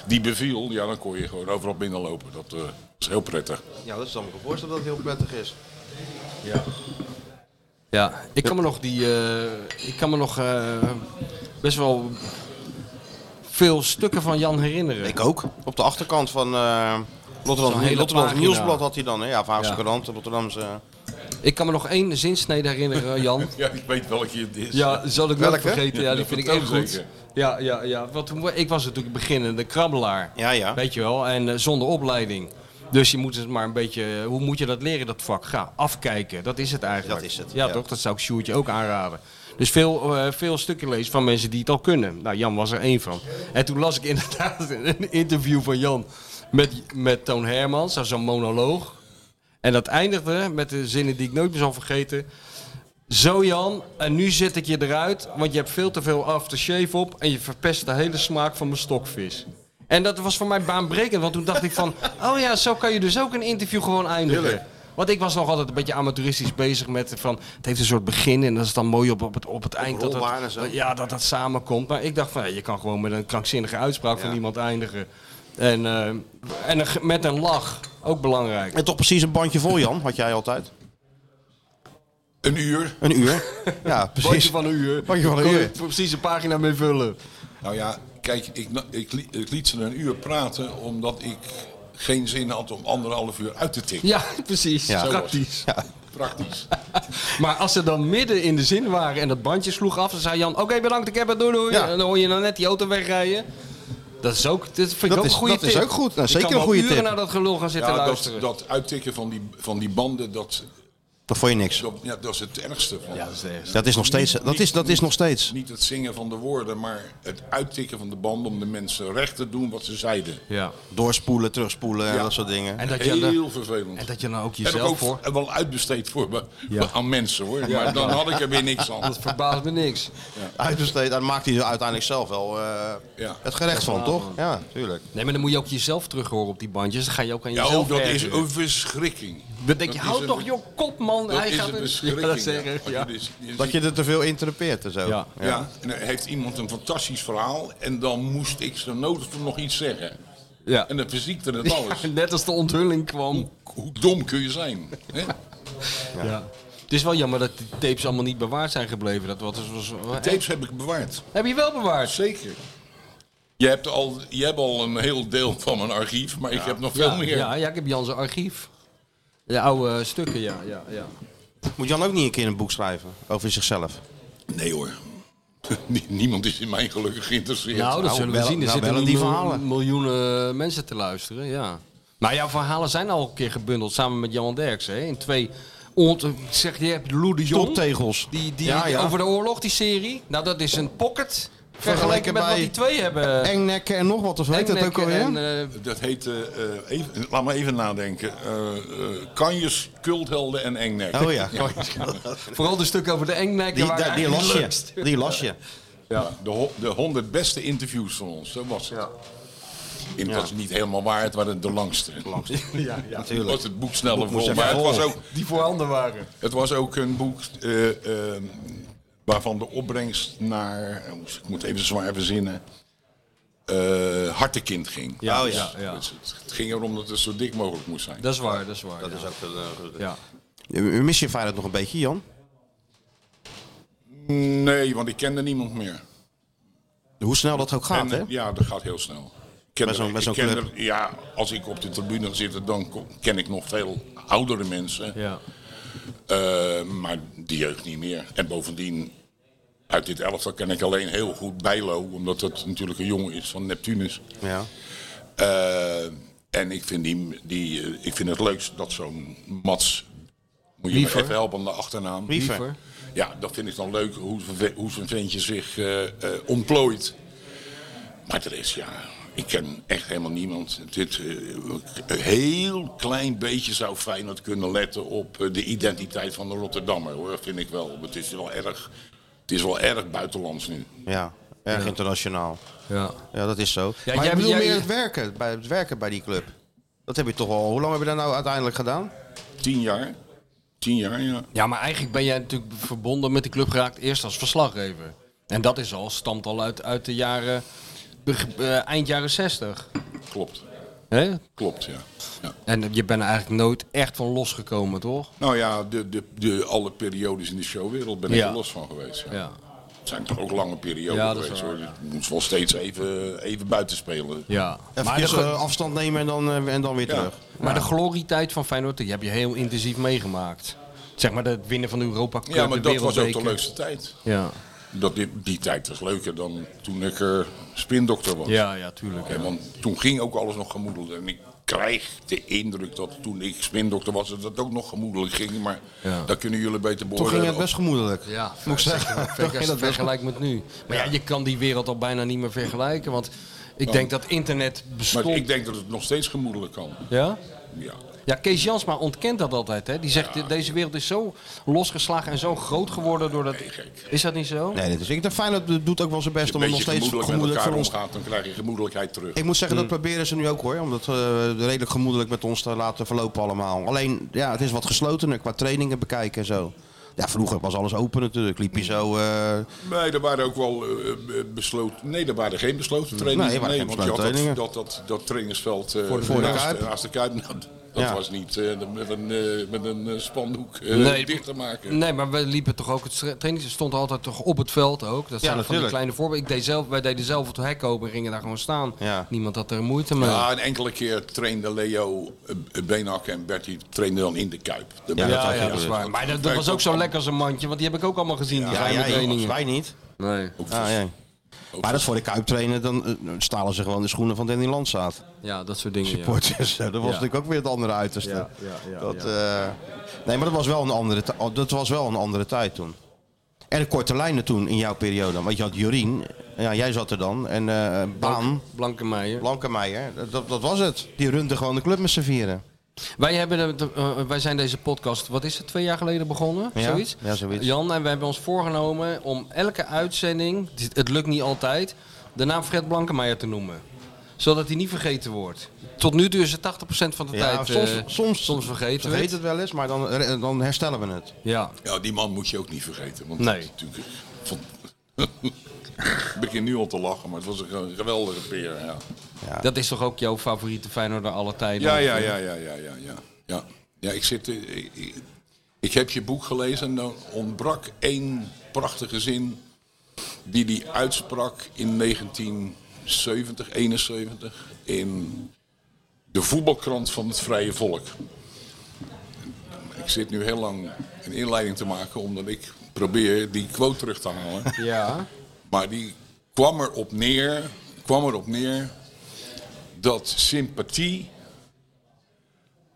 die beviel, ja, dan kon je gewoon overal binnenlopen. Dat eh, is heel prettig.
Ja, dat is dan me voorstellen dat het heel prettig is.
Ja, ik kan me nog die. eh, ik kan me nog eh, best wel veel stukken van Jan herinneren.
Ik ook. Op de achterkant van eh
Zo'n
Rotterdam,
hele
Rotterdam
pagina.
Nieuwsblad had hij dan. Hè? Ja, Vaagse
Ja.
Krant, Rotterdamse...
Ik kan me nog één zinsnede herinneren, Jan.
Ja, ik weet welke het is.
Ja, zal ik wel
Welke?
vergeten. Ja,
Ja,
die
dat
vind ik
vertel
even goed.
zeker.
Ja, ja, ja. Want toen- ik was natuurlijk beginnende krabbelaar.
Ja, ja.
Weet je wel, en eh, zonder opleiding. Dus je moet het maar een beetje, eh, hoe moet je dat leren, dat vak? Ga afkijken, dat is het eigenlijk.
Dat is het,
Ja,
ja.
toch? Dat zou ik Sjoertje ook aanraden. Dus veel, eh, veel stukken lezen van mensen die het al kunnen. Nou, Jan was er één van. En toen las ik inderdaad een interview van Jan met, met Toon Hermans, dat is zo'n monoloog. En dat eindigde met de zinnen die ik nooit meer zal vergeten. Zo Jan, en nu zet ik je eruit, want je hebt veel te veel aftershave op en je verpest de hele smaak van mijn stokvis. En dat was voor mij baanbrekend, want toen dacht ik van, oh ja, zo kan je dus ook een interview gewoon eindigen. Want ik was nog altijd een beetje amateuristisch bezig met van, het heeft een soort begin en dat is dan mooi op, op, het, op het eind. Dat
Rolbaar en zo.
het, ja, dat dat samenkomt. Maar ik dacht van, ja, je kan gewoon met een krankzinnige uitspraak van iemand eindigen. En, eh, en een ge- met een lach, ook belangrijk.
En toch precies een bandje vol, Jan, had jij altijd.
Een uur.
Een uur. Ja, precies.
Bandje van een uur.
Bandje van een
Kon je
uur.
Precies een pagina mee vullen.
Nou ja, kijk, ik, na- ik, li- ik liet ze een uur praten omdat ik geen zin had om anderhalf uur uit te tikken.
Ja, precies.
Ja.
Praktisch.
Praktisch.
Maar als ze dan midden in de zin waren en dat bandje sloeg af, dan zei Jan: Oké, bedankt, ik heb het, doei doei.
Ja.
En dan hoor je dan net die auto wegrijden. Dat is ook, dat vind ik
Dat
ook
is-
een goede
dat
tip.
is ook goed. Nou,
Ik
zeker
kan
een
wel
goede
uren
tip.
naar dat gelul gaan zitten
Ja, dat,
luisteren.
dat uittikken van die, van die banden, dat,
Dat vond je niks.
dat, ja, dat is het ergste. Van.
Ja, dat is de eerste.
Dat is nog steeds... Dat is, dat is nog steeds.
Niet het zingen van de woorden, maar het uittikken van de banden om de mensen recht te doen wat ze zeiden.
Ja.
Doorspoelen, terugspoelen en
Ja.
dat soort dingen.
En dat je,
Heel
dan-
vervelend.
en dat je dan ook
heb ik ook
jezelf voor.
wel uitbesteed voor me-
Ja.
aan mensen hoor. Maar dan had ik er weer niks aan.
Dat verbaast me niks.
Uitbesteed, daar maakt hij er uiteindelijk zelf wel eh,
Ja.
het gerecht van, toch? Ja, tuurlijk.
Nee, maar dan moet je ook jezelf terug horen op die bandjes. Dan ga je ook aan
Ja,
jezelf
oh, dat is
ergeren.
een verschrikking.
Dan denk je,
dat is
houd
een-
toch je kop, man.
Dat
Hij
is
gaat
een
er-
verschrikking.
Ja, dat
ja.
zeggen,
Want
ja.
je dus- je
Dat
ziet-
je er te veel interpreteert en zo.
Ja.
ja. en dan heeft iemand een fantastisch verhaal en dan moest ik zo nodig toe nog iets zeggen.
Ja.
En dan verziekte het alles.
Ja, Net als de onthulling kwam.
Hoe dom kun je zijn? Hè?
Ja. Het is wel jammer dat die tapes allemaal niet bewaard zijn gebleven. Dat was, was, was-
Tapes heb ik bewaard.
Heb je wel bewaard?
Zeker. Je hebt al, je hebt al een heel deel van mijn archief, maar ik heb nog veel
ja,
meer.
Ja, ja, ik heb Jan's archief. De oude eh, stukken, ja. ja, ja.
Moet Jan ook niet een keer een boek schrijven over zichzelf?
Nee hoor. Nie- Niemand is in mij gelukkig geïnteresseerd.
Nou, dat zullen we
bellen-
zien. Er
nou,
zitten
bellen
nu
die
mil-
verhalen.
miljoenen eh, mensen te luisteren, ja. Maar jouw verhalen zijn al een keer gebundeld samen met Jan Derks. Hè? In twee... ont- Ik zeg, je hebt Lou de Jong.
Stoptegels.
Die, die,
Ja, ja.
Over de oorlog, die serie. Nou, dat is een pocket. Vergeleken
Vergeleken
met wat
bij
die twee hebben.
Engnekken en nog wat, of heet dat ook
Engnekken
alweer?
en, eh,
Dat heet, eh, eh, even, laat me even nadenken. Eh eh, Kanjes, Kulthelden en Engnek.
Oh ja.
vooral de stukken over de engnekken
Die,
waren
daar- die
eigenlijk
las
het leukst.
je. Die las je.
Ja, de, ho- de 100 beste interviews van ons, dat was het. En dat is niet helemaal waar, het waren de langste. langste.
Ja, ja.
Natuurlijk. was het boek sneller
moest
vol.
even
Maar het
vol.
was, ook,
Die voorhanden waren.
het was ook een boek eh, eh, waarvan de opbrengst naar... Ik moet even zwaar verzinnen. eh hartekind ging.
Ja,
Dus
ja, ja.
dus het, het ging erom dat het zo dik mogelijk moest zijn.
Dat is waar, dat is waar. ja. Ja.
Mis je Feyenoord nog een beetje, Jan?
Nee, want ik kende niemand meer.
Hoe snel dat ook gaat,
eh,
En, eh,
hè?
Ja, dat gaat heel snel. Ik ken
Bij zo'n-
er-
bij
ik
zo'n
ken
club.
er- ja, als ik op de tribune ga zitten, dan ko- ken ik nog veel oudere mensen.
Ja.
Eh, maar die jeugd niet meer. En bovendien, uit dit elftal ken ik alleen heel goed Bijlo. Omdat dat natuurlijk een jongen is van Neptunus.
Ja.
Eh, en ik vind, die, die, eh, ik vind het leukst dat zo'n Mats... Moet je me
Wiever.
even helpen aan de achternaam.
Liever.
Ja, dat vind ik dan leuk, hoe, zo'n ve- hoe zo'n ventje zich eh, eh, ontplooit. Maar er is, ja, ik ken echt helemaal niemand. Dit, eh, een heel klein beetje zou Feyenoord kunnen letten op eh, de identiteit van de Rotterdammer. Hoor. Dat vind ik wel. Het is wel erg, het is wel erg buitenlands nu.
Ja, erg internationaal.
Ja.
Ja, dat is zo.
Ja,
maar
jij-
ik bedoel
jij-
meer het werken, bij, het werken bij die club. Dat heb je toch al. Hoe lang heb je dat nou uiteindelijk gedaan?
Tien jaar? Tien jaar, ja.
Ja, maar eigenlijk ben jij natuurlijk verbonden met de club geraakt eerst als verslaggever. En dat is al, stamt al uit, uit de jaren, beg- eh, eind jaren 60.
Klopt.
Hè?
Klopt, ja. ja.
En je bent er eigenlijk nooit echt van losgekomen, toch?
Nou ja, de, de, de, alle periodes in de showwereld ben ik
Ja.
er los van geweest. ja.
Ja.
Het zijn toch ook lange perioden
Ja, dat is
geweest
waar,
hoor. Je moet wel steeds even, even buiten spelen.
ja.
Even dus, eh,
Maar, de, glo-
afstand nemen en dan, eh, en dan weer
Ja.
terug.
maar de glorietijd van Feyenoord, die heb je heel intensief meegemaakt. Zeg maar het winnen van de Europa Cup,
Ja, maar
de
dat was ook de
Wereldbeker.
leukste tijd.
Ja,
Dat die, die tijd was leuker dan toen ik er spindokter was.
ja, ja tuurlijk.
Hè,
ja.
want toen ging ook alles nog gemoedelijk. En ik krijg de indruk dat toen ik spindokter was, dat het ook nog gemoedelijk ging. Maar
Ja.
dat kunnen jullie beter
Toen ging
beoordelen.
het best gemoedelijk.
Ja, moet ik zeggen. vergelijk met nu. Maar ja, je kan die wereld al bijna niet meer vergelijken. Want ik denk dat internet bestond.
Maar ik denk dat het nog steeds gemoedelijk kan.
Ja?
Ja.
Ja, Kees Jansma ontkent dat altijd. Hè? Die zegt, de- deze wereld is zo losgeslagen en zo groot geworden door dat...
gek.
Is dat niet zo?
Nee, dat is, ik denk Feyenoord doet ook wel zijn best om
Als
het
je
nog
nog
steeds
gemoedelijk,
gemoedelijk
met
voor
elkaar
ons
omgaat, dan krijg je gemoedelijkheid terug.
Ik moet zeggen, dat
Hmm.
proberen ze nu ook hoor. Om dat eh, redelijk gemoedelijk met ons te laten verlopen allemaal. Alleen, ja, het is wat geslotener qua trainingen bekijken en zo. Ja, vroeger was alles open natuurlijk. Liep je zo... eh,
Nee, er waren ook wel eh, eh, besloten. Nee, er waren geen besloten trainingen.
Nee, er waren geen
want je had
besloten
dat, dat, dat, dat trainingsveld eh,
de- voor de
naast,
Kuip.
naast de Kuip. Nou, dat
Ja.
was niet eh, met een, eh, met een eh, spandoek eh,
Nee.
dicht te maken.
Nee, maar we liepen toch ook het stra- training. ze stond altijd toch op het veld ook. Dat zijn van die
natuurlijk.
kleine voorbeelden. Ik deed zelf, wij deden zelf het hek open en gingen daar gewoon staan.
Ja.
Niemand had er moeite mee.
Ja, een enkele keer trainden Leo, eh, eh, Benak en Bertie trainden dan in de Kuip. Dat
Ja,
was-
ja, ja,
dat is waar. Maar dat, dat
werkt
was ook zo
al-
lekker als een mandje, want die heb ik ook allemaal gezien, die
ja,
geheime
ja,
trainingen.
wij niet.
Nee.
ook
Ah, ja.
ook
Maar dat voor de Kuip trainen, dan eh, stalen ze gewoon de schoenen van Danny Landsaat.
Ja, dat soort dingen. ja.
Portjes, dat was natuurlijk ook weer het andere uiterste.
Ja, ja, ja,
dat, eh, nee, maar dat was, wel een andere ti- oh, dat was wel een andere tijd toen. En de korte lijnen toen, in jouw periode. dan. Want je had Jorien, ja, jij zat er dan. En eh, Baan,
Blanke Meijer.
Blankenmeijer, dat, dat was het. Die runde gewoon de club met z'n vieren.
Wij, hebben, de- eh, wij zijn deze podcast, wat is het, twee jaar geleden begonnen?
Ja,
zoiets?
ja, zoiets.
Jan, en we hebben ons voorgenomen om elke uitzending, het- het lukt niet altijd, de naam Fred Blankemeijer te noemen. Zodat hij niet vergeten wordt. Tot nu toe is het 80% van de
Ja,
tijd.
soms,
eh,
soms,
soms vergeten we
vergeet
het.
het wel eens, maar dan, eh, dan herstellen we het.
Ja.
Ja, die man moet je ook niet vergeten. Want
Nee.
dat is natuurlijk van- ik begin nu al te lachen, maar het was een ge- geweldige peer. Ja.
Dat is toch ook jouw favoriete Feyenoorder alle tijden?
Ja, ja, ja, ja, ja, ja, ja. Ja, ja ik, zit, eh, ik, ik- ik heb je boek gelezen en dan ontbrak één prachtige zin die hij uitsprak in 1970, 71 in de voetbalkrant van het Vrije Volk. Ik zit nu heel lang een inleiding te maken omdat ik probeer die quote terug te halen.
Ja.
Maar die kwam erop neer, kwam erop neer dat sympathie,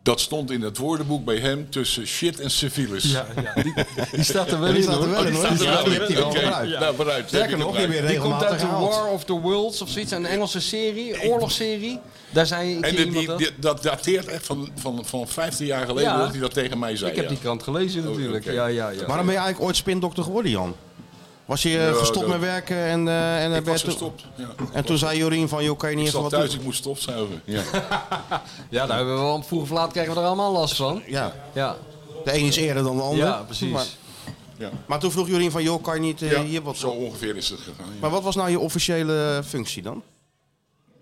dat stond in het woordenboek bij hem tussen shit en civilis. Oh, Ja,
Die staat er wel in, hoor.
wel in, hoor. Die staat er wel in.
Oké, nou, vooruit.
Sterker nog, die weer
Die komt
regelmatig
uit de
gehaald.
War of the Worlds of zoiets, een Engelse serie, oorlogsserie. Daar zei ik
En
je
die-
iemand
die-
dat.
die- dat dateert echt van, van, van 15 jaar geleden
Ja.
dat hij dat tegen mij zei.
Ik heb
ja.
die krant gelezen natuurlijk.
oké.
Ja, ja, ja.
Waarom ben je eigenlijk ooit spindokter geworden, Jan? Was je eh,
Ja,
gestopt
dat-
met werken en, eh, en, eh,
Ik was
werd toen-
gestopt. Ja.
en toen zei Jorien van, joh, kan je niet
Ik
even
zat
wat
thuis,
doen?
ik moest stofzuigen. Ja.
Ja, daar hebben we wel, vroeg of laat krijgen we er allemaal last van.
Ja,
Ja,
de een is eerder dan de ander.
ja precies.
Maar,
Ja.
maar toen vroeg Jorien van, joh, kan je niet eh,
Ja,
hier wat
Zo ongeveer is het gegaan. ja.
Maar wat was nou je officiële functie dan?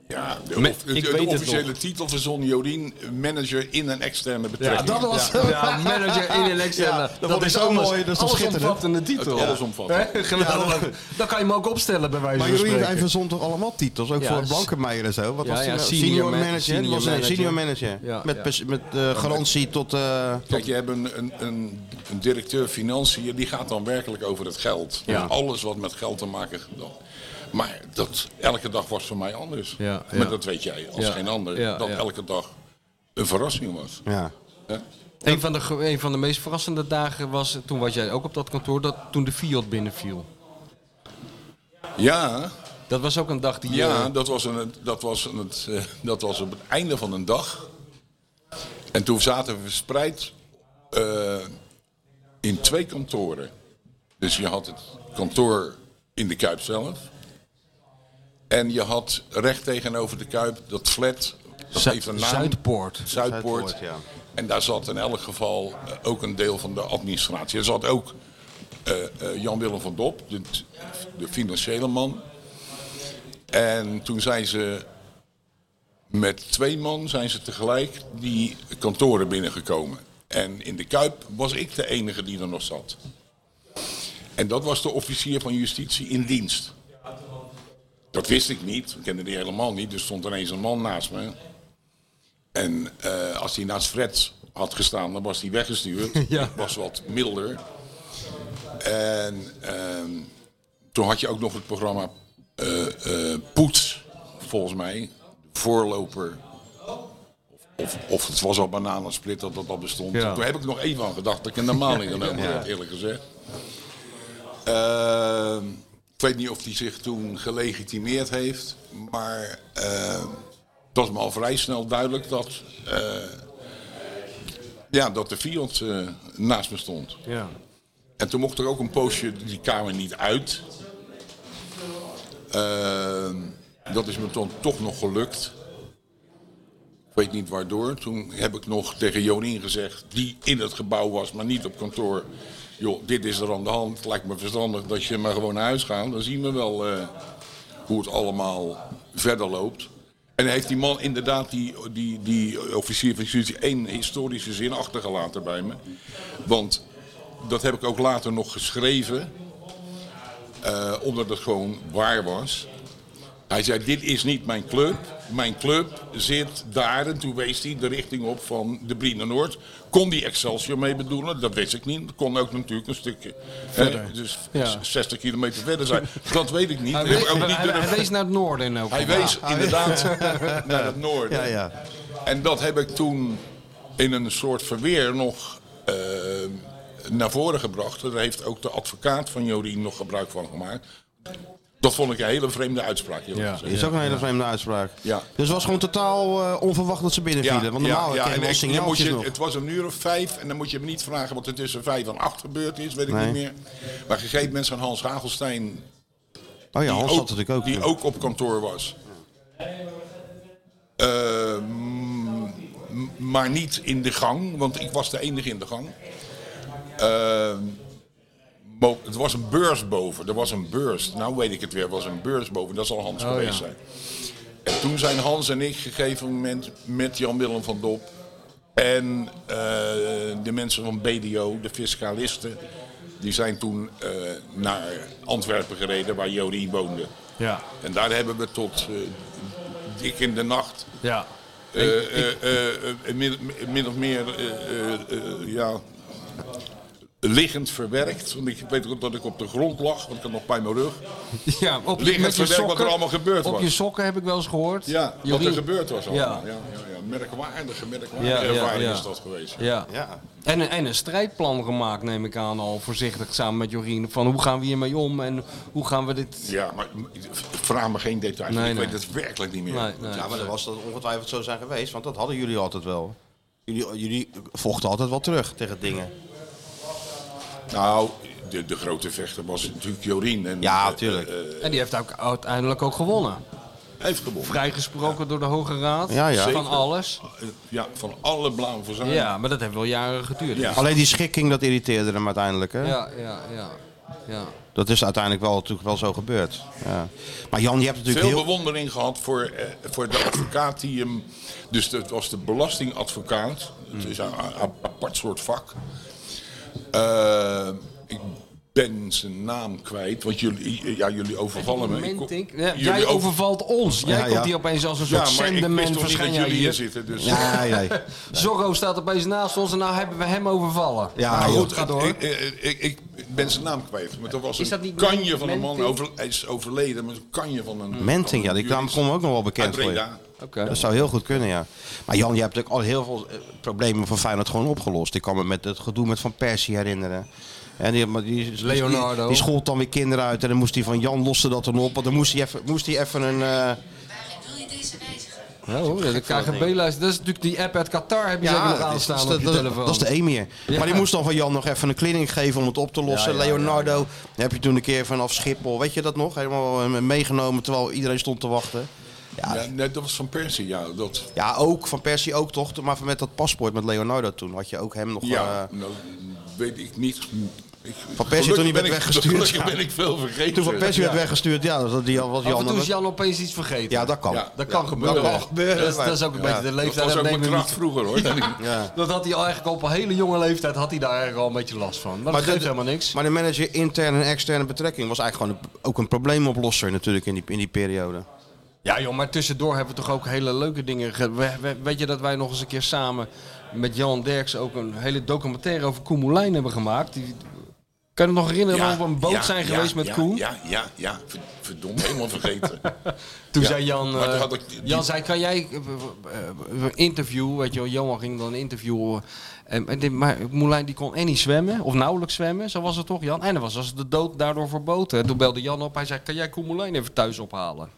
Ja, de,
Met-
of- de-
ik
de
weet het
officiële titel verzon Jorien, manager in een externe betrekking.
dat was
Ja.
Ja, manager in een externe.
Ja, dat
dat,
vond ik
is
zo
alles,
mooi, dat is toch
alles
schitterend?
omvattende titel.
Het allesomvattend.
Hè? Geweldig. Dan kan je hem ook opstellen bij wijze
Maar
van
Jorien, hij
spreken.
verzond toch allemaal titels? Ook
Ja,
voor
s-
Blankenmeijer en zo? Wat
Ja,
was die
ja,
nou?
senior
senior
man-
manager.
senior
was een
manager.
senior manager.
Ja,
met
ja.
pers- met eh, garantie tot... eh,
Kijk, je hebt een, een, een, een directeur financiën, die gaat dan werkelijk over het geld.
Ja.
En alles wat met geld te maken dan. Maar dat, elke dag was voor mij anders.
Ja,
maar
ja.
dat weet jij als
Ja,
geen ander.
ja,
dat
ja.
elke dag een verrassing was.
ja.
hè?
Een van, de, gro- een van de meest verrassende dagen was, toen was jij ook op dat kantoor, dat toen de Fiat binnenviel.
Ja,
Dat was ook een dag die...
ja
eh,
dat, was een, dat, was een, eh, dat was op het einde van een dag. En toen zaten we verspreid eh, in twee kantoren. Dus je had het kantoor in de Kuip zelf. En je had recht tegenover de Kuip dat flat. Dat
Zu-
heeft een naam.
Zuidpoort.
Zuidpoort.
Zuidpoort, ja.
En daar zat in elk geval eh, ook een deel van de administratie. Er zat ook eh, eh, Jan-Willem van Dop, de, de financiële man. En toen zijn ze met twee man zijn ze tegelijk die kantoren binnengekomen. En in de Kuip was ik de enige die er nog zat. En dat was de officier van justitie in dienst. Dat wist ik niet, ik kende die helemaal niet. Er stond ineens een man naast me. En eh, als hij naast Fred had gestaan, dan was hij weggestuurd.
Ja.
Ik was wat milder. En ehm, toen had je ook nog het programma eh, eh, Poets, volgens mij. Voorloper. Of, of het was al Bananensplit dat dat al bestond.
Ja.
Toen heb ik nog even aan gedacht dat ik een normaal ingenomen had, eerlijk gezegd. Ehm, ik weet niet of hij zich toen gelegitimeerd heeft, maar ehm, het was me al vrij snel duidelijk dat, eh, ja, dat de Fiat eh, naast me stond.
ja.
En toen mocht er ook een poosje die kamer niet uit. Ehm, dat is me toen toch nog gelukt. Ik weet niet waardoor. Toen heb ik nog tegen Jonien gezegd, die in het gebouw was, maar niet op kantoor. Joh, dit is er aan de hand. Het lijkt me verstandig dat je maar gewoon naar huis gaat. Dan zien we wel eh, hoe het allemaal verder loopt. En heeft die man inderdaad, die, die, die officier van justitie, één historische zin achtergelaten bij me. Want dat heb ik ook later nog geschreven, eh, omdat het gewoon waar was. Hij zei, dit is niet mijn club. Mijn club zit daar. En toen wees hij de richting op van de Brine Noord. Kon die Excelsior mee bedoelen? Dat wist ik niet. Dat kon ook natuurlijk een stukje. Verder. dus
Ja.
s- 60 kilometer verder zijn. Dat weet ik niet.
Hij,
Dat heb
wees,
ik ook niet
hij-
durven-
hij wees naar het noorden in elk
hij
geval.
wees inderdaad naar het noorden.
Ja, ja.
En dat heb ik toen in een soort verweer nog eh, naar voren gebracht. Daar heeft ook de advocaat van Jorien nog gebruik van gemaakt. Dat vond ik een hele vreemde uitspraak.
Ja.
Ja.
Is ook een hele vreemde uitspraak.
Ja.
Dus het was gewoon totaal eh, onverwacht dat ze binnenvielen. want normaal ja, we
en ik-
al
dan moet
signaaltjes
je,
nog.
Het was een uur of vijf en dan moet je me niet vragen wat er tussen vijf en acht gebeurd is, weet ik
Nee.
niet meer. Maar op een gegeven moment zijn Hans Hagelstein,
oh ja,
die,
Hans
ook,
had natuurlijk ook.
die
ja.
ook op kantoor was. Eh, m- m- maar niet in de gang, want ik was de enige in de gang. Eh, bo- het was een beurs boven. Er was een beurs. Nou weet ik het weer. Er was een beurs boven. Dat zal
Oh,
Hans geweest zijn. En toen zijn Hans en ik gegeven moment met Jan-Willem van Dop en eh, de mensen van BDO, de fiscalisten, die zijn toen eh, naar Antwerpen gereden waar Jori woonde.
Ja,
En daar hebben we tot eh, dik in de nacht
ja.
eh, eh, eh, eh, min, min of meer eh, eh, eh, ja, liggend verwerkt. Want ik weet ook dat ik op de grond lag, want ik had nog pijn in mijn rug.
ja op,
Liggend
met je
verwerkt wat er
sokken.
allemaal gebeurd
Op
was.
je sokken heb ik wel eens gehoord.
Ja, wat
Jorien.
er gebeurd was allemaal.
Ja.
Ja, ja, ja. Merkwaardige,
Ja,
merkwaardige
ja,
ervaring
ja.
is dat geweest.
Ja.
Ja.
En, een- en een strijdplan gemaakt, neem ik aan, al voorzichtig samen met Jorien. Van hoe gaan we hiermee om en hoe gaan we dit.
Ja, maar vraag me geen details.
Nee,
ik
nee.
weet het werkelijk niet meer.
Nee, nee.
Ja, maar dat was dat ongetwijfeld zo zijn geweest, want dat hadden jullie altijd wel. Jullie, eh, jullie vochten altijd wel terug tegen dingen.
Nou, de, de grote vechter was natuurlijk Jorien. En,
Ja,
eh,
tuurlijk.
eh,
En die heeft ook uiteindelijk ook gewonnen.
heeft gewonnen.
Vrijgesproken door de Hoge Raad
Ja, ja.
van
Zeker.
alles.
Eh, Ja, van alle blauwe verzuim.
Ja, maar dat heeft wel jaren geduurd.
Ja.
Alleen die schikking, dat irriteerde hem uiteindelijk. Hè?
ja, ja. ja. Ja.
Dat is uiteindelijk wel, natuurlijk wel zo gebeurd. Ja. Maar Jan, je hebt natuurlijk
Veel
heel...
bewondering gehad voor, eh, voor de advocaat die hem. Dus dat was de belastingadvocaat. Het is een a- a- apart soort vak. Eh, ik ben zijn naam kwijt, want jullie, ja, jullie overvallen me. Ik
Moment,
kom-
denk, ja, jij
jullie over-
overvalt ons. Jij
Ja, ja.
komt hier opeens als een
Ja,
soort
maar ik wist
senderman
toch niet dat
verschijnen
jullie hier
hier.
zitten. Dus.
Ja, nee. Ja,
Zorro staat opeens naast ons en nou hebben we hem overvallen. Nou,
Maar
joh.
goed,
ga door.
Ik, ik, ik, ik ben zijn naam kwijt. Maar dat was
Is dat
een
niet
kanje van een
Menting?
man. Over, hij is overleden, maar een kanje van een...
Menting, ja, die
van een
naam komt ook nog wel bekend
uit
voor je.
Breda.
Oké.
Dat zou heel goed kunnen, ja. Maar Jan, je hebt natuurlijk al heel veel eh, problemen van Feyenoord gewoon opgelost. Ik kan me met het gedoe met Van Persie herinneren. En die, maar die, die-
Leonardo.
Die, schold dan weer kinderen uit. En dan moest hij van Jan lossen dat dan op. Want dan moest hij even, moest hij even een... eh,
Ja, hoor, de KGB-lijst. Dat is natuurlijk die app uit Qatar. Heb je zeker nog
dat is- dus
aanstaan
dat,
op je
dat-
telefoon.
dat is de Emir.
Ja.
Maar die moest dan van Jan nog even een kliniek geven om het op te lossen. Leonardo dan heb je toen een keer vanaf Schiphol, weet je dat nog? Helemaal eh, meegenomen terwijl iedereen stond te wachten. Ja,
Ja, nee, dat was van Persie, ja. Dat,
Ja, ook van Persie ook toch, maar met dat paspoort met Leonardo toen had je ook hem nog. eh,
ja,
Ja.
nou, weet ik niet. Ik,
Van Persie toen hij werd
ben ik-
weggestuurd,
Gelukkig
ja.
ben ik veel vergeten.
toen van Persie werd weggestuurd, ja, dat die was
Af en toe
Jan.
Oh, is Jan opeens iets vergeten.
Ja, dat kan.
Ja.
Dat kan gebeuren.
kan gebeuren,
Dat, is- dat is ook een
maar-
beetje de
Dat was
leeftijd.
ook mijn
nemen we
kracht
niet.
vroeger, hoor. Dat ik-
Ja.
Dat had hij al eigenlijk op een hele jonge leeftijd had hij daar eigenlijk al een beetje last van. Maar, dat
dit-
geeft helemaal niks.
Maar de manager interne en externe betrekking was eigenlijk gewoon een- ook een probleemoplosser natuurlijk in die, in die periode.
Ja joh, maar tussendoor hebben we toch ook hele leuke dingen. ge- we- we- weet je dat wij nog eens een keer samen met Jan Derks ook een hele documentaire over Koen Moulijn hebben gemaakt? Die, kan je het nog herinneren dat we op een boot
ja,
zijn
ja,
geweest met
ja,
Koen?
Ja, ja, ja. Ver- Verdomme, helemaal vergeten.
Toen
Ja,
zei Jan,
maar
eh,
toen had ik die-
Jan zei, kan jij eh, eh, eh, interview, weet je wel, Johan ging dan interviewen. En, en dit, maar Moulijn die kon en niet zwemmen, of nauwelijks zwemmen, zo was het toch Jan? En dan was, was de dood daardoor verboten. En toen belde Jan op, hij zei, kan jij Koen Moulijn even thuis ophalen?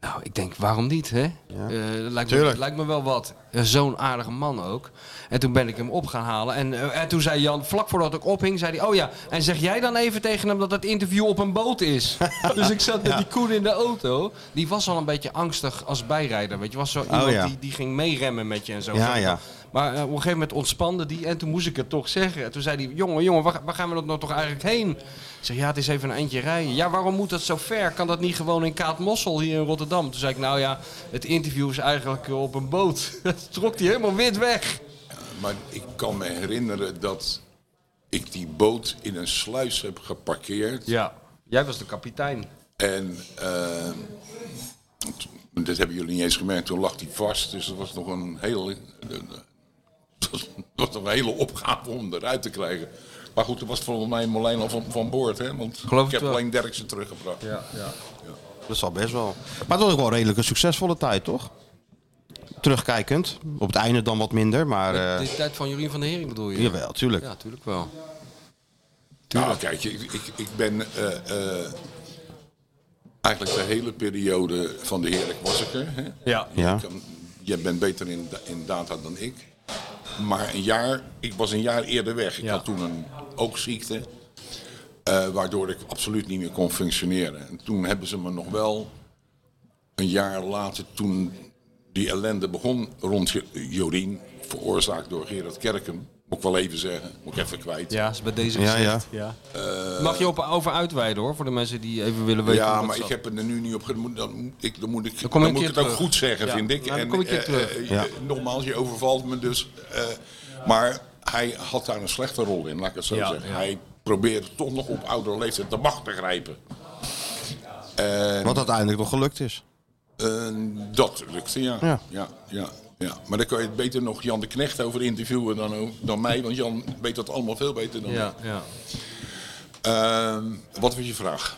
Nou, ik denk, waarom niet, hè? Eh, dat lijkt, me,
Tuurlijk.
dat lijkt me wel wat. Eh, Zo'n aardige man ook. En toen ben ik hem op gaan halen. En, eh, en toen zei Jan, vlak voordat ik ophing, zei hij... Oh ja, en zeg jij dan even tegen hem dat het interview op een boot is. dus ik zat met die Koen in de auto. Die was al een beetje angstig als bijrijder, weet je. Was zo iemand
Oh ja.
die, die ging meeremmen met je en zo.
Ja, ja.
Maar eh, op een gegeven moment ontspande die en toen moest ik het toch zeggen. En toen zei hij, jongen, jongen, waar, waar gaan we dat nou toch eigenlijk heen? Ik zeg, ja, het is even een eindje rijden. Ja, waarom moet dat zo ver? Kan dat niet gewoon in Kaatmossel hier in Rotterdam? Toen zei ik, nou ja, het interview is eigenlijk eh, op een boot. Dat trok hij helemaal wit weg.
Maar ik kan me herinneren dat ik die boot in een sluis heb geparkeerd.
Ja. Jij was de kapitein.
En ehm, t- dat hebben jullie niet eens gemerkt, toen lag hij vast. Dus dat was nog een hele, eh, eh, dat was, dat was nog een hele opgave om hem eruit te krijgen. Maar goed, toen was volgens mij Molijn al van, van boord. Hè? Want
Geloof
ik
het
heb
wel.
alleen Derksen teruggebracht.
Dat zal best wel. Maar het was ook wel redelijk een succesvolle tijd, toch? Terugkijkend. Op het einde dan wat minder, maar... eh,
De tijd van Jurien van der Hering bedoel je?
Jawel, tuurlijk.
Ja, tuurlijk wel.
Nou, kijk, ik, ik, ik ben eh, eh, eigenlijk de hele periode van de Heerlijk was ik er. Hè?
Ja.
Ja.
Ik kan- jij bent beter in, da- in data dan ik. Maar een jaar, ik was een jaar eerder weg. Ik
Ja.
had toen een oogziekte. eh, waardoor ik absoluut niet meer kon functioneren. En toen hebben ze me nog wel een jaar later, toen die ellende begon rond Jo- Jorien, veroorzaakt door Gerard Kerken, moet ik wel even zeggen, moet ik even kwijt.
Ja, is bij deze
Ja, ja.
gezegd. Ja. Mag je op, over uitweiden hoor, voor de mensen die even willen weten. hoe
Ja,
dat
maar ik
zat.
heb het er nu niet op ge- moet- Dan, moet ik, dan moet ik, dan
kom je een
moet ik
keer
het ook
terug.
goed zeggen,
Ja,
vind ik.
nou, dan kom ik een keer
eh,
terug.
eh,
Ja.
eh, Nogmaals, je overvalt me dus. eh, maar hij had daar een slechte rol in, laat ik het zo
Ja,
zeggen.
ja.
Hij probeerde toch nog op oudere leeftijd de macht te grijpen.
Wat uiteindelijk nog gelukt is.
Eh, dat lukte, ja.
Ja.
Ja. Ja, ja, Maar daar kan je het beter nog Jan de Knecht over interviewen dan, o- dan mij. Want Jan weet dat allemaal veel beter dan
Ja,
ik.
ja.
Ehm, wat was je vraag?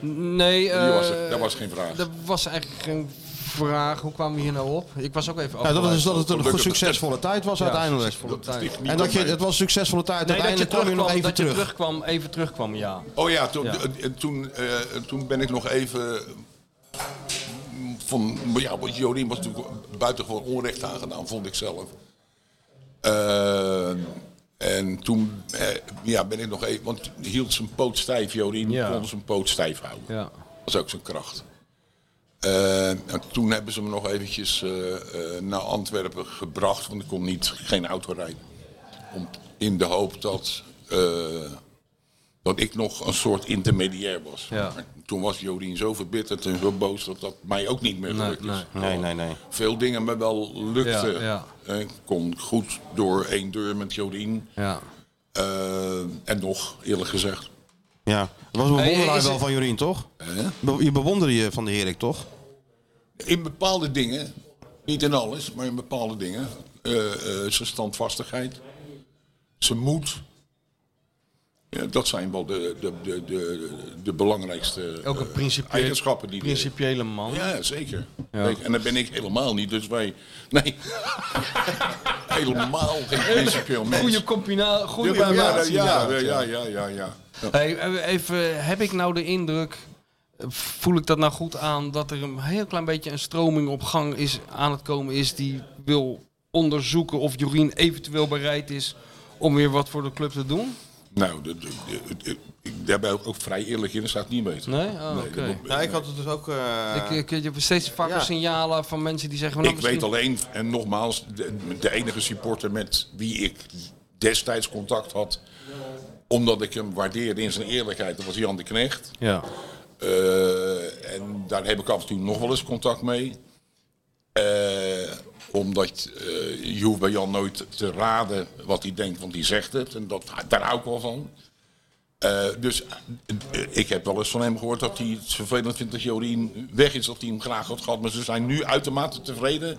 Nee,
Die was
eh,
er. Dat was geen vraag.
Dat was eigenlijk geen vraag. Hoe kwamen we hier nou op? Ik was ook even
Ja, dat is
afgeleid.
dat het een
Gelukkig.
goed succesvolle tijd was uiteindelijk.
Succesvolle
Dat
tijd.
ligt niet
En dat
aan
je,
mij.
het was een succesvolle tijd.
Nee, dat je
uiteindelijk kwam je
terugkwam,
nog even
dat je
terug.
terugkwam, even terugkwam, ja.
Oh ja, toen,
Ja.
en- en toen, eh, en toen ben ik nog even. Van, maar ja, want Jolien was natuurlijk buitengewoon onrecht aangedaan, vond ik zelf. Eh, en toen eh, ja, ben ik nog even. Want hield zijn poot stijf, Jolien
Ja.
kon zijn poot stijf houden.
Ja,
Dat is ook zijn kracht. Eh, en toen hebben ze me nog eventjes eh, eh, naar Antwerpen gebracht, want ik kon niet, geen auto rijden. Om, in de hoop dat eh, dat ik nog een soort intermediair was.
Ja.
Maar toen was Jodien zo verbitterd en zo boos dat dat mij ook niet meer gelukt
nee.
is.
Nee, nee, nee.
Veel dingen me wel lukte.
Ja, ja.
Eh, Ik kon goed door één deur met Jodien.
Ja.
Eh, en nog, eerlijk gezegd.
Ja. Dat was een
Hey,
bewonderaar
is het-
wel van Jorien, toch?
Eh?
Be- Je bewonderde je van de Herik, toch?
In bepaalde dingen, niet in alles, maar in bepaalde dingen. eh, eh, zijn standvastigheid, zijn moed. Ja, dat zijn wel de, de, de, de, de belangrijkste
Ook een
eh,
principiële,
eigenschappen die die-
principiële man.
Ja, zeker. Zeker. En dat ben ik helemaal niet, dus wij. Nee. helemaal geen principieel mens.
Goede combinatie. Goede
ja, ja,
combinatie,
ja,
inderdaad,
ja, ja, ja, ja.
Hey, eh, even, heb ik nou de indruk, eh, voel ik dat nou goed aan, dat er een heel klein beetje een stroming op gang is, aan het komen is die wil onderzoeken of Jorien eventueel bereid is om weer wat voor de club te doen?
Nou, de- de- de- de- ik- daar ben ik ook vrij eerlijk in, dat staat niet weten.
Nee? Oh, oké.
dat-
Ja, ik had het dus ook... eh,
Ik, ik, ik heb steeds vaker
ja.
signalen van mensen die zeggen... nou,
Ik weet
misschien-
alleen, en nogmaals, de, de enige supporter met wie ik destijds contact had, omdat ik hem waardeerde in zijn eerlijkheid, dat was Jan de Knecht.
Ja.
Eh, en daar heb ik af en toe nog wel eens contact mee. Eh, omdat eh, je hoeft bij Jan nooit te raden wat hij denkt, want die zegt het. En dat, daar hou ik wel van. Eh, dus eh, eh, ik heb wel eens van hem gehoord dat hij het vervelend vindt dat Jorien weg is, dat hij hem graag had gehad. Maar ze zijn nu uitermate tevreden.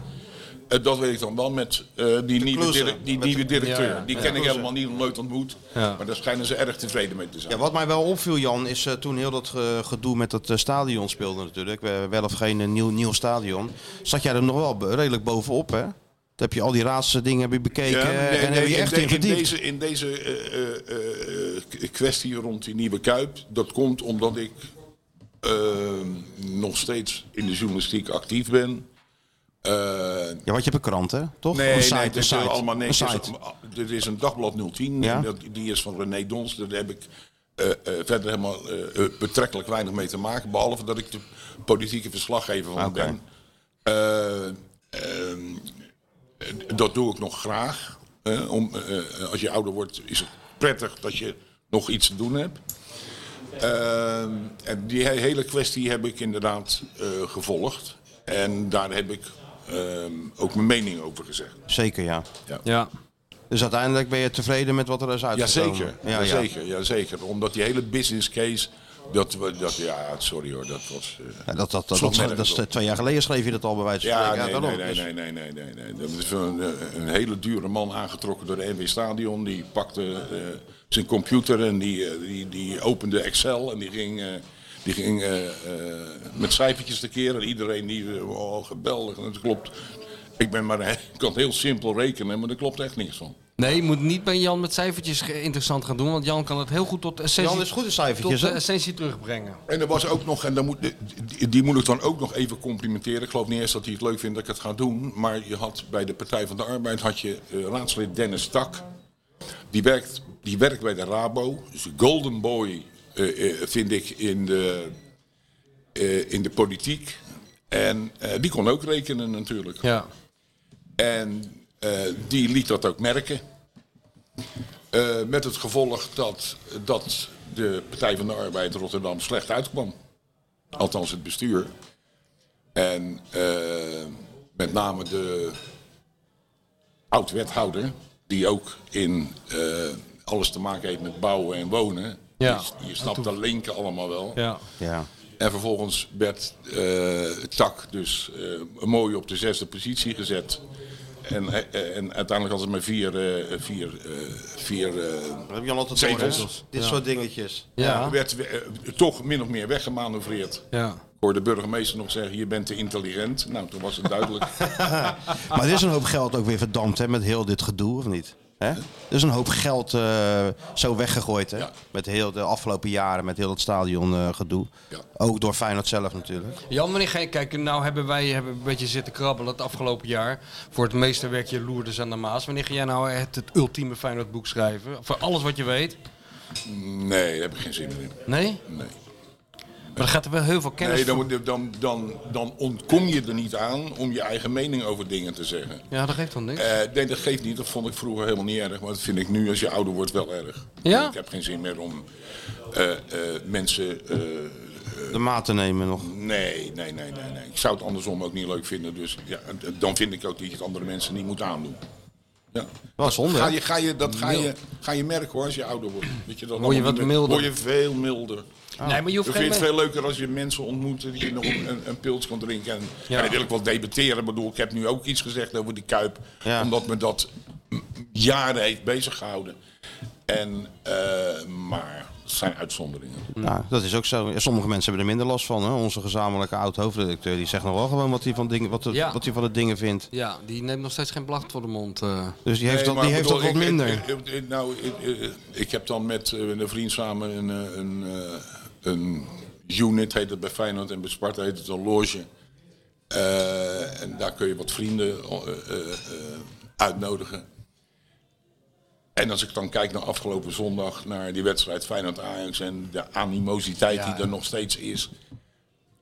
Eh, dat weet ik dan wel met eh, die, nieuwe,
Kloeze.
direc- die
Met
nieuwe
de-
directeur.
Ja, ja.
Die
Ja.
ken ik helemaal niet, nog nooit ontmoet. Maar daar schijnen ze erg tevreden mee te zijn.
Ja, wat mij wel opviel, Jan, is eh, toen heel dat eh, gedoe met het eh, stadion speelde natuurlijk. We- wel of geen eh, nieuw, nieuw stadion. Zat jij er nog wel be- redelijk bovenop, hè? Toen heb je al die raadsdingen heb je bekeken
Ja,
eh,
nee,
en
nee,
heb je echt
de-
in verdiept.
deze, in deze eh, eh, eh, k- kwestie rond die nieuwe Kuip, dat komt omdat ik eh, nog steeds in de journalistiek actief ben. Eh,
Ja, want je hebt een krant, hè? Toch?
nee,
een site,
nee,
een
dit is
site.
allemaal niks.
Een
Dit
site.
is- Dit Ah, is een dagblad 010,
Ja?
en dat, die is van René Dons. Daar heb ik eh, eh, verder helemaal eh, eh, betrekkelijk weinig mee te maken. Behalve dat ik de politieke verslaggever van
Oké.
ben. Eh, ehm, eh, dat doe ik nog graag. eh, om, eh, eh, als je ouder wordt is het prettig dat je nog iets te doen hebt. Ehm, en die he- hele kwestie heb ik inderdaad eh, gevolgd. En daar heb ik ehm, ook mijn mening over gezegd.
Zeker, ja.
Ja.
Dus uiteindelijk ben je tevreden met wat er is uitgekomen?
Jazeker,
Ja,
ja,
ja.
zeker, ja, zeker. Omdat die hele business case, dat, we- dat ja, sorry hoor, dat was... eh,
Ja, dat, dat, dat,
Slot
dat, dat
nergens
is, eh,
op.
twee jaar geleden schreef je dat al bij wijze van
ja,
spreken.
nee,
daarom.
nee, nee,
Dus-
nee, nee, nee, nee, nee. Dat is een, eh, een hele dure man aangetrokken door de NW Stadion. Die pakte eh, zijn computer en die, eh, die, die opende Excel en die ging... eh, die ging eh, eh, met cijfertjes te keren. Iedereen die, eh, oh gebeldig, dat klopt. Ik ben maar, ik kan heel simpel rekenen, maar er klopt echt niks van.
Nee, je moet niet bij Jan met cijfertjes ge- interessant gaan doen, want Jan kan het heel goed tot de essentie,
Jan is goed in
tot
cijfertjes,
de
hè?
essentie terugbrengen.
En er was ook nog, en dan moet, die, die moet ik dan ook nog even complimenteren. Ik geloof niet eens dat hij het leuk vindt dat ik het ga doen. Maar je had bij de Partij van de Arbeid had je eh, raadslid Dennis Tak. Die werkt, die werkt bij de Rabo. Dus de golden boy eh, eh, vind ik in de, eh, in de politiek. En eh, die kon ook rekenen natuurlijk.
Ja.
En eh, die liet dat ook merken. Eh, met het gevolg dat, dat de Partij van de Arbeid Rotterdam slecht uitkwam. Althans het bestuur. En eh, met name de oud-wethouder, die ook in eh, alles te maken heeft met bouwen en wonen.
Ja.
Je, je snapt de linken allemaal wel.
Ja.
Ja.
En vervolgens werd eh, Tak dus eh, mooi op de zesde positie gezet. En, eh, en uiteindelijk had het maar vier, eh, vier, eh, vier eh,
Dat heb je al altijd door, hè?
Zetels.
Dit soort dingetjes.
Ja.
werd eh, toch min of meer weggemanoeuvreerd.
Ja.
Ik hoorde de burgemeester nog zeggen, je bent te intelligent. Nou, toen was het duidelijk.
Maar er is een hoop geld ook weer verdampt hè, met heel dit gedoe, of niet? Hè? Er is een hoop geld eh, zo weggegooid hè?
Ja.
met heel de afgelopen jaren, met heel dat stadion eh, gedoe.
Ja.
Ook door Feyenoord zelf natuurlijk.
Jan, wanneer ga je kijken? Nou hebben wij hebben een beetje zitten krabbelen het afgelopen jaar. Voor het meeste werk je Loerders aan de Maas. Wanneer ga jij nou het, het ultieme Feyenoordboek schrijven? Voor alles wat je weet?
nee, daar heb ik geen zin meer in.
Nee?
Nee.
Maar er gaat er wel heel veel kennis
Nee, dan,
voor-
moet- dan, dan, dan ontkom je er niet aan om je eigen mening over dingen te zeggen.
Ja, dat geeft dan niks.
Eh, nee, dat geeft niet. Dat vond ik vroeger helemaal niet erg. Maar dat vind ik nu als je ouder wordt wel erg.
Ja?
Ik heb geen zin meer om eh, eh, mensen... eh,
De maat te nemen nog.
Mm. nee, nee, nee, nee, nee. Ik zou het andersom ook niet leuk vinden. Dus ja, dan vind ik ook dat je het andere mensen niet moet aandoen. Ja.
Wel zonde.
Ga
hè?
je, ga je, dat ga je, ga je merken hoor, als je ouder wordt. Dat je dat
Word je
allemaal
wat
niet meer-
milder.
Word je veel milder.
Ah. nee, maar je hoeft
Ik
geen...
vind het
me-
veel leuker als je mensen ontmoet die je nog een, een pils kan drinken. En,
Ja.
en dan wil ik wel debatteren. Ik bedoel, ik heb nu ook iets gezegd over die Kuip.
Ja.
Omdat me dat m- jaren heeft bezig gehouden. En, eh, maar het zijn uitzonderingen.
Nou, dat is ook zo. Ja, Sommige mensen hebben er minder last van. Hè? Onze gezamenlijke oud-hoofdredacteur die zegt nog wel gewoon wat hij van, dingen, wat de,
Ja.
wat hij van de dingen vindt.
Ja, die neemt nog steeds geen blacht voor de mond. eh.
Dus die heeft,
Nee,
dat,
maar
die heeft
bedoel,
dat wat
ik-
minder.
ik- ik- ik- nou, ik, ik- ik heb dan met eh, een vriend samen een, eh, een, eh, een unit, heet het bij Feyenoord en bij Sparta heet het een loge. Eh, en daar kun je wat vrienden eh, eh, eh, uitnodigen. En als ik dan kijk naar afgelopen zondag, naar die wedstrijd Feyenoord-Ajax en de animositeit die er nog steeds is.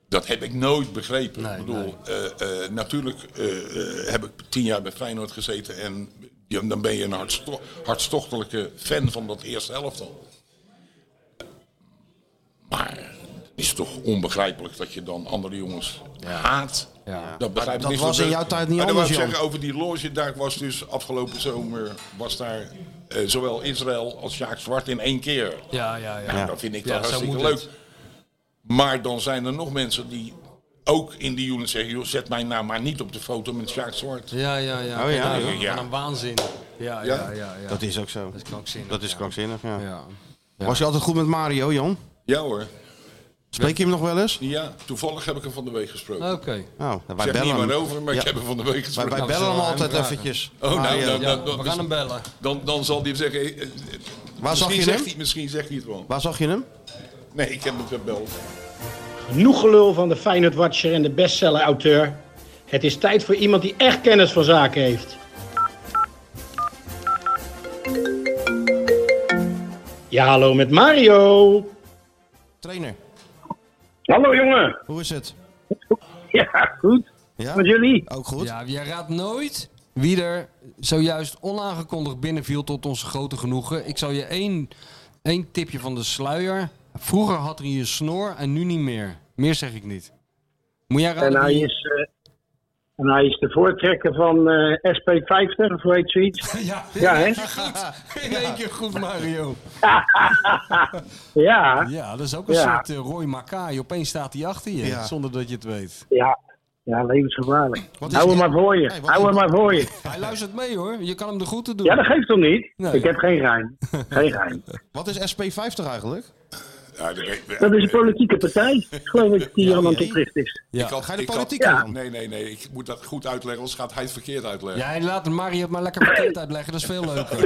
Dat heb ik nooit begrepen.
Nee,
ik bedoel, eh, eh, natuurlijk eh, eh, heb ik tien jaar bij Feyenoord gezeten en ja, dan ben je een hartsto- hartstochtelijke fan van dat eerste elftal. Maar het is toch onbegrijpelijk dat je dan andere jongens haat.
Ja.
Dat, begrijp ik
dat
niet.
was in
de-
jouw tijd niet
Maar dan wou
anders,
ik
Jan.
zeggen, over die loge, daar was dus afgelopen zomer, was daar eh, zowel Israël als Jaak Zwart in één keer.
Ja, ja, ja.
Nou, Dat vind ik
Ja,
wel
zo
hartstikke
moet
leuk.
het.
Maar dan zijn er nog mensen die ook in die unit zeggen, joh, zet mijn naam maar niet op de foto met Sjaak Zwart.
Ja, ja, ja.
Oh, ja,
Kijk, nou,
ja.
Wat een waanzin. Ja, ja, ja. ja,
Dat is ook zo.
Dat is krankzinnig.
Dat is
ja.
krankzinnig, ja.
Ja.
Was je altijd goed met Mario, Jan?
Ja hoor.
Spreek je hem nog wel eens?
Ja, toevallig heb ik hem van de week gesproken.
Oké.
Nou, wij
Ik zeg niet
bellen
meer
hem.
over, maar
Ja.
ik heb hem van de week
Wij,
gesproken.
wij
Nou,
bellen hem
zullen we hem
altijd
vragen?
eventjes.
Oh, nou,
Mario.
nou,
Ja,
nou,
we
dus-
gaan hem bellen.
dan, dan zal hij zeggen, eh, eh,
Waar zag
misschien,
je
zegt
hem?
hij, misschien zegt hij het wel.
Waar zag je hem?
Nee, ik heb hem gebeld.
Genoeg gelul van de Feyenoord Watcher en de bestseller-auteur. Het is tijd voor iemand die echt kennis van zaken heeft. Ja, hallo met Mario.
Trainer,
Hallo jongen.
hoe is het?
Ja, goed.
Ja?
Met jullie?
Ook goed?
Ja, jij raadt nooit wie er zojuist onaangekondigd binnenviel tot onze grote genoegen. Ik zal je één, één tipje van de sluier. Vroeger had hij een snor en nu niet meer. Meer zeg ik niet. Moet jij raden?
En hij
wie-
is, eh, en hij is de voortrekker van eh, SP50 of hoe heet zoiets.
Ja,
Ja, hè?
in één keer goed, Mario.
Ja,
Ja, dat is ook een
Ja.
soort eh, Roy Makai. Opeens staat hij achter je,
Ja.
zonder dat je het weet.
ja. Ja, levensgevaarlijk.
is
Hou hem
dit?
maar voor je.
Hey, wat
Hou
is
hem maar voor je.
Hij luistert mee hoor, je kan hem de groeten doen.
Ja, dat geeft hem niet.
Nee.
Ik heb geen geheim. Geen geheim.
Wat is SP50 eigenlijk?
Ja, dat weet-
Dat is een politieke partij, geloof ik, die hier aan het
nee.
oprichten is.
Ja.
had-
Ga je de
ik had-
politiek
Ja.
aan?
Nee, nee, nee. Ik moet dat goed uitleggen, anders gaat hij het verkeerd uitleggen.
Ja, en laat Mario het maar lekker verkeerd uitleggen, dat is veel leuker.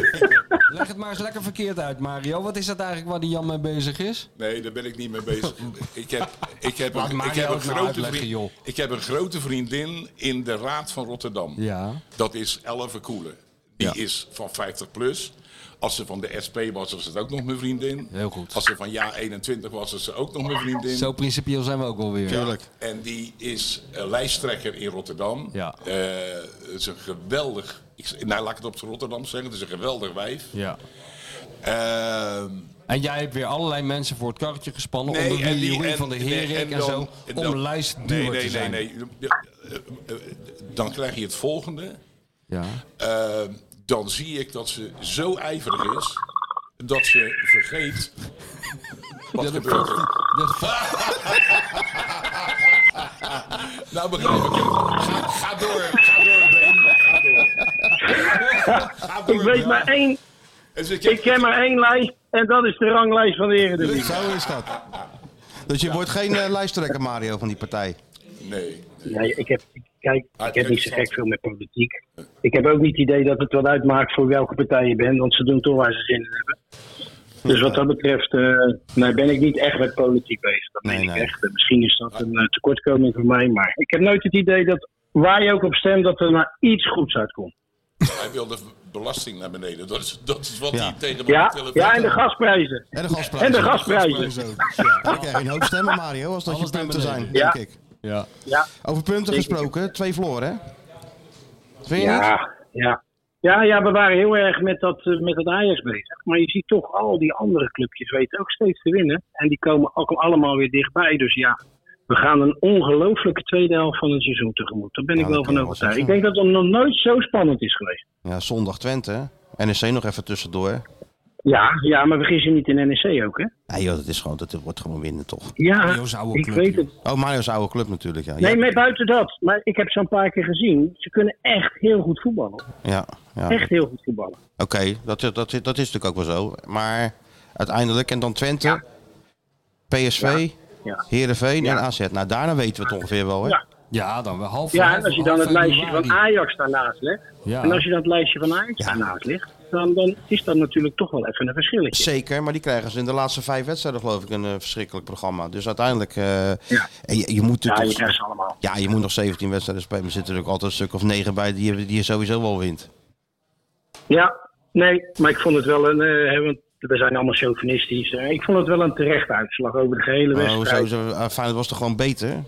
Leg het maar eens lekker verkeerd uit, Mario. Wat is dat eigenlijk waar die Jan mee bezig is?
Nee, daar ben ik niet mee bezig. ik heb, ik heb,
Laat
een,
Mario
ik heb, een,
het nou
grote
uitleggen,
vriend-
joh.
ik heb een grote vriendin in de Raad van Rotterdam.
Ja.
Dat is Elve Koelen. Die
Ja.
is van 50 plus. Als ze van de SP was, was het ook nog mijn vriendin.
Heel goed.
Als ze van jaar 21 was, was ze ook nog mijn vriendin.
Zo principieel zijn we ook alweer.
En die is eh, lijsttrekker in Rotterdam.
Ja.
Eh, het is een geweldig... Ik, nou, laat ik het op het Rotterdam zeggen. Het is een geweldig wijf.
Ja.
Ehm,
En jij hebt weer allerlei mensen voor het karretje gespannen.
Nee,
onder wie
en die-
Jeroen
en-
van der
nee,
Herik en,
dan-
zo.
en
om
dan-
lijstduur
nee, nee,
te zijn.
Nee, nee, Ja, eh, eh, Dan krijg je het volgende.
Ja.
Eh, dan zie ik dat ze zo ijverig is dat ze vergeet. Wat gebeurt er?
Dat-
Nou begrijp ik het. Ga, ga door, ga door, Ben. Ga door. Ga door,
Ik weet
Ben.
maar één,
Dus ik heb-
ik ken maar één lijst en dat is de ranglijst van de Eredivisie.
Zo is dat. Dus je wordt geen eh, lijsttrekker, Mario, van die partij.
Nee.
Ja, ik heb, kijk, ik heb niet zo
interessant.
gek veel met politiek. Ik heb ook niet het idee dat het wat uitmaakt voor welke partij je bent, want ze doen toch waar ze zin in hebben. Dus wat dat betreft, eh, nee, ben ik niet echt met politiek bezig. Dat meen
Nee, nee.
ik echt. Misschien is dat een eh, tekortkoming voor mij, maar ik heb nooit het idee dat waar je ook op stemt, dat er maar iets goeds uitkomt.
Hij wilde belasting naar beneden. Dat is, dat is wat
Ja.
hij tegen mijn
Ja,
telefoon
ja, en de
zegt.
gasprijzen.
En de gasprijs.
En de gasprijzen.
Zo. Ja, dan krijg je een hoop stemmen, Mario, als dat
Alles
je punten
naar
zijn,
beneden.
denk
Ja.
ik.
Ja.
Ja,
Over punten
Denk ik.
gesproken, twee verloren, hè? Vind je niet?
ja, ja. Ja, ja, we waren heel erg met dat, eh, met dat Ajax bezig. Maar je ziet toch al die andere clubjes weten ook steeds te winnen. En die komen ook allemaal weer dichtbij. Dus ja, we gaan een ongelooflijke tweede helft van het seizoen tegemoet. Daar ben
Ja,
ik
dat
wel
kan
van
je wel
overtuigd. Ik
zeggen.
denk dat het nog nooit zo spannend is geweest.
Ja, zondag Twente, hè? NEC nog even tussendoor.
Ja, ja maar vergis je niet in NEC ook, hè?
Nee joh, dat, is gewoon, dat wordt gewoon winnen, toch?
Ja,
Jo's oude
ik
club,
weet
joh.
het.
Oh, Mario's oude club natuurlijk, ja.
Nee,
ja,
maar buiten dat. Maar ik heb ze een paar keer gezien. Ze kunnen echt heel goed voetballen.
ja, ja.
Echt heel goed voetballen.
Oké, dat, is- dat, is- dat is natuurlijk ook wel zo. Maar uiteindelijk, en dan Twente,
Ja.
PSV,
Ja.
Heerenveen
Ja.
en AZ. Nou, daarna weten we het ongeveer wel, hè?
Ja.
Ja, dan wel half
Ja,
vijf,
en als je
half
dan het
januari.
lijstje van Ajax daarnaast legt.
Ja.
En als je dat lijstje van Ajax daarnaast legt. Dan, dan is dat natuurlijk toch wel even een verschilletje.
Zeker, maar die krijgen ze in de laatste vijf wedstrijden, geloof ik, een eh, verschrikkelijk programma. Dus uiteindelijk, eh,
Ja.
en je, je moet
Ja, je
natuurlijk...
krijgt ze allemaal.
Ja, je moet nog 17 wedstrijden spelen. maar Er zitten natuurlijk altijd een stuk of 9 bij die, je- die je sowieso wel wint.
Ja, nee, maar ik vond het wel een. eh, hè, want we zijn allemaal chauvinistisch. Eh, ik vond het wel een terechte uitslag over de gehele
Oh,
wedstrijd.
sowieso, eh, Feyenoord was toch gewoon beter?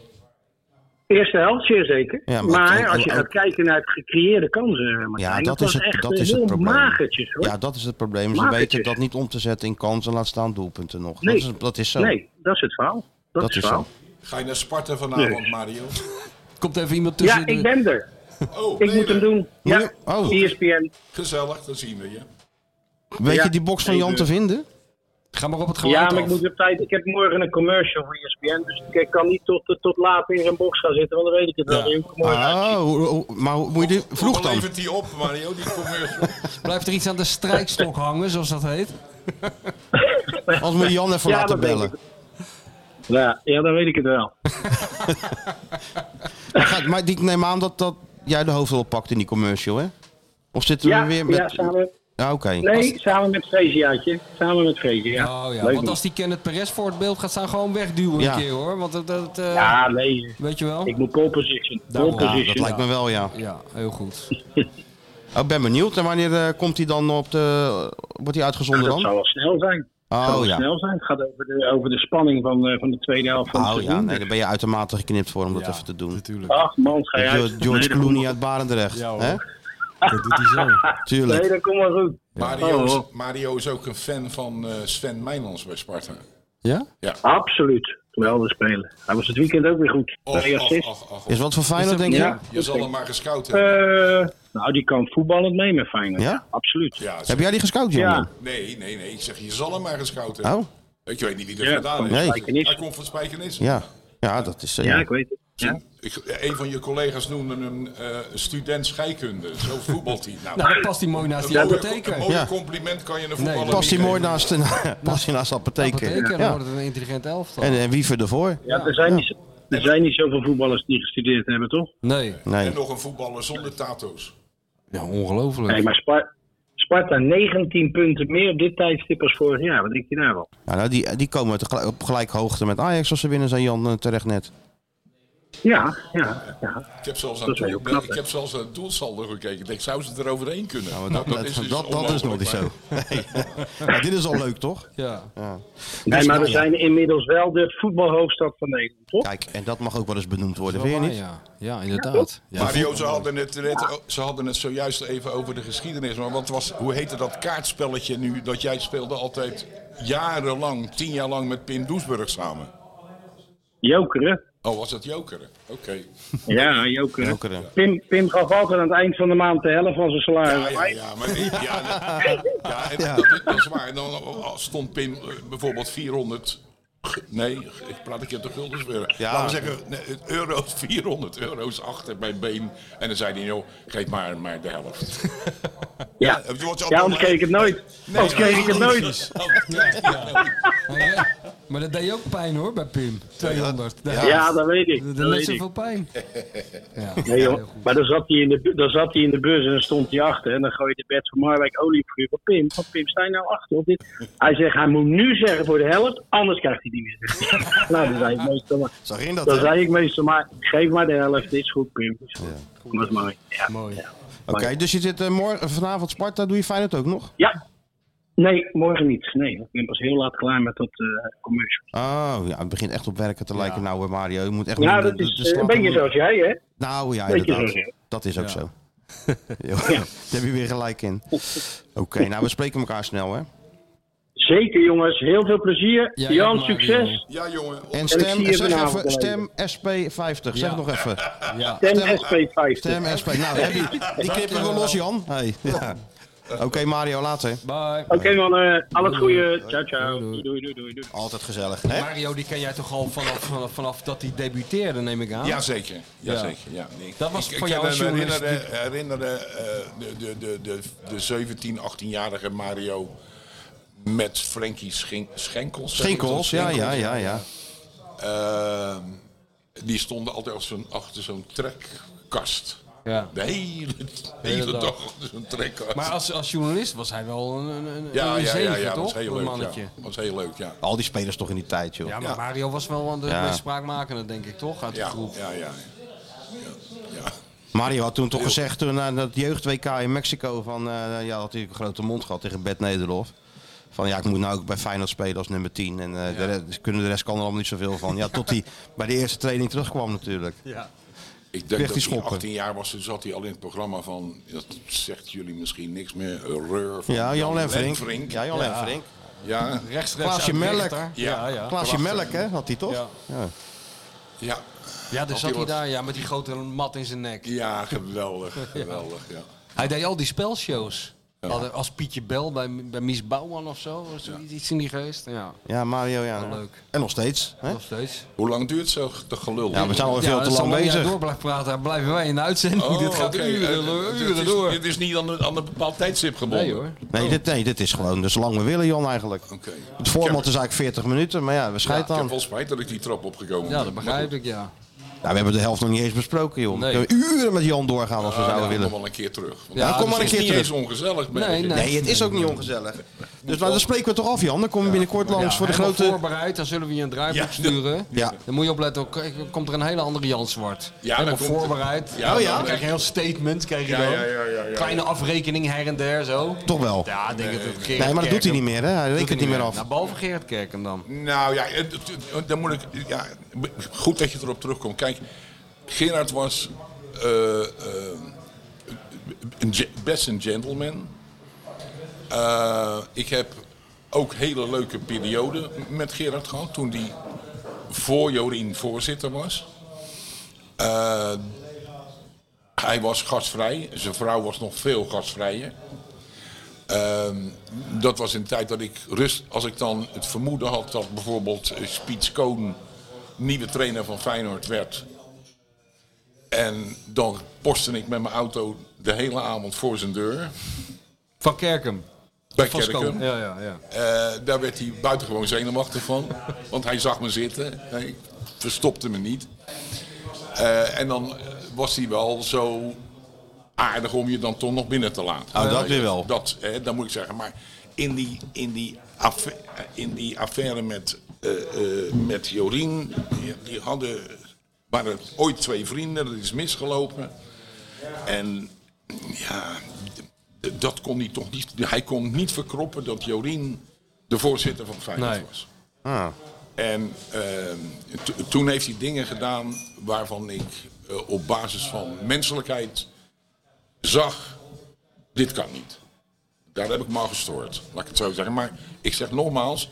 Eerste helft, zeer zeker.
Ja, maar
maar
ook-
als je
ook-
gaat kijken naar het gecreëerde kansen, Martijn,
Ja,
dat,
dat is
was
het,
echt
dat
eh,
is het
heel
probleem.
magertjes hoor.
Ja, dat is het probleem. Ze
Magertjes.
weten dat niet om te zetten in kansen, laat staan doelpunten nog.
Nee.
Dat, is, dat is zo.
Nee, dat is het verhaal. Dat, is het verhaal.
Ga je naar Sparta vanavond, Mario?
Komt even iemand tussen
Ja,
de...
ik ben er.
Oh,
Ik moet hem doen. E Ja,
je- oh.
ESPN.
Gezellig, dan zien we je.
Weet
Ja.
je die box van
Nee,
Jan
eh,
te vinden?
Ga maar op het geluid
Ja, maar
af.
ik moet op tijd. Ik heb morgen een commercial voor ESPN, dus ik kan niet tot, eh, tot laat in zijn box gaan zitten, want dan weet ik het wel. niet hoe het morgen uitziet.
Oh, hoe- hoe- maar hoe moet je die vroeg
Hoe
dan?
levert die op, Mario, die commercial?
Blijft er iets aan de strijkstok hangen, zoals dat heet?
Als moet je Jan even
Ja,
laten
dat weet
bellen.
Ja, ja, dan weet ik het wel.
Ga- Maar die- ik neem aan dat, dat jij de hoofdrol pakt in die commercial, hè? Of zitten we
Ja,
weer met...
ja samen,
Ah, oké.
nee, samen met Freziaatje. Samen met Frezi, ja.
Oh ja,
Leuk
want
man.
als die Kenneth Perez voor het beeld gaat staan, gewoon wegduwen
Ja.
een keer hoor. Want dat, dat eh,
Ja, Ah, nee,
weet je wel?
ik moet pole position.
Daarom.
Pole
Ja, dat
ah, Dat
position.
lijkt me wel, ja. Oh,
Ja, heel goed.
Ik ben benieuwd. En wanneer eh, komt hij dan op de... Wordt hij uitgezonden
Dat
dan?
zal wel snel zijn. Het zal
Oh
wel
ja.
snel zijn. Het gaat over de, over de spanning van, eh, van de tweede helft van het
Oh ja,
seizoen.
nee, daar ben je uitermate geknipt voor om dat
Ja,
even te doen.
Natuurlijk.
Ach man, ga je
Ge-
uit. Nee,
George
dat komt
Clooney uit Barendrecht.
Ja, hoor.
hè?
Dat doet hij zo.
wel- Nee,
Tuurlijk.
dat komt wel goed.
Mario,
Oh,
is,
hoor.
Mario is ook een fan van eh, Sven Meijlands bij Sparta.
Ja?
Absoluut. Geweldig spelen. Hij was het weekend ook weer goed.
Och,
Twee
och,
assists.
och, och.
Is wat voor Feyenoord, denk je?
Ja.
Je zal hem maar gescout hebben.
Eh, nou, die kan voetballend mee met Feyenoord.
Ja?
Absoluut.
Ja,
Heb jij die gescout, jongen?
Ja.
Nee, nee, nee. Ik zeg, je zal hem maar gescout hebben.
Oh,
Ik weet niet wie dat
Ja,
gedaan
van
heeft.
Spijkenis.
Hij komt van Spijkenis.
ja. Ja, dat is... eh,
Ja,
ja.
ik weet het. Ja.
Ik, een van je collega's noemde hem eh, student scheikunde. Zo voetbalt hij. Nou,
Nou, dan past hij mooi naast die
een mooie-
apotheker.
een mooi
Ja.
compliment kan je een voetballer
dat-
Past hij
niet
mooi
geven.
naast, past hij naast de apotheker.
Apotheker, dan
Ja.
wordt het een intelligent elftal.
En, en Wiever ervoor?
Ja, er zijn, niet, er zijn niet zoveel voetballers die gestudeerd hebben, toch?
Nee.
Nee. Nou,
En nog een voetballer zonder tato's.
Ja, ongelooflijk.
Nee, maar Spar- Sparta 19 punten meer op dit tijdstip als vorig jaar. Wat denk je daar wel?
Ja, nou, die, die komen tegelijk- op gelijke hoogte met Ajax als ze winnen, zijn Jan eh, terecht net.
Ja, ja, ja.
Ik heb zelfs aan
Dat is wel
doel-
heel knap,
ik
hè?
heb zelfs aan het doelsaldo gekeken. Ik denk, zou ze er overheen kunnen?
Nou,
Nou,
dat, dat,
dus
dat, dat is nog niet
onmogelijk,
zo.
maar-
Nee. Maar dit is al leuk, toch?
Ja.
Nee, maar we
ja.
zijn inmiddels wel de voetbalhoofdstad van Nederland, toch?
Kijk, en dat mag ook wel eens benoemd worden,
Wel
vind je
waar,
niet?
Ja, ja inderdaad. Ja.
Mario, ze hadden, het net, oh, ze hadden het zojuist even over de geschiedenis. Maar wat was, hoe heette dat kaartspelletje nu dat jij speelde altijd jarenlang, tien jaar lang met Pim Doesburg samen?
Jokeren.
Oh, was dat jokeren? Oké.
Ja, jokeren.
Jokeren.
Pim, Pim gaf altijd aan het eind van de maand de helft van zijn salaris.
Ja, ja, ja, maar ik- ja, dat- ja, en Dat, dat is waar. En dan oh, stond Pim eh, bijvoorbeeld 400. g- Nee, g- ik praat een keer te guldens weer.
Ja.
Laten we zeggen, nee, het euro's, 400 euro's achter mijn been. En dan zei hij, joh, geef maar, maar de helft.
Ja,
Het wordt
ja
allemaal-
anders kreeg ik het nooit. Anders kreeg ik het nooit.
Ja, ja.
Hij, Maar dat deed je ook pijn hoor, bij Pim. 200.
Ja, dat weet ik.
Dat
Dat
deed
weet ik.
zoveel pijn. Ja.
Nee, joh. Maar dan zat, hij in de, bu- dan zat hij in de bus en dan stond hij achter. En dan gooide Bert van Marwijk olie op vuur. Van Pim, van Pim, sta je nou achter op dit? Hij zegt, hij moet nu zeggen voor de helft, anders krijgt hij die weer. nou, dan zei ik meestal maar,
Zag je dat?
dan
hè?
zei ik meestal maar geef maar de helft, dit is goed, Pim. Is goed. Dat is mooi. Ja.
Mooi.
Oké, dus je zit eh, morgen, vanavond Sparta, doe je Feyenoord ook nog?
ja. Nee, morgen niet. Nee, ik ben pas heel laat klaar met dat eh commercial.
Oh, ja, het begint echt op werken te lijken nou, eh, Mario. Je moet echt
Ja,
niet- de-
dat
de-
is
de
eh, een
slag-
beetje zoals jij, hè?
Nou ja,
beetje
inderdaad.
zoals jij.
Dat is ook zo. Jo, Daar heb je weer gelijk in. Oké, nou we spreken elkaar snel hè.
Zeker, jongens. Heel veel plezier.
Ja,
Jan,
ja, maar,
succes.
Ja, jongen.
En
ik zie
stem,
je
zeg
vanavond
even,
wel
stem SP50. Zeg
Ja.
nog even.
Ja.
Stem
Stem-
SP50.
Stem SP. Nou, heb je, die knippen we los Jan. Hey. Ja. Oké Mario, later.
Bye.
Oké, mannen. Al het goede. Ciao, ciao.
Doei,
Doei, doei, doei, doei.
Altijd gezellig. Hè?
Mario, die ken jij toch al vanaf, vanaf, vanaf dat hij debuteerde, neem ik aan?
Jazeker, jazeker. Ja. Nee,
Ah? Dat was
ik,
voor
ik
jou als
kan me
journalist
herinneren, herinneren, eh, de, de, de, de, de 17, 18-jarige Mario met Frankie Schenk, Schenkels. zeg ik dat?
Schinkels, ja, ja, ja, ja.
Ehm, die stonden altijd als zo'n- achter zo'n trekkast.
Ja.
De hele, de hele
dag.
dag achter zo'n trekkast.
Maar als, als journalist was hij wel een, een, een,
ja,
een
ja, ja,
zegen,
ja, was
toch?
heel
een
leuk.
mannetje.
Ja. was heel leuk, ja.
Al die spelers toch in die tijd, joh.
Ja, maar Mario was wel aan de
Ja.
meest spraakmakende, denk ik, toch? Uit de
Ja,
groep.
ja, ja. ja. ja.
Mario had toen toch gezegd, toen na dat jeugd-WK in Mexico, van, eh, ja, had hij een grote mond gehad tegen Bert Nederlof. Van ja, ik moet nou ook bij Feyenoord spelen als nummer 10. En eh, de, rest, kunnen de rest kan er allemaal niet zoveel van. Ja, tot hij bij de eerste training terugkwam natuurlijk.
Ik
Kreeg
denk
die
dat hij
schoppen.
18 jaar was, toen zat hij al in het programma van, dat zegt jullie misschien niks meer, Reur van
Ja, Jan Lenverink.
Lenverink.
Ja, Jan Lenverink.
Ja,
Rechts, rechts.
Klaasje
uit de
Melk.
rechter.
Ja.
Ja, ja.
Klaasje Melk, hè, had hij toch?
Ja. Ja,
ja,
dus
Had hij
zat hij
wat-
daar ja, met die grote mat in zijn nek.
ja, geweldig, geweldig, ja.
Hij deed al die spelshows. Hadden- Als Pietje Bel bij, bij Mies Bouwman of zo. of zoiets, Iets in die geest. Ja,
Ja, Mario, ja.
leuk.
En nog steeds. Hè?
nog steeds.
Hoe lang duurt zo de gelul?
Ja, we zijn al
Ja,
veel te
als
lang
jij
bezig.
door blijft praten, dan blijven wij in de uitzending.
Oh,
Dit gaat
oké.
uren,
Eh, dit
uren
is-
door.
Dit is niet aan een, aan een bepaald tijdstip gebonden.
Nee hoor.
Nee dit, nee, dit is gewoon dus lang we willen, Jan, eigenlijk.
Oké.
Het format is eigenlijk 40 minuten, maar ja, we
Ik
scheiden
heb
aan.
wel spijt dat ik die trap opgekomen
Ja,
ben.
dat begrijp ik, ja.
Ja, we hebben de helft nog niet eens besproken, joh.
Nee.
We kunnen uren met Jan doorgaan als we
Ah,
zouden
ja,
willen.
Kom wel een keer terug. Want
Ja,
dat
kom maar
is
een keer
niet
terug.
eens ongezellig. merk
Nee,
ik.
nee.
Nee, het is ook niet ongezellig. Dus nou, dan spreken we toch af, Jan. Dan komen we binnenkort langs voor de
Helemaal
grote...
voorbereid, dan zullen we je een draaiboek
Ja.
sturen.
Ja.
Dan moet je opletten, ook, kijk, dan komt er een hele andere Jan Zwart.
Ja,
Helemaal
dan komt-
voorbereid.
Ja,
Oh ja?
Dan krijg je een heel statement, krijg je
Ja,
dan.
ja, ja, ja, ja.
Kleine afrekening her en der, zo.
Toch wel.
Ja, ik denk dat het Gerrit
Nee, maar dat doet hij niet meer, hè. Hij
Doet
rekent niet meer af.
Nou, behalve Gerrit Kerken dan.
Nou ja, het- het- dan moet ik. Ja, goed dat je erop terugkomt. Kijk, Gerard was eh, eh, een ge- best een gentleman. Eh, ik heb ook hele leuke perioden met Gerard gehad toen hij voor Jorien voorzitter was. Eh, hij was gastvrij, zijn vrouw was nog veel gastvrijer. Ehm, dat was in de tijd dat ik rust, als ik dan het vermoeden had dat bijvoorbeeld eh, Spiets Koon nieuwe trainer van Feyenoord werd. En dan postte ik met mijn auto de hele avond voor zijn deur.
Van Kerken.
Bij
Van
Kerken.
Skoon. Ja, ja, ja.
Eh, daar werd hij buitengewoon zenuwachtig van. Want hij zag me zitten. Hij verstopte me niet. Eh, en dan eh, was hij wel zo aardig om je dan toch nog binnen te laten. Eh,
Oh, dat weer wel.
Dat, hè, dat moet ik zeggen. Maar in die, in die, affa- eh, in die affaire met, eh, eh, met Jorien, die, die hadden, waren ooit twee vrienden, dat is misgelopen. En ja, d- dat kon hij toch niet. Hij kon niet verkroppen dat Jorien de voorzitter van Feyenoord
Nee.
was.
Ah.
En ehm, to- toen heeft hij dingen gedaan waarvan ik eh, op basis van menselijkheid zag, dit kan niet. Daar heb ik me al gestoord, laat ik het zo zeggen. Maar ik zeg nogmaals,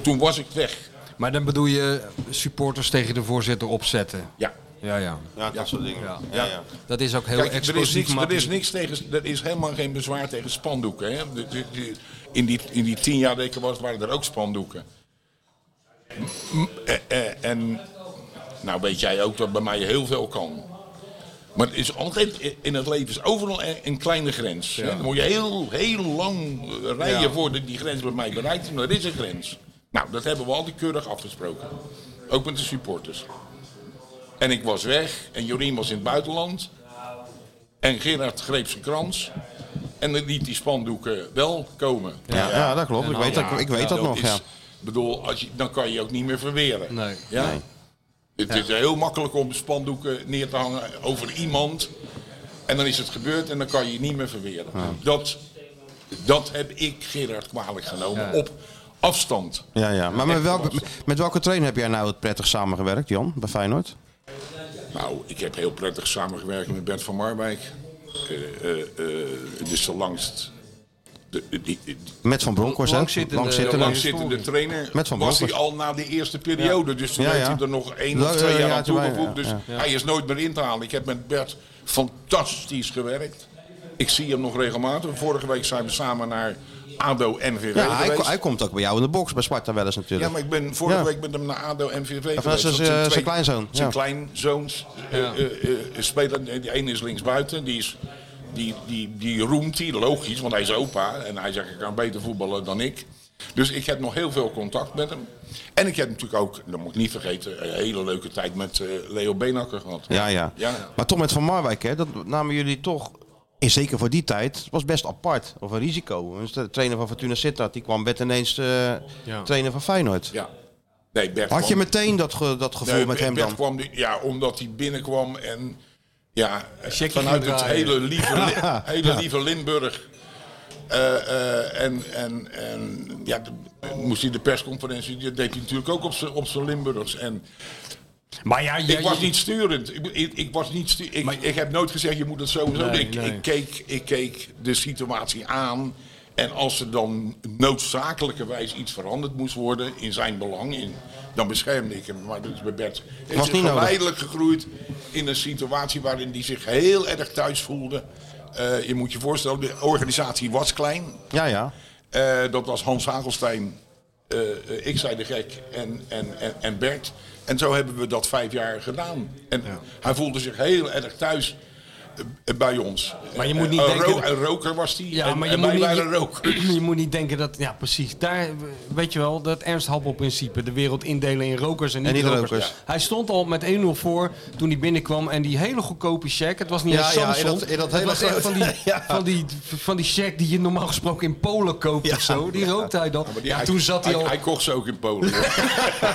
toen was ik weg.
Maar dan bedoel je supporters tegen de voorzitter opzetten.
Ja.
Ja, ja.
Ja, dat soort dingen.
Ja.
Ja, ja.
Dat is ook heel
Kijk, er is,
explosief.
niks,
maar-
er, is niks tegen, er is helemaal geen bezwaar tegen spandoeken. Hè? De- de- de- in, die, in die tien jaar dat ik er was, waren er ook spandoeken. M- m- eh, eh, en nou weet jij ook dat bij mij heel veel kan. Maar het is altijd i- in het leven is overal e- een kleine grens. Hè? Dan moet je heel, heel lang eh, rijden voordat die grens bij mij bereikt is. Maar er is een grens. Nou, dat hebben we altijd keurig afgesproken. Ook met de supporters. En ik was weg en Jorien was in het buitenland. En Gerard greep zijn krans. En dan liet die spandoeken wel komen.
Ja, ja, dat klopt. Ik weet, dat, ik weet dat, nog.
Nou, is-
ja.
bedoel, als je, dan kan je ook niet meer verweren.
Nee.
Ja? Het is heel makkelijk om de spandoeken neer te hangen over iemand. En dan is het gebeurd en dan kan je je niet meer verweren. Dat, dat heb ik Gerard kwalijk genomen op afstand.
Ja, ja. Maar met, welke, met welke trainer heb jij nou het prettig samengewerkt, Jan, bij Feyenoord?
Nou, ik heb heel prettig samengewerkt met Bert van Marwijk. Eh eh, eh, het is de langst... De, die- die,
Met Van Bronckhorst, hè?
Langzittende-
eh, de
Lang-
langzittende trainer
Met Van
was hij
Bronckhorst.
al na de eerste periode. Dus toen
Ja,
heeft
ja.
hij er nog één
Ja,
of twee
ja,
jaar
ja,
aan
toen wij-
toegevoegd.
ja,
Dus
ja.
hij is nooit meer in te halen. Ik heb met Bert fantastisch gewerkt. Ik zie hem nog regelmatig. Vorige week zijn we samen naar ADO NVV
Ja, hij,
geweest.
hij komt ook bij jou in de box, bij Sparta wel eens
ja,
natuurlijk.
maar ik ben vorige
Ja.
week met hem naar ADO NVV geweest.
dat is
Dat
zijn, eh, zijn kleinzoon,
Zijn
ja.
kleinzoons eh, eh, eh, spelen. De ene is linksbuiten. Die, is, die, die, die roemt hij, logisch, want hij is opa. En hij zegt, ik kan beter voetballen dan ik. Dus ik heb nog heel veel contact met hem. En ik heb natuurlijk ook, dat moet ik niet vergeten, een hele leuke tijd met eh, Leo Benakker gehad.
Ja, ja.
Ja.
Maar toch met Van Marwijk, hè, dat namen jullie toch, en zeker voor die tijd, was best apart. Of een risico. Dus de trainer van Fortuna Sittard, die kwam werd ineens eh, trainer van Feyenoord.
Ja. Nee, Bert
Had je
kwam-
meteen dat, ge- dat gevoel
Nee,
met hem
Bert
dan?
Kwam die- ja, omdat hij binnenkwam en ja,
Checkje
vanuit
ging
het
draaien.
hele lieve, Li- hele lieve Limburg. Eh, eh, en en, en ja, de- moest hij de persconferentie, dat deed hij natuurlijk ook op zijn- op zijn Limburgs. En
Maar ja,
ik was niet sturend. Ik, ik, ik was niet stu ik, ik heb nooit gezegd, je moet het sowieso doen.
Nee,
ik,
nee.
ik, keek, ik keek de situatie aan. En als er dan noodzakelijkerwijs iets veranderd moest worden in zijn belang, in, dan beschermde ik hem. Maar dat is bij Bert. Het
Was
is
niet nodig.
geleidelijk gegroeid in een situatie waarin hij zich heel erg thuis voelde. Eh, je moet je voorstellen, de organisatie was klein.
Ja, ja.
Eh, dat was Hans Hagelstein, eh, eh, ik zei de gek en, en, en, en Bert. En zo hebben we dat vijf jaar gedaan. En hij voelde zich heel erg thuis eh, eh, bij ons.
Maar je moet niet
Eh, een
denken-
ro- een roker was hij.
Ja,
en,
maar je
en
moet,
wij
niet,
waren rokers.
je moet niet denken dat, ja precies, daar, weet je wel, dat Ernst Happel-principe, de wereld indelen in rokers en niet,
En niet
rokers.
rokers.
Hij stond al met 1-0 voor toen hij binnenkwam en die hele goedkope check, het was niet
Ja,
eens
ja, in
Samsung,
dat- in dat
het
hele
was echt van die,
Ja.
van, die, van die check die je normaal gesproken in Polen koopt of zo, die rookte hij dan. Ja,
Maar die- hij-
toen zat hij
hij,
al...
hij kocht ze ook in Polen. hoor.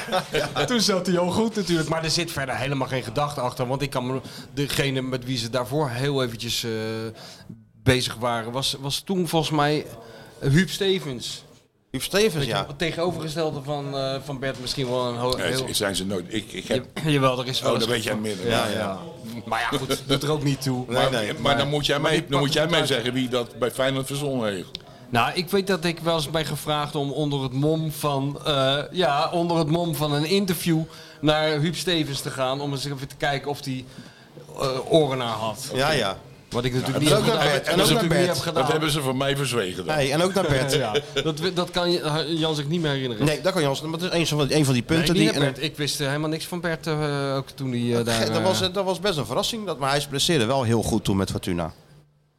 Toen zat hij al goed natuurlijk. Maar er zit verder helemaal geen gedachte achter. Want ik kan me, degene met wie ze daarvoor heel eventjes eh, bezig waren, was, was toen volgens mij eh, Huub Stevens.
Huub Stevens,
Weet je wel,
ja.
Het tegenovergestelde van, eh, van Bert misschien wel een ho-
Nee,
heel...
ze- zijn ze nooit. Ik, ik heb,
Ja, Jawel, er is wel
oh,
eens
dat weet jij
gevoel.
minder.
Ja, ja. Maar ja, goed, doet er ook niet toe.
Maar, maar dan moet jij
Maar
mij,
die
dan moet
pakken
jij mij
het uit.
zeggen wie dat bij Feyenoord verzonnen heeft.
Nou, ik weet dat ik wel eens ben gevraagd om onder het mom van, eh, ja, onder het mom van een interview naar Huub Stevens te gaan. Om eens even te kijken of hij eh oren naar had.
Ja, ja.
Wat ik natuurlijk
is
niet heb
ook
gedaan.
naar Bert. En
Wat
ook
ik
naar
natuurlijk niet
Bert.
heb
Dat
gedaan.
hebben ze van mij verzwegen. dan.
Nee, en ook naar Bert.
Ja, dat, we- dat kan je- Jan zich niet meer herinneren.
Nee, dat kan Jans. Maar dat is een van, een van die
Nee,
punten
niet
die...
naar Bert. Ik wist eh, helemaal niks van Bert eh, ook toen hij eh, daar...
en- dat,
eh,
was, dat was best een verrassing. Dat, maar hij presteerde wel heel goed toen met Fortuna.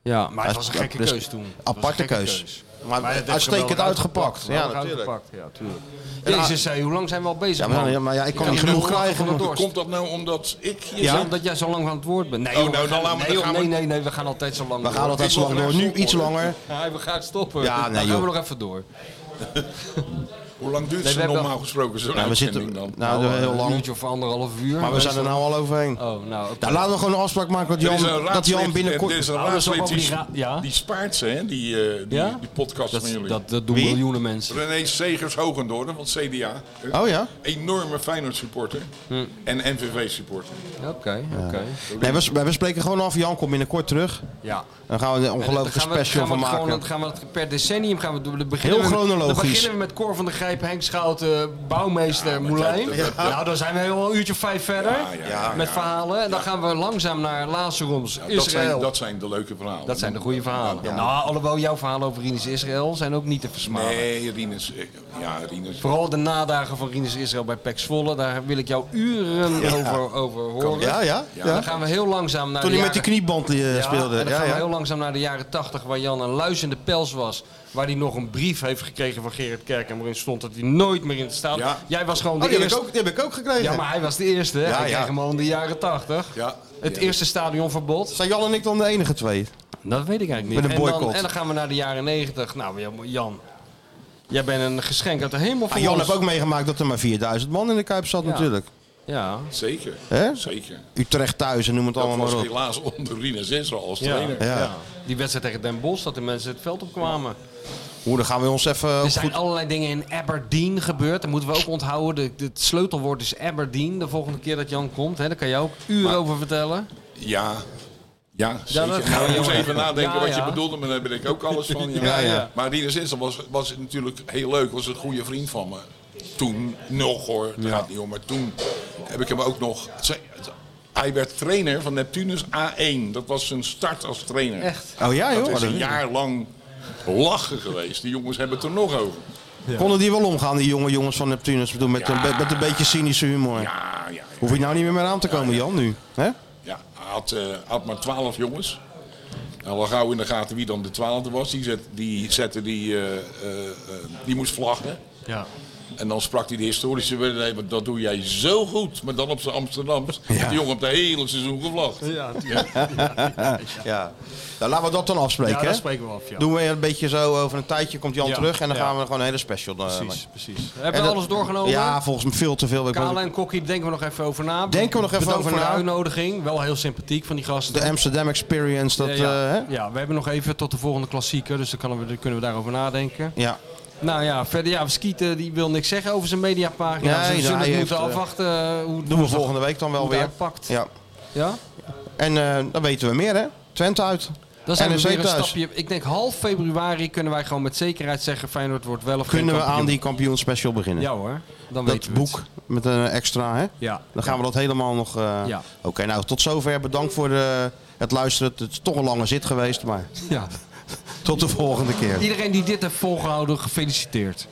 ja, maar het
Hij
was een
is-
gekke
dus-
keus toen. Het was een
Aparte
gekke
keus. Maar,
Maar het heeft
uitstekend
geweldig
uitgepakt. Ja,
Geweldig
natuurlijk.
uitgepakt, Ja, tuurlijk. Jezus, zei, hoe lang zijn we al bezig?
Ja, maar,
man?
ja, maar ja, ik kan
Ja,
niet
maar
genoeg
hoe lang
krijgen.
gaan we door?
Komt dat nou omdat ik hier
Ja?
zat?
Omdat jij zo lang aan het woord bent. Nee,
Oh,
joh,
nou,
we
dan
gaan-
laten we-
nee,
dan
joh,
gaan we-
nee, nee, nee, we gaan altijd zo lang
We gaan altijd zo lang door. Nu iets langer.
Ja, we gaan stoppen.
Ja, nee,
dan gaan we
joh.
nog even door.
Hoe lang duurt
Nee,
ze
we hebben-
normaal gesproken zo'n
Nou, we
uitzending
zitten
dan?
nou, heel
eh, Een
lang.
uurtje of anderhalf uur.
Maar we zijn er nou al overheen.
Oh, nou, oké.
Nou, laten we gewoon een afspraak maken dat
Er is
Jan,
een
dat Jan
raadslid-
binnenkort...
er is een
Oh, dat is
raadslid
ook
die,
die ra- ja.
die spaart ze, hè? Die, eh, die,
Ja?
die podcast
dat,
van jullie.
dat, dat doen
Wie?
miljoenen mensen.
René Segers Hogendoorn van het CDA. Een
Oh ja?
Enorme Feyenoord supporter.
Hm.
En NVV supporter. Nou,
Oké, oké.
Nee, we, we spreken gewoon af. Jan komt binnenkort terug.
Ja.
Dan gaan we er een ongelooflijke
Dan gaan we-
special
gaan
van
we het Gewoon,
maken.
dan gaan we het per decennium gaan we doen. Dan
Heel
beginnen we-
chronologisch.
Dan beginnen we met Cor van de Grijp, Henk Schouten, Bouwmeester, Moulijn.
dat- dat-
Nou, dan zijn we wel een uurtje of vijf verder
ja,
met
ja.
verhalen. En dan gaan we langzaam naar Lazaroms, Israël.
Dat zijn, dat zijn de leuke verhalen.
Dat zijn de goede verhalen. Nou, alhoewel jouw verhalen over Rinus Israël zijn ook niet te versmalen.
Nee, Rinus. eh, Ja, Rinus.
Vooral de nadagen van Rinus Israël bij Pek Zwolle, daar wil ik jou uren over, over horen.
Ja, ja.
En
ja.
Dan gaan we heel langzaam naar
Toen
de
hij met die
jaren-
knieband eh,
Ja,
speelde.
en dan
Ja,
gaan we
ja.
heel langzaam naar de jaren 80, waar Jan een luizende pels was. Waar hij nog een brief heeft gekregen van Gerrit Kerk. En waarin stond dat hij nooit meer in het stadion...
Ja.
Jij was gewoon
Oh,
de
die, heb ik
eerste...
ook, die heb ik ook gekregen.
Ja, maar hij was de eerste. hè?
Ja,
hij
ja.
kreeg hem al in de jaren tachtig.
Ja.
Het
Ja.
eerste stadionverbod.
Zijn Jan en ik dan de enige twee?
Dat weet ik eigenlijk niet.
Met een
En dan,
boycott.
en dan gaan we naar de jaren negentig. Nou, Jan- Jan, jij bent een geschenk uit de hemel voor
Ah, Jan
ons.
heeft ook meegemaakt dat er maar 4000 man in de Kuip zat
Ja.
natuurlijk.
Ja,
Zeker.
Hè?
Zeker.
Utrecht thuis en noem het
Dat
allemaal
was
maar op.
helaas onder Rina Zensra als
Ja.
trainer.
Ja.
die wedstrijd tegen Den Bosch, dat de mensen het veld opkwamen.
Hoe, dan gaan we ons even
Er
goed...
zijn allerlei dingen in Aberdeen gebeurd. Dat moeten we ook onthouden. De- de- het sleutelwoord is Aberdeen. De volgende keer dat Jan komt, hè, daar kan jij ook uren over vertellen.
Ja. Ja, zeker.
dat-
nou, ik
ja,
moest
ja.
even nadenken
Ja,
wat je
ja.
bedoelde, maar daar ben ik ook alles van. Ja.
Ja, ja.
Maar Rina Zensra was, was natuurlijk heel leuk. Was een goede vriend van me. Toen nog hoor, dat gaat niet om. Maar toen heb ik hem ook nog... ze- Hij werd trainer van Neptunus A1. Dat was zijn start als trainer.
Echt.
Oh ja joh,
Dat is
Oh,
een
dat-
jaar lang lachen geweest. Die jongens hebben het er nog over.
konden die wel omgaan, die jonge jongens van Neptunus? Ik bedoel, met, een, be- met een beetje cynische humor.
Ja, ja, ja.
Hoef je nou niet meer mee aan te komen Jan nu? hè?
Ja, hij had, eh, had maar twaalf jongens. En al gauw in de gaten wie dan de twaalfde was. Die, zet, die zette die, eh, eh, eh, die moest vlaggen.
Ja.
En dan sprak hij de historische wedstrijd. want Dat doe jij zo goed. Maar dan op zijn Amsterdams. Die jongen heeft het hele seizoen gevlacht.
Ja,
Ja. Nou, laten we dat dan afspreken.
dat
hè?
spreken we af. Ja.
Doen we een beetje zo, over een tijdje komt Jan terug en dan gaan we gewoon een hele special. eh,
Precies,
maken.
precies.
Hebben
En
we
dat-
alles doorgenomen?
Ja, volgens mij veel te veel. Ik
Kale
ben-
en Kokkie, denken we nog even over na.
Denken we nog even
Bedankt
over
voor
na.
de uitnodiging. Wel heel sympathiek van die gasten.
De Amsterdam Experience, dat...
ja,
eh,
ja.
hè?
Ja, we hebben nog even tot de volgende klassieker, dus dan, kunnen we, dan kunnen we daarover nadenken.
ja.
Nou ja, verder, ja, Skieten die wil niks zeggen over zijn mediapagina.
Nee,
Ze
nou,
zullen
hij
het moeten
heeft, eh,
afwachten eh, hoe
Doen we volgende week dan wel
hoe het
weer.
uitpakt. Ja.
Ja. En eh, dan weten we meer, hè? Twente uit.
Dan zijn
NEC
we weer een
thuis.
stapje. Ik denk half februari kunnen wij gewoon met zekerheid zeggen Feyenoord wordt wel of geen
Kunnen we
kampioen.
aan die kampioenspecial beginnen?
Ja hoor, dan
dat
weten we het.
boek met een extra, hè?
Ja.
Dan gaan we dat helemaal nog... eh,
Ja.
Oké, nou, tot zover. Bedankt voor de, het luisteren. Het is toch een lange zit geweest, maar
ja.
tot de volgende keer.
Iedereen die dit heeft volgehouden, gefeliciteerd.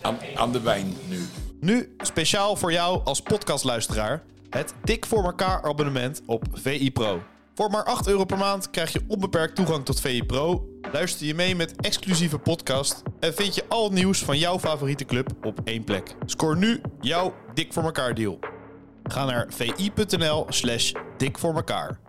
Aan, aan de wijn nu.
Nu speciaal voor jou als podcastluisteraar het Dik voor elkaar abonnement op VI Pro. Voor maar 8 euro per maand krijg je onbeperkt toegang tot VI Pro. Luister je mee met exclusieve podcast en vind je al het nieuws van jouw favoriete club op één plek. Scoor nu jouw Dik voor elkaar deal. Ga naar vi.nl/slash dik voor elkaar.